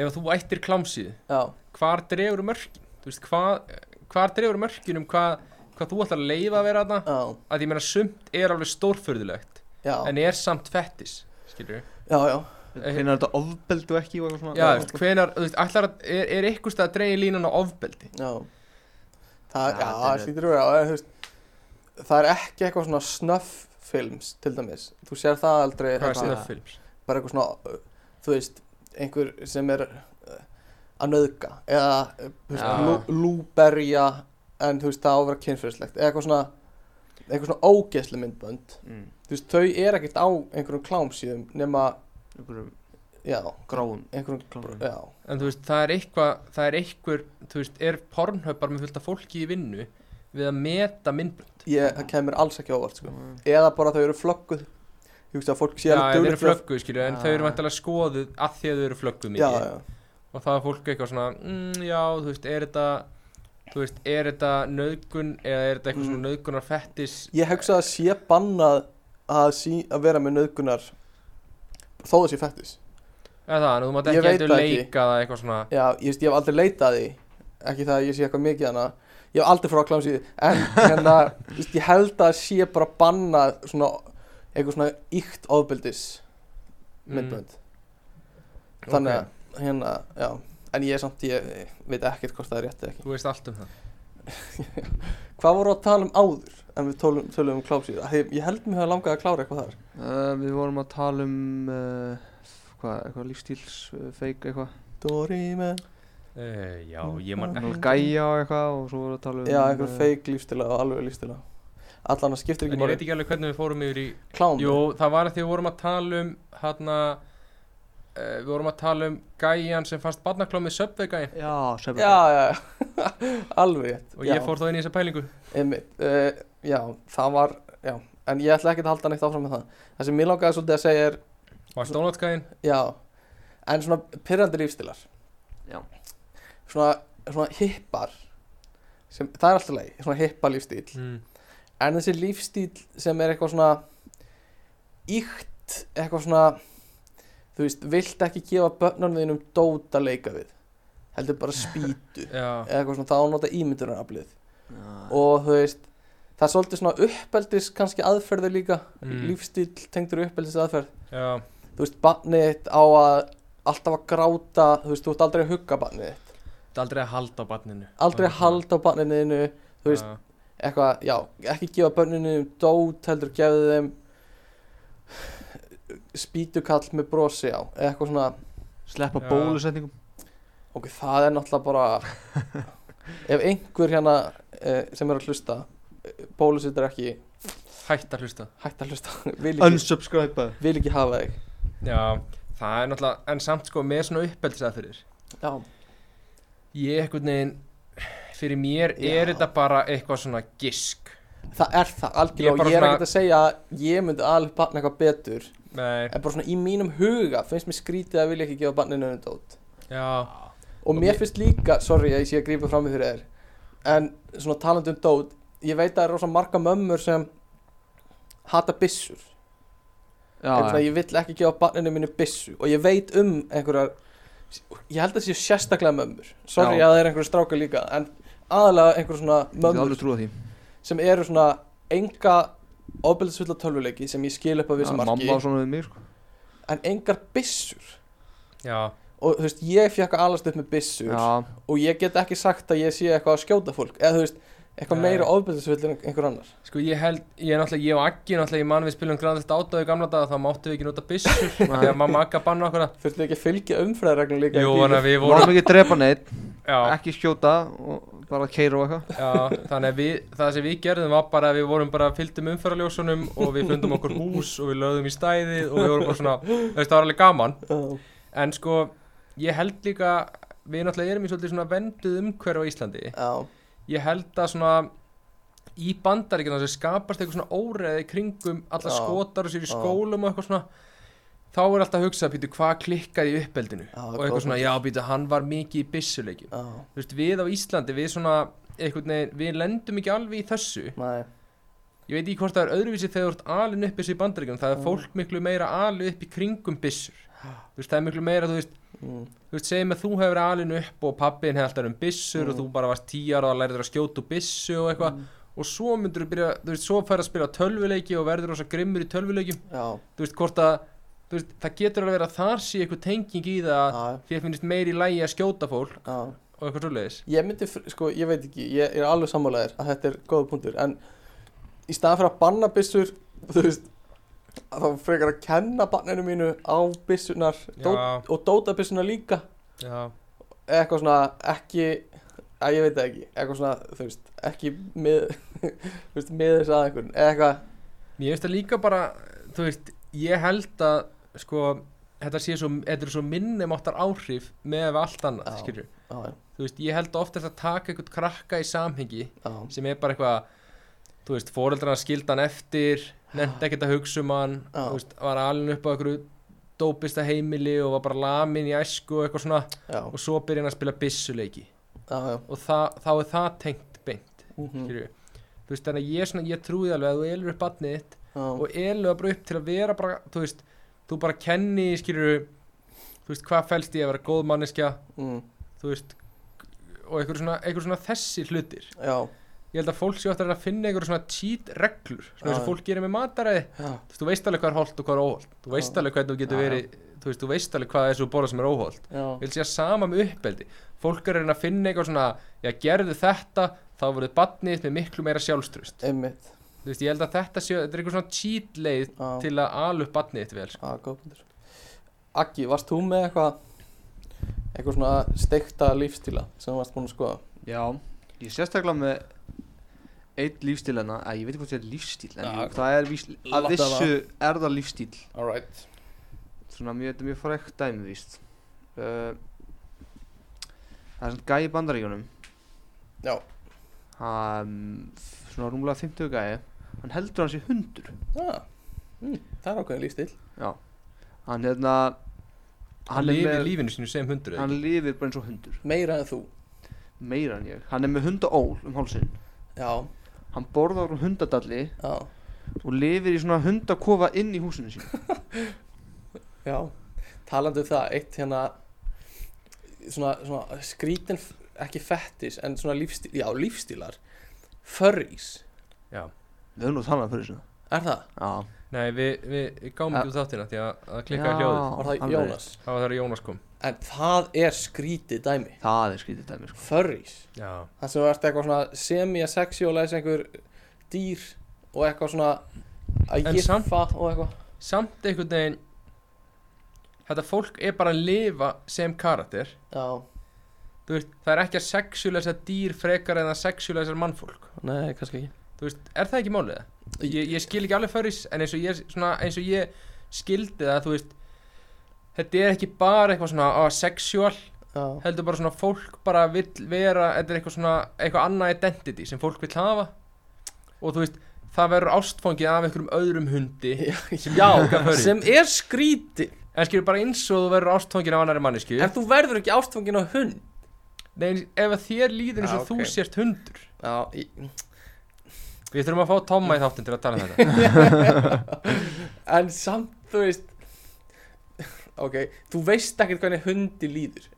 [SPEAKER 4] ef þú ættir klámsíð
[SPEAKER 3] já,
[SPEAKER 4] hvar dregur mörkin þú veist, hvað, hvar dregur mörkin um hvað, hvað þú ætlar að leifa að vera þarna
[SPEAKER 3] já,
[SPEAKER 4] að ég meina sumt er alveg stórfurðulegt
[SPEAKER 3] já
[SPEAKER 4] en er samt fettis skilur
[SPEAKER 3] já, já, eh.
[SPEAKER 1] hvernig er þetta ofbeldu ekki og eitthvað svona
[SPEAKER 4] já, þú veist, hvenar, þú veist, ætlar að er, er ykkur stað að dreigja línan á ofbeldi
[SPEAKER 3] já það,
[SPEAKER 1] Já,
[SPEAKER 3] já,
[SPEAKER 1] þetta
[SPEAKER 3] það
[SPEAKER 1] er-
[SPEAKER 3] slítur vera en, þú veist, það er ekki eitthvað svona snuff films til dæmis, þú sér það aldrei
[SPEAKER 4] hvað er
[SPEAKER 3] hérna.
[SPEAKER 4] snuff films
[SPEAKER 3] bara eitthvað svona uh, þú veist, einhver sem er uh, að nöðga eða uh, þú veist,
[SPEAKER 1] Já.
[SPEAKER 3] lú, lúberja en þú veist, það á að vera kynfyrirslegt eða eitthvað svona eitthvað svona ógeðsli myndbönd
[SPEAKER 1] Mm.
[SPEAKER 3] þú veist, þau er ekkert á einhverjum klámsíðum nema
[SPEAKER 1] einhverjum
[SPEAKER 3] já,
[SPEAKER 1] gráum
[SPEAKER 3] einhverjum
[SPEAKER 1] klárum
[SPEAKER 3] já,
[SPEAKER 4] en þú veist, það er eitthvað, það er einhver þú veist, er pornhöppar með fullt af fólki í vinnu við að meta myndbönd
[SPEAKER 3] ég, það kemur alls ekki á óvart sko.
[SPEAKER 1] Mm.
[SPEAKER 3] eða bara þau eru flögguð ég hugsa að fólk sé
[SPEAKER 4] já,
[SPEAKER 3] alveg
[SPEAKER 4] þeir eru
[SPEAKER 3] duglegt að-
[SPEAKER 4] flögguð, skilju, en
[SPEAKER 1] Já.
[SPEAKER 4] þau eru vantilega skoðuð að því að þau eru flögguð
[SPEAKER 3] já,
[SPEAKER 4] mikið
[SPEAKER 3] já,
[SPEAKER 4] og það er fólk eitthvað svona mm, já, þú veist, er þetta þú veist, er þetta nöðgun eða er þetta eitthvað
[SPEAKER 3] Mm.
[SPEAKER 4] svona nöðgunar fettis
[SPEAKER 3] ég hugsa að sé bannað að, sí, að vera með nöðgunar þó það sé fættis
[SPEAKER 4] eða það, en þú mátt
[SPEAKER 3] Ég
[SPEAKER 4] ekki
[SPEAKER 3] veit
[SPEAKER 4] heldur
[SPEAKER 3] það ekki.
[SPEAKER 4] leika það eitthvað svona
[SPEAKER 3] Já, ég, veist, ég hef aldrei leitað að því ekki það að ég sé eitthvað mikið hana ég hef aldrei frá klámsið en hérna, þú veist, ég held að það sé bara banna svona eitthvað svona íkt ofbildis myndbönd þannig að
[SPEAKER 4] Mm.
[SPEAKER 3] hérna, já en ég er samt, ég eh, veit ekkert hvort það er rétt eða
[SPEAKER 4] þú veist allt um það
[SPEAKER 3] ekki hvað voru að tala um áður en við tölum, tölum um klámsið ég held mér hafa langað að klára eitthvað þar
[SPEAKER 1] Uh, við vorum að tala um uh, hvað, eitthvað lífstíls uh, feik eitthvað,
[SPEAKER 3] Dóri með
[SPEAKER 4] uh, já, ég man
[SPEAKER 1] Náttúrulega gæja og eitthvað og svo vorum við að tala um
[SPEAKER 3] já, eitthvað
[SPEAKER 1] eh,
[SPEAKER 3] feik lífstila og alveg lífstila allan að skiptir
[SPEAKER 4] en
[SPEAKER 3] ekki
[SPEAKER 4] ég veit
[SPEAKER 3] máli
[SPEAKER 4] ekki alveg hvernig við fórum yfir í
[SPEAKER 3] klám
[SPEAKER 4] Jú, það var að því við vorum að tala um hérna uh, við vorum að tala um gæjan sem fannst barnaklómið söpvei gæjan
[SPEAKER 1] já, sem
[SPEAKER 3] já, já, já. alveg rétt.
[SPEAKER 4] og
[SPEAKER 3] já.
[SPEAKER 4] ég fór þá inn í þessa pælingu
[SPEAKER 3] Einmitt, uh, já, það var, já, en ég ætla ekki að halda neitt áfram með það. Það sem mér langaði svolítið að segja er,
[SPEAKER 4] var Donald gæjan
[SPEAKER 3] já, en svona pyrrandi lífstilar.
[SPEAKER 1] Já.
[SPEAKER 3] Svona, svona hippar, sem, það er alltaf leið, svona hippa lífstíl.
[SPEAKER 4] mm.
[SPEAKER 3] En þessi lífstíl sem er eitthvað svona íkt, eitthvað svona, þú veist, vilt ekki gefa börnunum þínum dót að leika við. Heldur bara spýtu,
[SPEAKER 4] já,
[SPEAKER 3] eða eitthvað svona, það ánóta ímyndunaraflið.
[SPEAKER 1] já,
[SPEAKER 3] og þú veist það er svolítið svona uppeldis kannski aðferður líka
[SPEAKER 4] Mm.
[SPEAKER 3] lífstíl tengdur uppeldis aðferð
[SPEAKER 4] já,
[SPEAKER 3] þú veist barnið þitt á að alltaf að gráta þú veist þú ert aldrei að hugga barnið þitt
[SPEAKER 4] það er aldrei að halda á barninu
[SPEAKER 3] aldrei að halda á barninuðinu þú veist
[SPEAKER 4] Já.
[SPEAKER 3] eitthvað já ekki gefa barninu dót heldur gefa þeim spýtukall með brosi á eða eitthvað svona
[SPEAKER 1] sleppa
[SPEAKER 4] Já.
[SPEAKER 1] bólusetningum
[SPEAKER 3] ok það er náttúrulega bara ef einhver hérna eh, sem er að hlusta bólusittar ekki
[SPEAKER 4] hætt að hlusta
[SPEAKER 3] hætt að hlusta vil ekki-
[SPEAKER 1] unsubscribe
[SPEAKER 3] vil ekki hafa þig
[SPEAKER 4] já, það er náttúrulega en samt sko með svona uppeldisaðferðir
[SPEAKER 3] Já,
[SPEAKER 4] ég ekkert neginn fyrir mér
[SPEAKER 3] Já.
[SPEAKER 4] er þetta bara eitthvað svona gisk
[SPEAKER 3] það er það
[SPEAKER 4] Ég er
[SPEAKER 3] algjörlega og
[SPEAKER 4] bara
[SPEAKER 3] ég er
[SPEAKER 4] svona-
[SPEAKER 3] ekkert að segja að ég myndi alveg barn eitthvað betur
[SPEAKER 4] Nei,
[SPEAKER 3] en bara svona í mínum huga finnst mér skrítið að vilja ekki gefa barninu um dót
[SPEAKER 4] já,
[SPEAKER 3] og mér finnst líka, sorry að ég sé að grípa fram í fyrir þér en svona talandi um dót ég veit að það er rosa marga mömmur sem hata byssur
[SPEAKER 1] já,
[SPEAKER 3] ah, svona,
[SPEAKER 1] já,
[SPEAKER 3] ég vill ekki gefa barninu mínu byssu og ég veit um einhverjar ég held að það séu sérstaklega mömmur sorry
[SPEAKER 1] Já.
[SPEAKER 3] að það er einhverju strákar líka en aðalega einhverju svona
[SPEAKER 1] ég get
[SPEAKER 3] mömmur
[SPEAKER 1] alveg trúa því
[SPEAKER 3] sem eru svona enga ofbeldisfulla tölvuleiki sem ég skil upp að
[SPEAKER 1] Já,
[SPEAKER 3] vissu marki
[SPEAKER 1] mamma og svona við mig sko.
[SPEAKER 3] en engar byssur
[SPEAKER 4] já,
[SPEAKER 3] og þú veist, ég fekk að alast upp með byssur
[SPEAKER 1] já,
[SPEAKER 3] og ég get ekki sagt að ég sé eitthvað að skjóta fólk eða þú veist, eitthvað
[SPEAKER 4] Nei.
[SPEAKER 3] meira ofbeldisfull en einhver annar
[SPEAKER 4] Sko ég held, ég er náttúrulega, ég og Aggi náttúrulega, ég man við spilum Grand Theft Auto í gamla daga, þá máttum við ekki nota byssur, þegar mamma Agga banna okkur það.
[SPEAKER 3] þurftu ekki að fylgja umfræðarreglum líka í
[SPEAKER 4] Jú,
[SPEAKER 3] bílum?
[SPEAKER 4] þannig að við vorum,
[SPEAKER 1] vorum ekki að drepa neitt
[SPEAKER 4] já,
[SPEAKER 1] ekki skjóta og bara keira og eitthvað
[SPEAKER 4] já, þannig að við, það sem við gerðum var bara að við vorum bara, fylgdum umferðarljósunum og við fundum okkur hús og við lögðum í stæði og við vorum bara svona, þú veist, það var alveg gaman.
[SPEAKER 3] Já.
[SPEAKER 4] En sko, ég held líka, við náttúrulega erum í svolítið svona venduð umhverf á Íslandi.
[SPEAKER 3] Já,
[SPEAKER 4] Ég held að svona, í bandaríkina sem skapast eitthvað svona óreði kringum alla
[SPEAKER 3] Já.
[SPEAKER 4] skotar og sér í
[SPEAKER 3] Já.
[SPEAKER 4] skólum og eitthvað svona þá er alltaf að hugsa að býtu hvað klikkar í uppeldinu
[SPEAKER 3] Já,
[SPEAKER 4] og eitthvað
[SPEAKER 3] góð
[SPEAKER 4] svona já býtu hann var mikið í byssuleikjum
[SPEAKER 3] já,
[SPEAKER 4] þú veist við á Íslandi við svona einhvern veginn við lendum ekki alveg í þessu
[SPEAKER 3] nei,
[SPEAKER 4] ég veit ekki hvort það er öðruvísi þegar þú ert alin upp þessu í bandaríkjum það er
[SPEAKER 3] Mm.
[SPEAKER 4] fólk miklu meira alin upp í kringum byssur þú veist það er miklu meira þú veist
[SPEAKER 3] mm,
[SPEAKER 4] Þú veist, segjum að þú hefur verið alin upp og pappin hefði alltaf um byssur og
[SPEAKER 3] Mm.
[SPEAKER 4] þú bara varst tíjar og lærið að skjóta úr byssu og eitthvað og svo myndur þú byrja, þú veist, svo fær að spila tölvuleiki og verður rosa grimmur í tölvuleikim
[SPEAKER 3] já,
[SPEAKER 4] þú veist, hvort að, þú veist, það getur alveg verið að þar sé eitthvað tenging í það að
[SPEAKER 3] já,
[SPEAKER 4] því að finnist meiri í lægi að skjóta fólk
[SPEAKER 3] já
[SPEAKER 4] og eitthvað svoleiðis
[SPEAKER 3] Ég myndi, fr- sko, ég veit ekki, ég er alveg sammálaðir að þetta er góða punktur En í staðan fyrir að banna byssur, þú veist að Þá frekar að kenna banninu mínu á byssunar dót,
[SPEAKER 4] Já,
[SPEAKER 3] Og dóta byssuna líka
[SPEAKER 4] já,
[SPEAKER 3] Eitthvað svona, ekki, að ég veit það ekki Eitthvað svona, þú veist, ekki með, þú veist, með þess að einhvern Eitthvað,
[SPEAKER 4] mér finnst það líka bara, þú veist, ég held að, sko, þetta sé svo, þetta er svo minnumáttar áhrif með allt annað,
[SPEAKER 3] Já.
[SPEAKER 4] skilur
[SPEAKER 3] já, já,
[SPEAKER 4] þú veist, ég held ofta þetta að taka einhvern krakka í samhengi
[SPEAKER 3] já,
[SPEAKER 4] sem er bara eitthvað þú veist, fóreldrarna skildi hann eftir nefndi ekkert að hugsa um hann
[SPEAKER 3] Já.
[SPEAKER 4] þú veist, var alveg upp á einhverju dópista heimili og var bara lamin í æsku og eitthvað svona
[SPEAKER 3] já,
[SPEAKER 4] og svo byrja hann að spila byssuleiki
[SPEAKER 3] já, já.
[SPEAKER 4] og það, þá er það tengt beint
[SPEAKER 3] Mhm.
[SPEAKER 4] skilur þú veist, þannig að ég, er svona, ég trúði alveg að þú elur upp barnið þitt
[SPEAKER 3] já.
[SPEAKER 4] og eluga bara upp til að vera bara, þú veist, þú bara kenni, skilur þú veist, hvað fælst í að vera góð manneskja
[SPEAKER 3] Mm,
[SPEAKER 4] þú veist, og einhver svona, einhver svona þessi hlutir
[SPEAKER 3] já,
[SPEAKER 4] ég held að fólk sé ofta að finna einhver svona cheat reglur svona eins
[SPEAKER 3] Já.
[SPEAKER 4] og fólk gerir með mataræði
[SPEAKER 3] já,
[SPEAKER 4] þú veist, þú veist alveg hvað er holdt og hvað er óholt þú veist
[SPEAKER 3] Já.
[SPEAKER 4] alveg hvernig þú getur
[SPEAKER 1] Já, já.
[SPEAKER 4] verið þú veist, þú veist alveg hvað er svo borða sem er óholt
[SPEAKER 3] já,
[SPEAKER 4] vil sé að sama með uppeldi fólk er að reyna að finna eitthvað svona já, gerðu þetta, þá verður badnið með miklu meira sjálfströst
[SPEAKER 3] einmitt
[SPEAKER 4] þú veist, ég held að þetta sé, þetta er einhver svona cheat leið
[SPEAKER 3] Já,
[SPEAKER 4] til að ala upp badnið þitt vel sko.
[SPEAKER 3] já, góð punktur Aggi, varst þú með eitthvað eitthvað svona steikta lífstíla sem þú varst búin að skoða
[SPEAKER 1] Já, ég er sérstaklega með einn lífstíl hana, að ég veit ekki hvort þetta er lífstíl en
[SPEAKER 3] Já.
[SPEAKER 1] jú, það er víst, að
[SPEAKER 3] Láttu það
[SPEAKER 1] vissu er það lífstíl
[SPEAKER 3] Alright
[SPEAKER 1] svona mjög, þetta er mjög frækt dæmi víst uh, það er svona gæi í bandaríkjunum
[SPEAKER 3] Já.
[SPEAKER 1] hann, svona rúmlega 50 gæi hann heldur hans í hundur
[SPEAKER 3] Já, mm, það er ákveðin lífstíl
[SPEAKER 1] já, hann hérna
[SPEAKER 4] hann
[SPEAKER 1] er
[SPEAKER 4] lifir
[SPEAKER 1] með-
[SPEAKER 4] lífinu sínu sem hundur eða
[SPEAKER 1] hann
[SPEAKER 4] ekki?
[SPEAKER 1] lifir bara eins og hundur
[SPEAKER 3] Meira en þú
[SPEAKER 1] meira en ég, hann er með hundaól um hálsinn
[SPEAKER 3] Já,
[SPEAKER 1] hann borðar úr hundadalli
[SPEAKER 3] já,
[SPEAKER 1] og lifir í svona hundakofa inn í húsinu sín
[SPEAKER 3] já Talandi um það, eitt hérna svona, svona skrítin ekki fettis, en svona lífstíl já, lífstílar Furries,
[SPEAKER 4] Já.
[SPEAKER 1] við höfum nú talað um fyrir þessu
[SPEAKER 3] er það?
[SPEAKER 1] já,
[SPEAKER 4] nei, við, við við gáum
[SPEAKER 1] Ja.
[SPEAKER 4] ekki út þáttina því að, að klikkaði
[SPEAKER 1] Já.
[SPEAKER 4] hljóðið
[SPEAKER 3] Var það
[SPEAKER 1] alveg.
[SPEAKER 3] Jónas?
[SPEAKER 4] það var þegar Jónas kom
[SPEAKER 3] En það er skrítið dæmi
[SPEAKER 1] það er skrítið dæmi sko.
[SPEAKER 3] Furries
[SPEAKER 4] já,
[SPEAKER 3] Það sem ert eitthvað svona semi-sexy og læs einhver dýr og eitthvað svona að
[SPEAKER 4] En
[SPEAKER 3] giffa
[SPEAKER 4] samt-
[SPEAKER 3] og eitthvað
[SPEAKER 4] samt einhvern veginn þetta fólk er bara að lifa sem karakter
[SPEAKER 3] Já,
[SPEAKER 4] Þú veist, það er ekki að sexulæsa dýr frekar en að sexulæsa mannfólk
[SPEAKER 3] nei, kannski ekki
[SPEAKER 4] Þú veist, er það ekki málið? Ég, ég skil ekki alveg fyrir en eins og ég, svona, eins og ég skildi það þú veist, þetta er ekki bara eitthvað svona á, sexual
[SPEAKER 3] Já,
[SPEAKER 4] heldur bara svona fólk bara vill vera þetta er eitthvað svona, eitthvað annað identity sem fólk vill hafa og þú veist, það verður ástfangið af einhverjum öðrum hundi sem líka
[SPEAKER 3] Já
[SPEAKER 4] furry.
[SPEAKER 3] sem er skrítið
[SPEAKER 4] en skilur bara eins og þú verður ástfangið af annari mannesku
[SPEAKER 3] En þú verður ekki ástfangin á hund
[SPEAKER 4] Nei, en ef að þér líður eins
[SPEAKER 3] Já,
[SPEAKER 4] og
[SPEAKER 3] ok.
[SPEAKER 4] þú sért hundur
[SPEAKER 3] Já, í,
[SPEAKER 4] við þurfum að fá Tomma í þáttin til að tala um þetta
[SPEAKER 3] en samt, þú veist Ok, þú veist ekkert hvernig hundi líður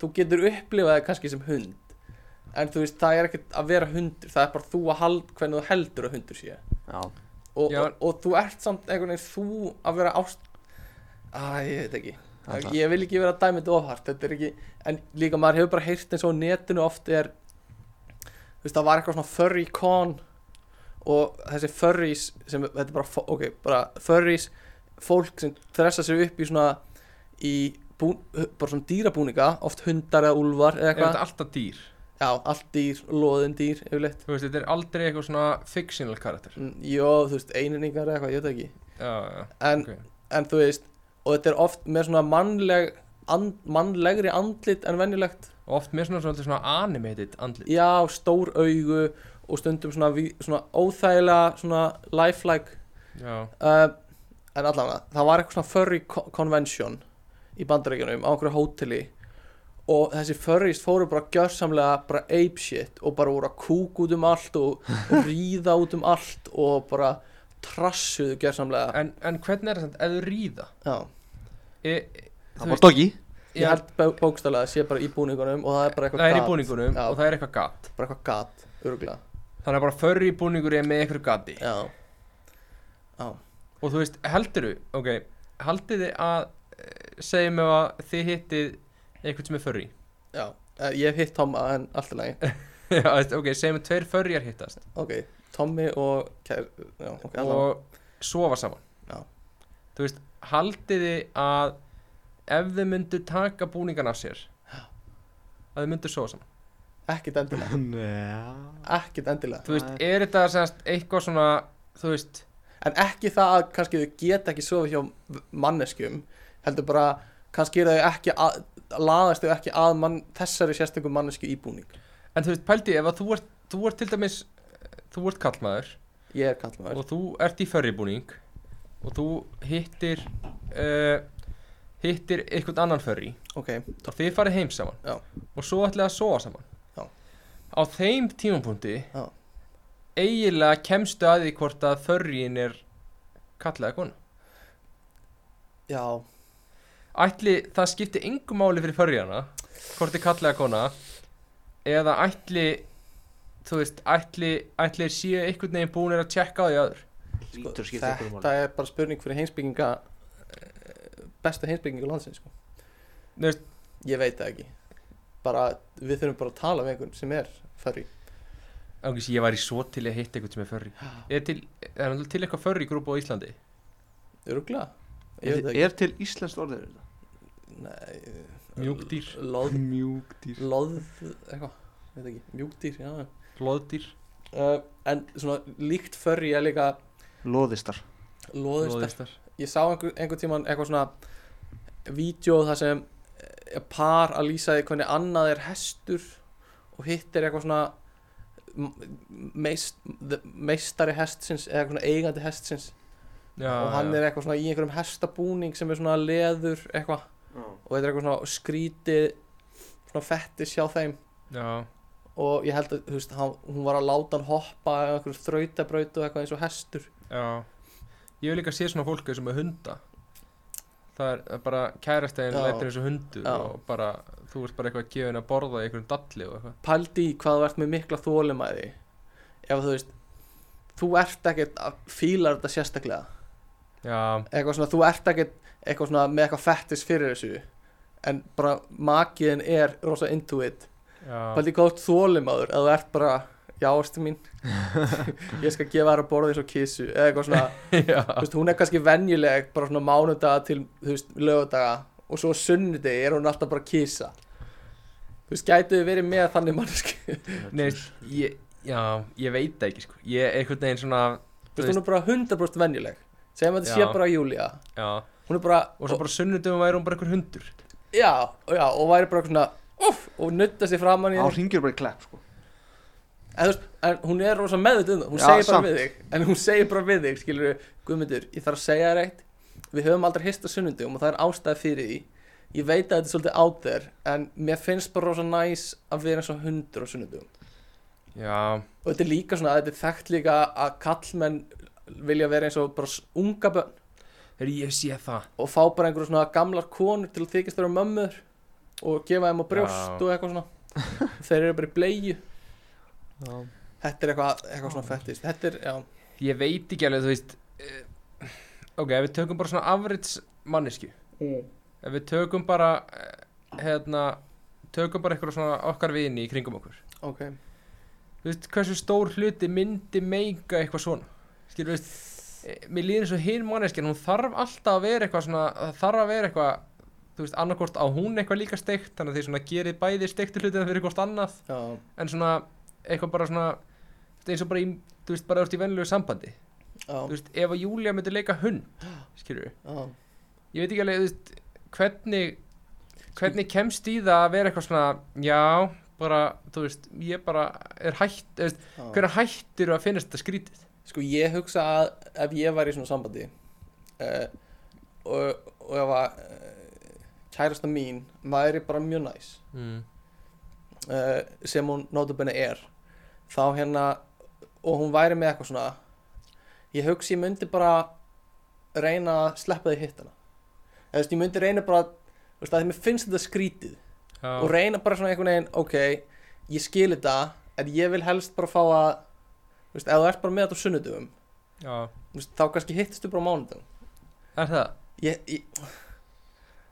[SPEAKER 3] Þú getur upplifað það kannski sem hund En þú veist, það er ekkert að vera hundur Það er bara þú að hald, hvernig þú heldur að hundur sé
[SPEAKER 1] já,
[SPEAKER 3] og,
[SPEAKER 4] Já.
[SPEAKER 3] og, og þú ert samt einhvern veginn þú að vera ást Æ, ég veit ekki
[SPEAKER 1] það er það.
[SPEAKER 3] Ég vil ekki vera dæmið ofhart Þetta er ekki, en líka maður hefur bara heyrt eins og á netinu oft er Þú veist, það var eitthvað svona furry con Og þessi furries sem, þetta er bara, fo- ok, bara furries Fólk sem þressa sig upp í svona Í bú, bara svona dýrabúninga Oft hundar eða úlfar eða
[SPEAKER 4] er þetta
[SPEAKER 3] eitthvað
[SPEAKER 4] alltaf dýr?
[SPEAKER 3] Já, allt dýr, loðin dýr, yfirleitt
[SPEAKER 4] þú veist, þetta er aldrei eitthvað svona fictional karakter
[SPEAKER 3] Mm, Jó, þú veist, eininningar eða eitthvað, ég veit það ekki
[SPEAKER 4] já, já,
[SPEAKER 3] En
[SPEAKER 4] ok
[SPEAKER 3] en þú veist og þetta er oft með svona mannleg and, mannlegri andlit en venjulegt
[SPEAKER 4] og oft með svona, svona, svona animated andlit
[SPEAKER 3] já, stór augu og stundum svona, ví- svona óþægilega svona lifelike
[SPEAKER 4] já,
[SPEAKER 3] uh, en allavega, það var eitthvað svona furry co- convention í bandarækjunum á einhverju hóteli og þessi furries fóru bara gjörsamlega bara apeshit og bara voru að kúk út um allt og ríða út um allt og bara trassuðu gjörsamlega
[SPEAKER 4] en, en hvernig er þetta, ef þú ríða
[SPEAKER 3] já
[SPEAKER 4] e,
[SPEAKER 1] það var doggi
[SPEAKER 3] Ég held bó- bókstaflega að sé bara í búningunum og það er bara eitthvað
[SPEAKER 4] það er í
[SPEAKER 3] gat.
[SPEAKER 4] búningunum
[SPEAKER 3] Já.
[SPEAKER 4] og það er eitthvað gat
[SPEAKER 3] Bara eitthvað gat, örgulega
[SPEAKER 4] þannig að bara förri búningur er með eitthvað gati
[SPEAKER 3] Já
[SPEAKER 4] og þú veist, heldur þú, ok haldið þið að, eh, segjum ef að þið hittið einhvern sem er förri
[SPEAKER 3] Já, Eh, ég hef hitt Tomma en allt í lagi
[SPEAKER 4] já, þú veist, ok, segjum að tveir förriar hittast
[SPEAKER 3] Ok, Tommi og Kær Já, ok, allavega
[SPEAKER 4] og sofa saman
[SPEAKER 3] Já.
[SPEAKER 4] þú veist, haldið þið að ef þið myndu taka búningan af sér að þið myndu sofa saman
[SPEAKER 3] Ekkit endilega Ekkit endilega
[SPEAKER 4] þú veist, er þetta semst eitthvað svona þú veist,
[SPEAKER 3] En ekki það að kannski þau geta ekki sofið hjá manneskjum heldur bara kannski er þau ekki að, laðast þau ekki að mann, þessari sérstökum mannesku íbúning
[SPEAKER 4] En þú veist, pældi, ef að þú ert, þú ert til dæmis Þú ert kallmaður
[SPEAKER 3] ég er kallmaður
[SPEAKER 4] Og þú ert í förribúning Og þú hittir uh, Hittir einhvern annan förri
[SPEAKER 3] ok,
[SPEAKER 4] og þið farið heim saman
[SPEAKER 3] Já.
[SPEAKER 4] og svo ætlaði að sofa saman
[SPEAKER 3] Já.
[SPEAKER 4] á þeim tímapunkti
[SPEAKER 3] Já.
[SPEAKER 4] eiginlega kemstu að því hvort að förrin er kallaði konu
[SPEAKER 3] já,
[SPEAKER 4] ætli það skipti yngu máli fyrir förrjana hvort þið kallaði kona eða ætli þú veist, ætli, ætli þeir séu einhvern veginn búinir að tjekka á því aður
[SPEAKER 3] sko,
[SPEAKER 1] Lítur að skipta einhverjum
[SPEAKER 3] þetta er bara spurning fyrir heimsbygginga eh, bestu heimsbygginga landsins sko.
[SPEAKER 4] Þú veist-
[SPEAKER 3] ég veit það ekki bara, við þurfum bara að tala við einhvern sem er færri
[SPEAKER 4] Angis, ég væri svo til að hitta einhvern sem er förri er til, er náttúrulega til eitthvað förri grúpa á Íslandi
[SPEAKER 3] öruglega
[SPEAKER 1] Er, er til íslenskt orðið fyrir
[SPEAKER 3] Nei,
[SPEAKER 4] Mjúkdýr.
[SPEAKER 3] loð,
[SPEAKER 1] þetta? Mjúkdýr
[SPEAKER 3] loð, eitthvað, ég veit ekki, mjúkdýr, já
[SPEAKER 4] hlóðdýr,
[SPEAKER 3] uh, en svona líkt förri er líka
[SPEAKER 1] Lóðistar
[SPEAKER 3] loðist
[SPEAKER 4] hlóðistar
[SPEAKER 3] ég sá einhver, einhver tíman eitthvað svona vídeo þar sem eh, par að lýsa því hvernig annað er hestur og hitt er eitthvað svona m- meist, the- meistari hestsins eða eitthvað svona eigandi hestsins og hann er eitthvað svona í einhverjum hestabúning sem er svona leður eitthvað og þetta er eitthvað svona skrítið svona fettis hjá þeim
[SPEAKER 4] já,
[SPEAKER 3] og ég held að þú veist, hann, hún var að láta hann hoppa eða einhverjum þrautabraut og eitthvað eins og hestur
[SPEAKER 4] Já, ég hef líka séð svona fólk sem er hunda Það er það er bara kærastegin
[SPEAKER 3] Já.
[SPEAKER 4] leitur eins og hundur
[SPEAKER 3] Já.
[SPEAKER 4] og bara, þú ert bara eitthvað að gefa henni að borða í einhverjum dalli og eitthvað
[SPEAKER 3] pældi í hvað þú ert með mikla þólumæði ef þú veist þú ert ekkert að fíla þetta sérstaklega
[SPEAKER 4] Já,
[SPEAKER 3] eitthvað svona, þú ert ekkert eitthvað svona með eitthvað fettis fyrir þessu en bara makiðin er rosa into it
[SPEAKER 4] já,
[SPEAKER 3] pældi í hvað þú ert þólumæður eða þú ert bara, já, ástu mín ég skal gefa þér að borða eins og kissu eða eitthvað svona
[SPEAKER 4] já,
[SPEAKER 3] þú veist, hún er kannski venjuleg bara svona mánudaga til, þú veist, lögudaga og svo á sunnudegi er hún alltaf bara að kisa þú veist, gætu þið verið með þannig manneski, þú
[SPEAKER 4] Nei, ég, já, ég veit það ekki sko Ég er einhvern veginn svona,
[SPEAKER 3] veist, hún er bara 100% venjuleg segjum að þetta sé
[SPEAKER 4] Já.
[SPEAKER 3] bara Júlia
[SPEAKER 4] já
[SPEAKER 3] hún er bara,
[SPEAKER 4] Og svo bara sunnudum væri hún bara einhver hundur
[SPEAKER 3] já, já, og væri bara svona uff, og nutta sig framan í
[SPEAKER 1] Á
[SPEAKER 3] þig
[SPEAKER 1] hringir bara í klepp sko
[SPEAKER 3] en, þú veist, en hún er rosa meðut um það, hún
[SPEAKER 1] Já,
[SPEAKER 3] segir bara
[SPEAKER 1] samt.
[SPEAKER 3] við þig en hún segir bara við þig, skilur við, Guðmundur ég þarf að segja þér eitt, við höfum aldrei hist á sunnundum og það er ástæði fyrir því ég veit að þetta er svolítið out there en mér finnst bara rosa næs að vera eins og hundur á sunnundum
[SPEAKER 4] Já,
[SPEAKER 3] og þetta er líka svona, þetta er þekkt líka að kallmenn vilja vera eins og bara s- unga bönn
[SPEAKER 4] þegar ég sé það
[SPEAKER 3] og fá bara einhverju svona gamlar konur til að þykist vera mömmur og gefa þeim á brjóst
[SPEAKER 4] Já.
[SPEAKER 3] og eitthvað svona þeir eru bara í bleiðu
[SPEAKER 1] Já
[SPEAKER 3] þetta er eitthvað, eitthvað svona fettist þetta er, já,
[SPEAKER 4] Ég veit ekki alveg, þú veist eh, Ok, ef við tökum bara svona afrits mannesku Ef við tökum bara, eh, hérna, tökum bara eitthvað svona okkar vini í kringum okkur
[SPEAKER 3] ok
[SPEAKER 4] þú veist, hversu stór hluti myndi meika eitthvað svona skilur, þú veist, eh, mér líður eins og hinn manneskjan hún þarf alltaf að vera eitthvað svona það þarf að vera eitthvað, þú veist, annarkvort á hún eitthvað líka steikt, þannig að þið svona gerið bæði steiktu hlutina fyrir hvort annað,
[SPEAKER 3] já,
[SPEAKER 4] en svona eitthvað bara svona, þú veist, eins og bara í þú veist, bara þú ert í venlegu sambandi
[SPEAKER 3] já,
[SPEAKER 4] þú veist, ef að Júlia myndi leika hund skilur,
[SPEAKER 3] já
[SPEAKER 4] ég veit ekki alveg, þú veist, hvernig hvernig kemst í það að vera eitthvað svona já, bara, þú veist, ég bara er hætt, þú veist,
[SPEAKER 3] Já.
[SPEAKER 4] hvernig hættir að finnast þetta skrítið
[SPEAKER 3] Sko ég hugsa að ef ég var í svona sambandi uh, og, og ef að uh, kærasta mín væri bara mjög næs
[SPEAKER 4] mm.
[SPEAKER 3] uh, sem hún notabenni er þá hérna og hún væri með eitthvað svona ég hugsa ég myndi bara reyna að sleppa því hitt hana eða þú veist ég myndi reyna bara þú veist að því mér finnst þetta skrítið og
[SPEAKER 4] já,
[SPEAKER 3] reyna bara svona einhvern veginn ok, ég skil þetta en ég vil helst bara fá að þú veist, ef þú ert bara með þetta á sunnudum
[SPEAKER 4] já,
[SPEAKER 3] Þú veist, þá kannski hittistu bara á mánudum
[SPEAKER 4] er það
[SPEAKER 3] ég, ég,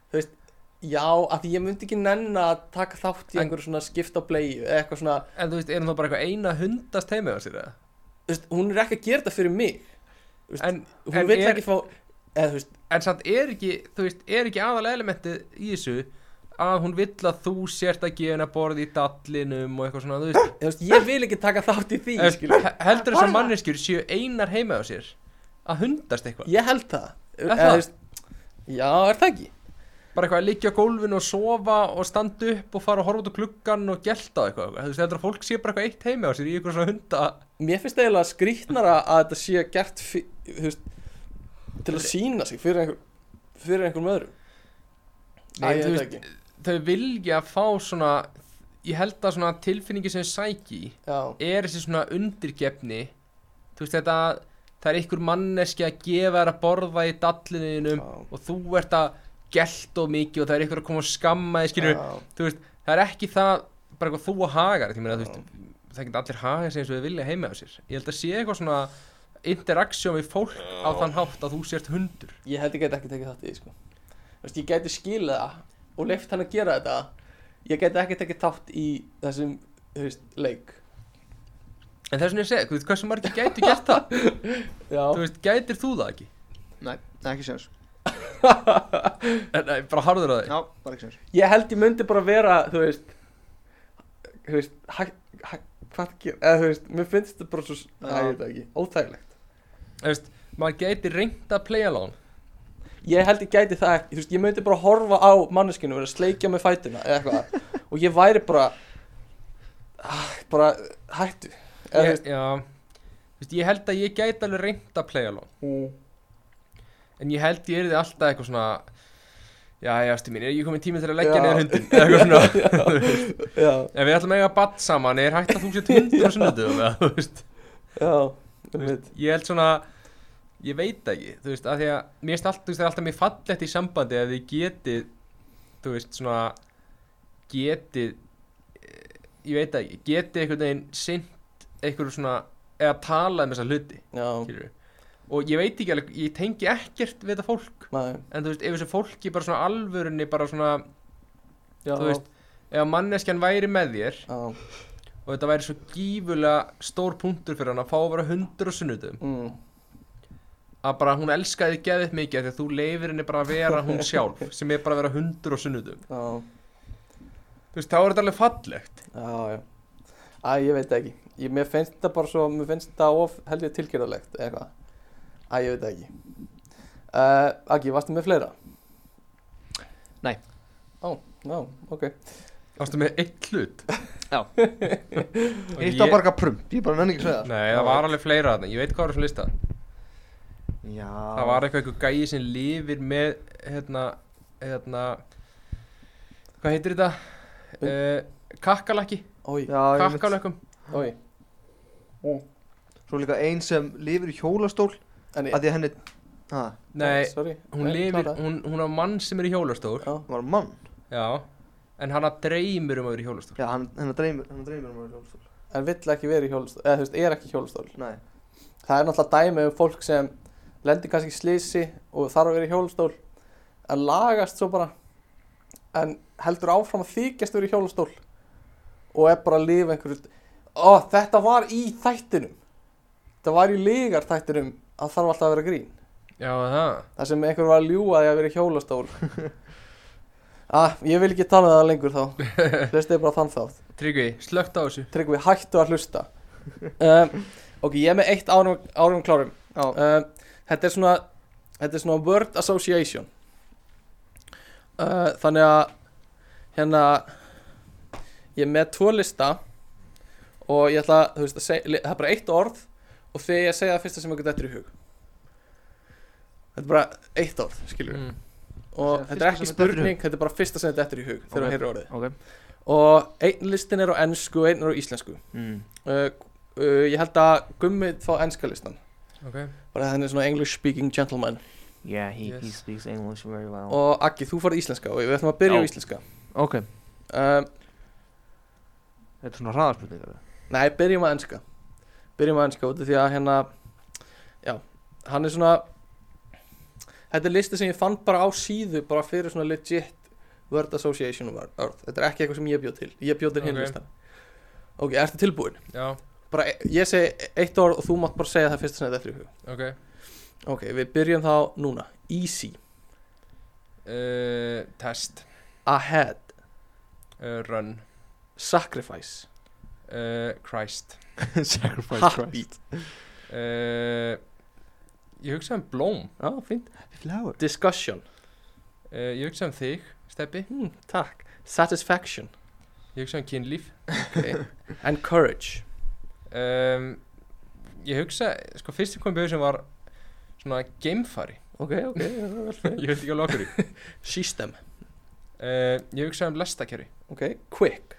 [SPEAKER 3] þú veist já, af því ég myndi ekki nenn að taka þátt í
[SPEAKER 4] En-
[SPEAKER 3] einhverju svona skipta á bleið eða eitthvað svona,
[SPEAKER 4] en þú veist, er hún þá bara eitthvað eina hundast heimið á sér eða?
[SPEAKER 3] þú veist, hún er ekki að gera þetta fyrir mig Veist,
[SPEAKER 4] en,
[SPEAKER 3] hún
[SPEAKER 4] En
[SPEAKER 3] vill
[SPEAKER 4] er-
[SPEAKER 3] ekki fá eða þú veist,
[SPEAKER 4] en samt er ekki, þú veist, er ekki aðal elementið í þessu að hún vill að þú sért að gefa henni að borða í dallinum og eitthvað svona, þú veist
[SPEAKER 3] eða, þú veist ég vil ekki taka þátt í því
[SPEAKER 4] Eh,
[SPEAKER 3] skilur.
[SPEAKER 4] he- heldur þess að manneskjur séu einar heima á sér að hundast eitthvað
[SPEAKER 3] ég held það
[SPEAKER 4] Er
[SPEAKER 3] eða,
[SPEAKER 4] það?
[SPEAKER 3] þú veist, já, er það ekki
[SPEAKER 4] bara eitthvað að liggja á gólfinu og sofa og standa upp og fara að horfa út á klukkan og gelta á eitthvað þú veist, heldur að fólk sé bara eitthvað eitt heimi á sér í ykkur svona hunda
[SPEAKER 3] Mér finnst eiginlega skrýtnara að þetta sé gert fyr, hefst, til að sína sig fyrir einhver fyrir einhverjum öðrum
[SPEAKER 4] Nei,
[SPEAKER 3] Æ, ég
[SPEAKER 4] þú
[SPEAKER 3] veit
[SPEAKER 4] veist-
[SPEAKER 3] ekki
[SPEAKER 4] þau vilja fá svona ég held að svona tilfinningi sem þau sæki í
[SPEAKER 3] Já,
[SPEAKER 4] er þessi svona undirgefni þú veist þetta það er ykkur manneski að gefa þær að borða í dallinuðinum
[SPEAKER 3] já,
[SPEAKER 4] og þú ert að gelt og mikið og það er ykkur að koma og skamma þig skilur
[SPEAKER 3] já.
[SPEAKER 4] þú veist, það er ekki það bara eitthvað þú og hagar því meina, þú veist, það geta allir hagar sem við vilja heima á sér ég held að sé eitthvað svona interaksjón við fólk á þann hátt að þú sért hundur
[SPEAKER 3] Ég held ég gæti ekki tekið þátt í því sko. Þú veist, Ég gæti skilið það og leift hann að gera þetta Ég gæti ekki tekið þátt í þessum þú veist, leik
[SPEAKER 4] en þess vegna ég segi, þú veist, hversu margir gætu gert það
[SPEAKER 3] Já,
[SPEAKER 4] þú veist, gætir þú það ekki
[SPEAKER 1] Nei, ekki séns
[SPEAKER 4] en, nei, bara harður að þig
[SPEAKER 1] Já, bara ekki séns
[SPEAKER 3] ég held ég myndi bara vera þú veist þú veist, hæ, hæ, hvað ger eða þú veist, mér finnst þetta bara svo
[SPEAKER 1] Já.
[SPEAKER 3] Æ, ég veit það ekki, óþægilegt
[SPEAKER 4] þú veist, maður gæti reynda að playa along
[SPEAKER 3] ég held ég gæti það ekki, þú veist, ég myndi bara horfa á manneskinu og vera að sleikja með fætuna eða eitthvað, og ég væri bara ah, bara hættu eða þú
[SPEAKER 4] ég,
[SPEAKER 3] veist
[SPEAKER 4] já, þú veist, ég held að ég gæti alveg reynda að playa along
[SPEAKER 3] mm,
[SPEAKER 4] En ég held ég erði alltaf eitthvað svona Já, já, stu mín, er ég komið tími til að leggja
[SPEAKER 3] Já.
[SPEAKER 4] neður hundin Eða eitthvað svona þú veist.
[SPEAKER 3] já,
[SPEAKER 4] Ef við ætlum að eiga badd saman, er hægt að þú sett hundur og sunnudum eða, þú veist
[SPEAKER 3] já, þú veist
[SPEAKER 4] Ég held svona, ég veit það ekki Þú veist, af því að mér finnst alltaf, þú veist, það er alltaf mér fallegt í sambandi Ef þið getið, þú veist, svona Getið, eh, ég veit það ekki Getið einhvern veginn sint Einhverju svona, eða talað um þessa hluti
[SPEAKER 3] já,
[SPEAKER 4] skilurðu. Og ég veit ekki alveg, ég tengi ekkert við þetta fólk
[SPEAKER 3] maður,
[SPEAKER 4] en þú veist, ef þessu fólki bara svona alvörunni bara svona,
[SPEAKER 3] já,
[SPEAKER 4] þú veist ef manneskjan væri með þér
[SPEAKER 3] já,
[SPEAKER 4] og þetta væri svo gífulega stór punktur fyrir hann að fá að vera hundur og sunnudum
[SPEAKER 3] mm,
[SPEAKER 4] að bara hún elskaði þig geðið mikið af því að þú leifir henni bara að vera hún sjálf sem er bara að vera hundur og sunnudum
[SPEAKER 3] já,
[SPEAKER 4] þú veist, þá er þetta alveg fallegt
[SPEAKER 3] já, já Æ, ég veit það ekki, ég, mér finnst þetta bara svo mér finnst þetta of held ég tilgjörðalegt eða eitthvað, æ, ég veit það ekki uh, Agi, varstu með fleira?
[SPEAKER 1] Nei.
[SPEAKER 3] Ó, já, ok
[SPEAKER 4] ástu með eitt hlut
[SPEAKER 1] Já.
[SPEAKER 4] Og
[SPEAKER 1] Eitt á
[SPEAKER 4] ég-
[SPEAKER 1] barga prump, ég bara nenni ekki að segja
[SPEAKER 4] Nei, það var alveg fleira þarna, ég veit hvað var þessu lista
[SPEAKER 1] það Já
[SPEAKER 4] Það var eitthvað eitthvað gæi sem lifir með hérna, hérna hvað heitir þetta?
[SPEAKER 3] Um.
[SPEAKER 4] Uh, kakkalakki,
[SPEAKER 3] Ói,
[SPEAKER 1] Já, ég mitt
[SPEAKER 4] kakkalökkum
[SPEAKER 3] ói
[SPEAKER 1] Svo líka ein sem lifir í hjólastól
[SPEAKER 3] En
[SPEAKER 1] að
[SPEAKER 3] ég,
[SPEAKER 1] því að henni Ha,
[SPEAKER 4] Nei,
[SPEAKER 3] sorry
[SPEAKER 4] hún lifir,
[SPEAKER 3] kláraðu.
[SPEAKER 4] hún, hún á mann sem er í hjólastól
[SPEAKER 3] Já,
[SPEAKER 1] hún var mann
[SPEAKER 4] Já, en hana dreymir um að vera í hjólastól
[SPEAKER 1] Já, hann, henni dreymir, henni dreymir um að vera í hjólastól
[SPEAKER 3] en vill ekki verið í hjólastól eða þú veist, er ekki í hjólastól
[SPEAKER 1] Nei
[SPEAKER 3] það er náttúrulega dæmi um fólk sem lendir kannski í slisi og þarf að vera í hjólastól en lagast svo bara en heldur áfram að þykjast vera í hjólastól og er bara að lifa einhverju ó, þetta var í þættinum þetta var í lígar þættinum að þarf alltaf að vera grín
[SPEAKER 4] Já, það
[SPEAKER 3] það sem einhver var að ljúga því að vera í hjólastól ah, ég vil ekki tala um það lengur þá hlustið bara á þann þátt
[SPEAKER 4] Tryggvi, slögt á þessu
[SPEAKER 3] Tryggvi, hættu að hlusta um, Ok, ég er með eitt árum, árum klárum
[SPEAKER 1] Já,
[SPEAKER 3] um, Þetta er svona Þetta er svona word association uh, Þannig að Hérna Ég er með tvo lista Og ég ætla, þú veist, að segja Það er bara eitt orð Og þegar ég að segja það fyrsta sem eitthvað þetta er í hug Þetta er bara eitt orð, skilur
[SPEAKER 4] mm.
[SPEAKER 3] Og
[SPEAKER 1] Segja
[SPEAKER 3] þetta
[SPEAKER 1] fyrsta
[SPEAKER 3] er
[SPEAKER 1] sem dettur í
[SPEAKER 3] ekki
[SPEAKER 1] hug.
[SPEAKER 3] spurning, þetta er bara fyrsta sem þetta er í hug
[SPEAKER 1] Ok.
[SPEAKER 3] Þegar okay. að heyra orðið
[SPEAKER 1] ok
[SPEAKER 3] Og einn listin er á ennsku og einn er á íslensku
[SPEAKER 1] mm.
[SPEAKER 3] uh, uh, ég held að gummið fá ennska listan
[SPEAKER 4] Ok,
[SPEAKER 3] bara hann er svona English speaking gentleman
[SPEAKER 1] Yeah, he,
[SPEAKER 4] he
[SPEAKER 1] he speaks English very well
[SPEAKER 3] og Aggi, þú farið íslenska og við ætlum að byrja
[SPEAKER 1] Já.
[SPEAKER 3] á íslenska
[SPEAKER 1] Ok,
[SPEAKER 3] uh,
[SPEAKER 1] þetta er svona hraðarspurningar
[SPEAKER 3] nei, byrjum að ennska byrjum að ennska út af því að hérna já, hann er svona þetta er listi sem ég fann bara á síðu bara fyrir svona legit word association word þetta er ekki eitthvað sem ég bjóð til ég bjóð til hinn
[SPEAKER 4] Ok.
[SPEAKER 3] listan ok, ertu tilbúin?
[SPEAKER 4] já,
[SPEAKER 3] Bara, e- ég segi eitt orð og þú mátt bara segja það fyrst sem þetta er fyrir hug
[SPEAKER 4] ok
[SPEAKER 3] ok, við byrjum þá núna easy,
[SPEAKER 4] uh, Test
[SPEAKER 3] ahead
[SPEAKER 4] uh, Run
[SPEAKER 3] Sacrifice
[SPEAKER 4] uh, Christ
[SPEAKER 1] Sacrifice
[SPEAKER 3] Happy
[SPEAKER 4] uh, Eh, Ég hugsaði um blóm
[SPEAKER 3] Já, fínt
[SPEAKER 1] Flower
[SPEAKER 3] Discussion
[SPEAKER 4] uh, ég hugsa um þig, Steppi
[SPEAKER 3] Hmm, takk. Satisfaction.
[SPEAKER 4] ég hugsa um kynlíf
[SPEAKER 3] Okay. And courage.
[SPEAKER 4] um, ég hugsa, sko fyrst sem kom í bauðsum var svona geimfari
[SPEAKER 3] Ok, ok.
[SPEAKER 4] ég veit ekki alveg okkur í
[SPEAKER 3] System.
[SPEAKER 4] uh, ég hugsa um lestakjöri
[SPEAKER 3] Ok. Quick.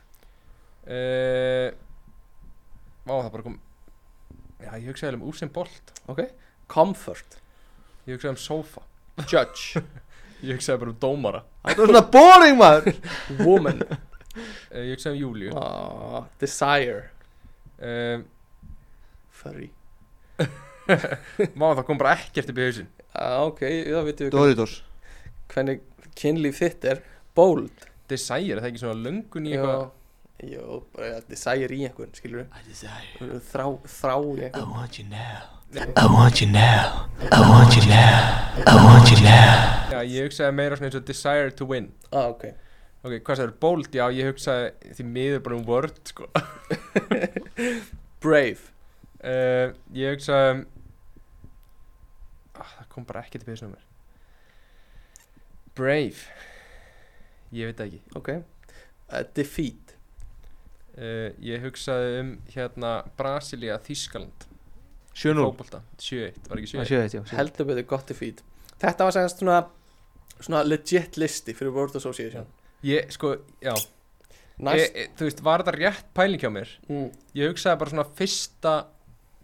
[SPEAKER 4] uh, á það bara kom já, ég hugsa um úr sem bolt
[SPEAKER 3] Ok. Comfort.
[SPEAKER 4] ég hugsa um sofa
[SPEAKER 3] Judge.
[SPEAKER 4] ég hugsa bara um dómara
[SPEAKER 1] Þetta er svona boring maður
[SPEAKER 3] Woman.
[SPEAKER 4] uh, ég hugsa um Júlíu Eh, uh,
[SPEAKER 3] Ah, desire. Furry.
[SPEAKER 4] má það kom bara ekkert í bauðsum
[SPEAKER 3] Ah, ok, það veitum við
[SPEAKER 1] Doritos
[SPEAKER 3] hvernig kynlíf þitt er. Bold.
[SPEAKER 4] desire, er það ekki svona löngun í eitthvað
[SPEAKER 3] Jó, bara að desire í einhvern, skilur
[SPEAKER 2] I desire
[SPEAKER 3] við. Þrá, þrá í
[SPEAKER 2] I
[SPEAKER 3] einhvern.
[SPEAKER 2] want you now I want you now I want you now I want you now
[SPEAKER 4] já, ég hugsaði meira svona eins og desire to win
[SPEAKER 3] Ah, ok.
[SPEAKER 4] ok, hvað það er bold, já, ég hugsaði því miður bara um word, sko
[SPEAKER 3] Brave.
[SPEAKER 4] uh, ég hugsaði um ah, það kom bara ekkert í bauðsum mér brave ég veit það ekki
[SPEAKER 3] Ok. Uh, defeat.
[SPEAKER 4] Uh, ég hugsaði um hérna Brasilia, Þískaland
[SPEAKER 1] 7-0
[SPEAKER 4] Fókbalta, 7-1, var ekki
[SPEAKER 1] Það
[SPEAKER 4] 7-1
[SPEAKER 1] séu þetta, já sjö eitt.
[SPEAKER 3] heldur betur gott defeat þetta var semst svona svona legit listi fyrir World Association
[SPEAKER 4] Ég, sko, já
[SPEAKER 3] næst
[SPEAKER 4] ég, ég- Þú veist, var þetta rétt pæling hjá mér?
[SPEAKER 3] Eh, mm,
[SPEAKER 4] Ég hugsaði bara svona fyrsta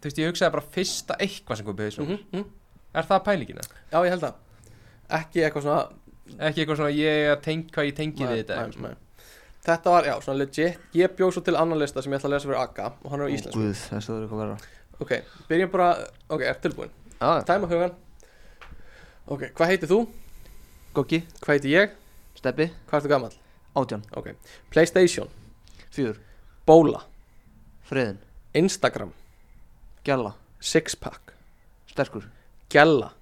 [SPEAKER 4] Þú veist, ég hugsaði bara fyrsta eitthvað sem kom byrðið svona
[SPEAKER 3] mhm, mhm.
[SPEAKER 4] Er það pælingina?
[SPEAKER 3] já ég held það ekki eitthvað svona
[SPEAKER 4] Ekki eitthvað svona ég að tenk hvað ég tengi við þetta
[SPEAKER 3] Nei, nei, nei. þetta var já svona legit ég bjóð svo til annan lista sem ég ætla að lesa fyrir Aga og hann er á
[SPEAKER 1] Ó,
[SPEAKER 3] íslensku
[SPEAKER 1] Guð, þessu það er eitthvað verra
[SPEAKER 3] ok byrjum bara ok er tilbúin
[SPEAKER 1] Já,
[SPEAKER 3] tæma hugan ok hvað heitir þú
[SPEAKER 1] Gokki,
[SPEAKER 3] hvað heitir ég
[SPEAKER 1] Steppi,
[SPEAKER 3] hvað ertu gammal
[SPEAKER 1] Átján,
[SPEAKER 3] ok Playstation
[SPEAKER 1] Fjör,
[SPEAKER 3] Bóla
[SPEAKER 1] Freðin,
[SPEAKER 3] Instagram
[SPEAKER 1] Gjalla,
[SPEAKER 3] Sixpack
[SPEAKER 1] Sterkur,
[SPEAKER 3] Gjalla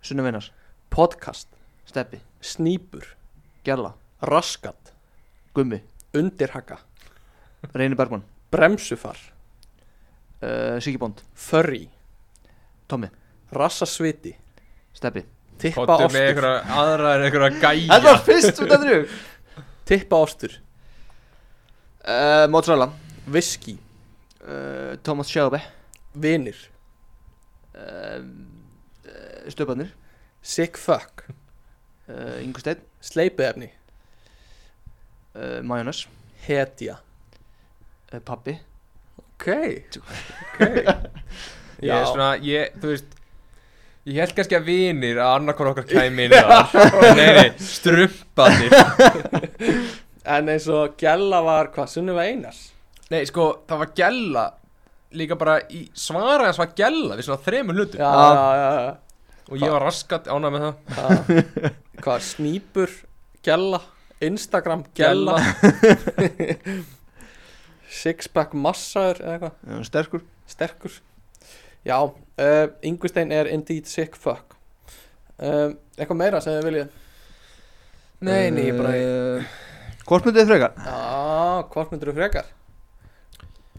[SPEAKER 1] Sunnuvinars,
[SPEAKER 3] Podcast
[SPEAKER 1] Steppi,
[SPEAKER 3] Snýpur
[SPEAKER 1] Gjalla,
[SPEAKER 3] Raskat
[SPEAKER 1] Gummi,
[SPEAKER 3] Undirhaka
[SPEAKER 1] Reyni Bergman,
[SPEAKER 3] bremsufar,
[SPEAKER 1] uh, Siggi Bond,
[SPEAKER 3] furry,
[SPEAKER 1] Tommi,
[SPEAKER 3] rassasviti,
[SPEAKER 1] Steppi
[SPEAKER 3] tippa
[SPEAKER 4] Kottu með
[SPEAKER 3] ástur,
[SPEAKER 4] einhverja aðra en einhverja gæja
[SPEAKER 1] Þetta var fyrst út af þrjú
[SPEAKER 3] tippa ástur,
[SPEAKER 1] uh, Mozzarella,
[SPEAKER 3] whisky,
[SPEAKER 1] uh, Thomas Sjábe,
[SPEAKER 3] vinir,
[SPEAKER 1] uh, uh, Stöpanir,
[SPEAKER 3] sick fuck,
[SPEAKER 1] uh, Ingusteinn,
[SPEAKER 3] sleipiðefni,
[SPEAKER 1] uh, Majónas,
[SPEAKER 3] hetja.
[SPEAKER 1] uh, Pappi
[SPEAKER 3] Ok,
[SPEAKER 4] Ég
[SPEAKER 3] Já.
[SPEAKER 4] er svona, ég, þú veist Ég held kannski að vinir að annarkon okkar kæmi inn þar Nei, nei, strumpaðir
[SPEAKER 3] En eins og Gjalla var hvað, sunnum við einars?
[SPEAKER 4] Nei, sko, það var gælla Líka bara í svara hans var gælla Við svona þremur hlutum
[SPEAKER 3] Já, já, já, já.
[SPEAKER 4] Og ég var raskat ánað með það
[SPEAKER 3] já. Hvað, snýpur, Gjalla, Instagram, Gjalla, sixpack massaður eða eitthvað,
[SPEAKER 1] uh, Sterkur
[SPEAKER 3] sterkur. Já, uh, Ingustein er indeed sick fuck. Um, eitthvað meira sem þið viljið? Eh,
[SPEAKER 4] Nei, nei, ég bara
[SPEAKER 1] uh, Hvort myndið þið frekar?
[SPEAKER 3] Já, hvort myndur þú frekar?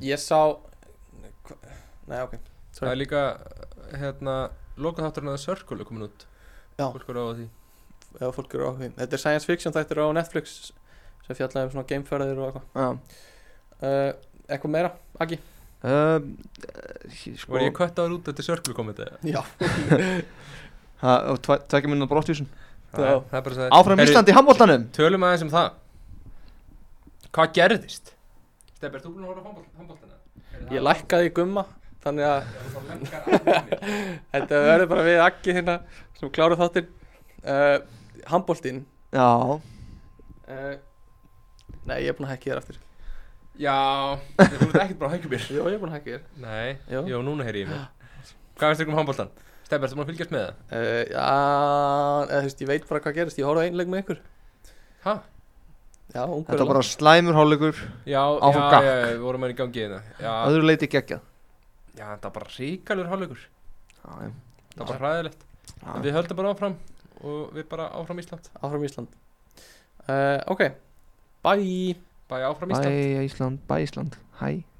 [SPEAKER 3] Ég sá hva- Nei, ok
[SPEAKER 4] Það er líka, hérna Lokaþátturinn að Circle er komin út
[SPEAKER 3] Já.
[SPEAKER 4] Fólk er á því
[SPEAKER 3] Ef fólk eru áhuga Þetta er science fiction þættir á Netflix sem fjallaði um svona gameferðir og eitthvað
[SPEAKER 1] Já
[SPEAKER 3] uh, Eitthvað meira, Aggi?
[SPEAKER 1] uh, sko,
[SPEAKER 4] Var ég köttaður út eftir Circle komið þetta?
[SPEAKER 3] Já
[SPEAKER 1] ha, og tvæ- Tvekkja minna brottvísun
[SPEAKER 4] Það Eh, er bara að segja
[SPEAKER 1] Áfram Ísland í handbóltanum
[SPEAKER 4] Tölum aðeins um það Hvað gerðist? Steppi, ert þú búin að horfa á handbóltana?
[SPEAKER 3] Ég lækkaði í gumma Þannig að
[SPEAKER 4] lækkar
[SPEAKER 3] þetta verður bara við Aggi hérna sem kláruð þáttinn uh, Hamboltinn
[SPEAKER 1] Já
[SPEAKER 3] uh, Nei, ég er búin að hekki þér aftur
[SPEAKER 4] Já, þú ert ekkert bara að hækja mér
[SPEAKER 3] Jó, ég er búin að hekki þér
[SPEAKER 4] Nei,
[SPEAKER 3] Jó.
[SPEAKER 4] jú, núna heyri ég mér Hvað finnst ykkur um handbóltan? Steppi, ertu maður að fylgjast með það?
[SPEAKER 3] uh, Já, eða þú veist, ég veit bara hvað gerist Ég horfði á einleik með ykkur
[SPEAKER 4] Ha?
[SPEAKER 3] Já, ungur
[SPEAKER 1] Þetta var bara slæmur hálfleikur
[SPEAKER 4] Já,
[SPEAKER 1] Áfram
[SPEAKER 4] já,
[SPEAKER 1] gakk.
[SPEAKER 4] já, við vorum með í gangi hérna Já,
[SPEAKER 1] Öðru leiti geggjað
[SPEAKER 4] já þetta var bara ríkalur hálfleikur
[SPEAKER 1] Já, já.
[SPEAKER 4] Það var bara hræðilegt En Við höldum bara áfram og við bara áfram Ísland
[SPEAKER 3] áfram Ísland uh, ok, bye
[SPEAKER 4] Bæ áfram
[SPEAKER 1] Bæ
[SPEAKER 4] Ísland
[SPEAKER 1] Ísland, bæ Ísland Hæ